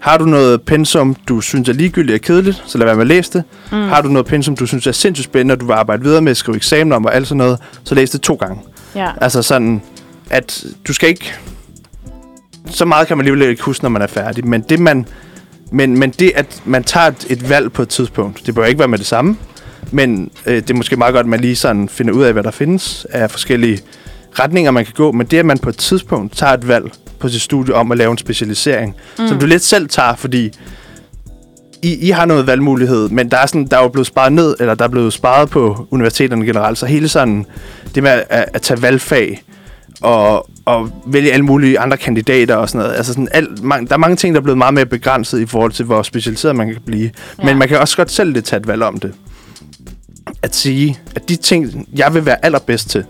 har du noget pensum, du synes er ligegyldigt og kedeligt, så lad være med at læse det. Mm. Har du noget pensum, du synes er sindssygt spændende, og du vil arbejde videre med, skrive eksamener om og alt sådan noget, så læs det to gange.
Ja.
Altså sådan, at du skal ikke... Så meget kan man alligevel ikke huske, når man er færdig. Men det, man, men, men det at man tager et, et valg på et tidspunkt, det bør ikke være med det samme. Men øh, det er måske meget godt, at man lige sådan finder ud af, hvad der findes af forskellige retninger, man kan gå. Men det, at man på et tidspunkt tager et valg på sit studie om at lave en specialisering, mm. som du lidt selv tager, fordi i, I har noget valgmulighed, men der er, sådan, der er jo blevet sparet ned, eller der er blevet sparet på universiteterne generelt, så hele sådan det med at, at- at tage valgfag og, og vælge alle mulige andre kandidater og sådan noget, altså sådan alt, man, der er mange ting, der er blevet meget mere begrænset i forhold til, hvor specialiseret man kan blive. Ja.
Ja.
Men man kan også godt selv lidt tage et valg om det. At sige, at de ting, jeg vil være allerbedst til,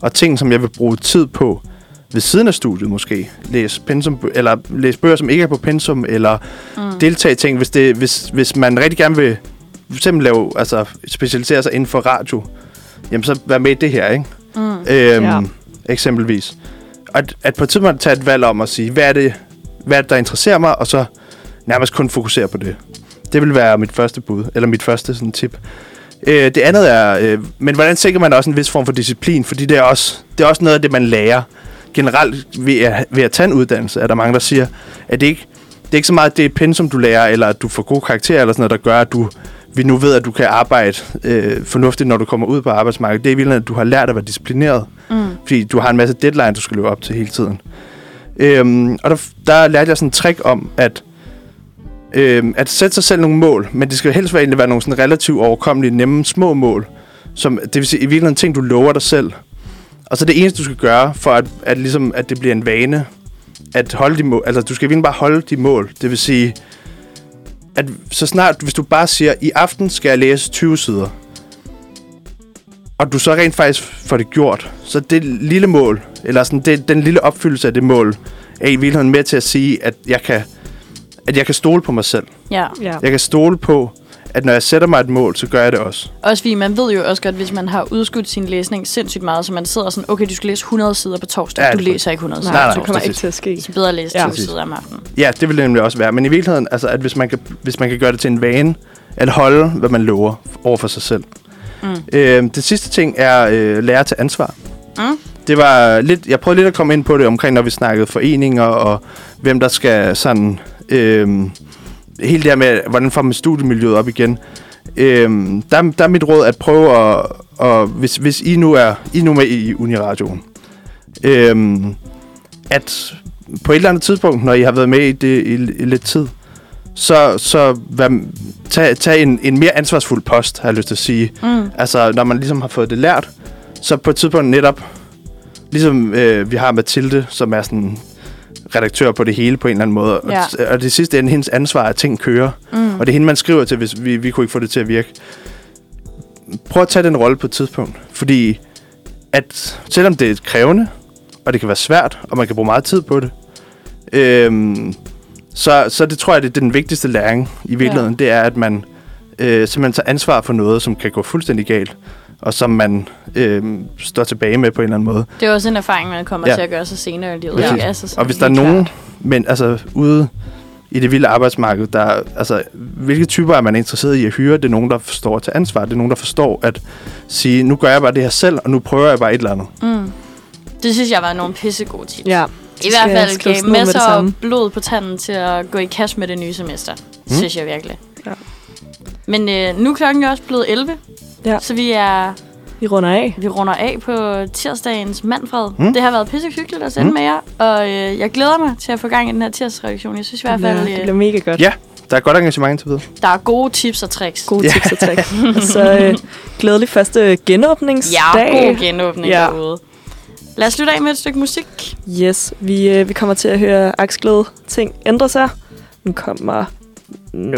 og ting, som jeg vil bruge tid på ved siden af studiet måske. Læse, pensum, eller læse bøger, som ikke er på pensum, eller mm. deltage i ting, hvis, det, hvis, hvis man rigtig gerne vil for eksempel lave, altså, specialisere sig inden for radio, jamen så vær med i det her, ikke? Mm. Øhm,
Ja.
ja. Eksempelvis. Og at, at på et tidspunkt tage et valg om at sige, hvad er det, hvad er det, der interesserer mig, og så nærmest kun fokusere på det. Det vil være mit første bud, eller mit første sådan, tip. Øh, det andet er, øh, men hvordan sikrer man også en vis form for disciplin? Fordi det er også, det er også noget af det, man lærer. Generelt ved at, ved at tage en uddannelse, er der mange, der siger, at det ikke det er ikke så meget det pensum, du lærer, eller at du får gode karakterer, eller sådan noget, der gør, at du, vi nu ved, at du kan arbejde øh, fornuftigt, når du kommer ud på arbejdsmarkedet. Det er i virkeligheden, at du har lært at være disciplineret. Mm. Fordi du har en masse deadline, du skal løbe op til hele tiden. Øhm, og der, der lærte jeg sådan en trick om, at øhm, at sætte sig selv nogle mål, men det skal helst være, egentlig være nogle sådan relativt overkommelige, nemme, små mål. Som, det vil sige, i virkeligheden ting, du lover dig selv. Og så det eneste, du skal gøre, for at, at, ligesom, at det bliver en vane, at holde de mål, altså du skal virkelig bare holde de mål. Det vil sige, at så snart, hvis du bare siger, i aften skal jeg læse 20 sider, og du så rent faktisk får det gjort, så det lille mål, eller sådan det, den lille opfyldelse af det mål, er i virkeligheden med til at sige, at jeg kan, at jeg kan stole på mig selv.
Ja.
Ja.
Jeg kan stole på, at når jeg sætter mig et mål, så gør jeg det også.
Også fordi man ved jo også godt, hvis man har udskudt sin læsning sindssygt meget, så man sidder sådan, okay, du skal læse 100 sider på torsdag.
Ja,
Ja, du
det er
læser ikke 100
Nej,
sider.
Nej, nej,
det kommer
præcis.
ikke til at ske.
Så bedre at læse
Ja.
ja, 20
Præcis.
sider om aftenen.
Ja, det vil det nemlig også være. Men i virkeligheden, altså, at hvis man, kan, hvis man kan gøre det til en vane, at holde, hvad man lover over for sig selv. Mm. Øh, det sidste ting er øh, lære til ansvar.
Mm.
Det var lidt, jeg prøvede lidt at komme ind på det omkring, når vi snakkede foreninger, og hvem der skal sådan... Øh, hele det her med, hvordan får man studiemiljøet op igen. Øhm, der, der er mit råd at prøve at, at hvis, hvis I nu er, I er nu med i Uniradioen, øhm, at på et eller andet tidspunkt, når I har været med i det i, i lidt tid, så, så vær, tag, tag en, en mere ansvarsfuld post, har jeg lyst til at sige.
Mm.
Altså, når man ligesom har fået det lært, så på et tidspunkt netop, ligesom øh, vi har Mathilde, som er sådan redaktør på det hele på en eller anden måde,
Ja.
og, og det sidste er hendes ansvar, at ting kører.
Mm.
Og det er hende, man skriver til, hvis vi, vi kunne ikke få det til at virke. Prøv at tage den rolle på et tidspunkt. Fordi at selvom det er krævende, og det kan være svært, og man kan bruge meget tid på det, øhm, så, så det tror jeg, det er den vigtigste læring i virkeligheden. Ja. Det er, at man øh, simpelthen tager ansvar for noget, som kan gå fuldstændig galt, og som man øh, står tilbage med på en eller anden måde.
Det er også en erfaring, man kommer
Ja.
ja. til at gøre sig senere i livet.
Præcis.
ikke? Altså, sådan
Og hvis der er
helt
nogen,
klart.
men altså ude i det vilde arbejdsmarked, der, altså, hvilke typer er man interesseret i at hyre? Det er nogen, der forstår at tage ansvar. Det er nogen, der forstår at sige, nu gør jeg bare det her selv, og nu prøver jeg bare et eller andet.
Mm. Det synes jeg var nogle pissegode tips.
Ja.
I
Skal
hvert
jeg
fald
skrive
gav
sådan noget med
masser
det samme?
af blod på tanden til at gå i kast med det nye semester. Mm. Synes jeg virkelig.
Ja.
Men øh, nu er klokken jo også blevet 11.
Ja.
Så vi er
Vi runder af.
vi runder af på tirsdagens Manfred.
Mm.
Mm. Det har været pisse hyggeligt at sende
Mm.
mm. med jer. Og øh, jeg glæder mig til at få gang i den her tirsdagsredaktion. Jeg synes i hvert
Ja,
fald,
det
øh,
bliver mega godt.
Ja, der er godt engagement til videre.
der er gode tips og tricks.
Gode tips og
[LAUGHS]
tak. og så øh, glædelig første genåbningsdag.
Ja, god genåbning
Ja.
ja. derude. Lad os slutte af med et stykke musik.
Yes, vi, øh, vi kommer til at høre Aksglæde ting ændre sig. Den kommer nu.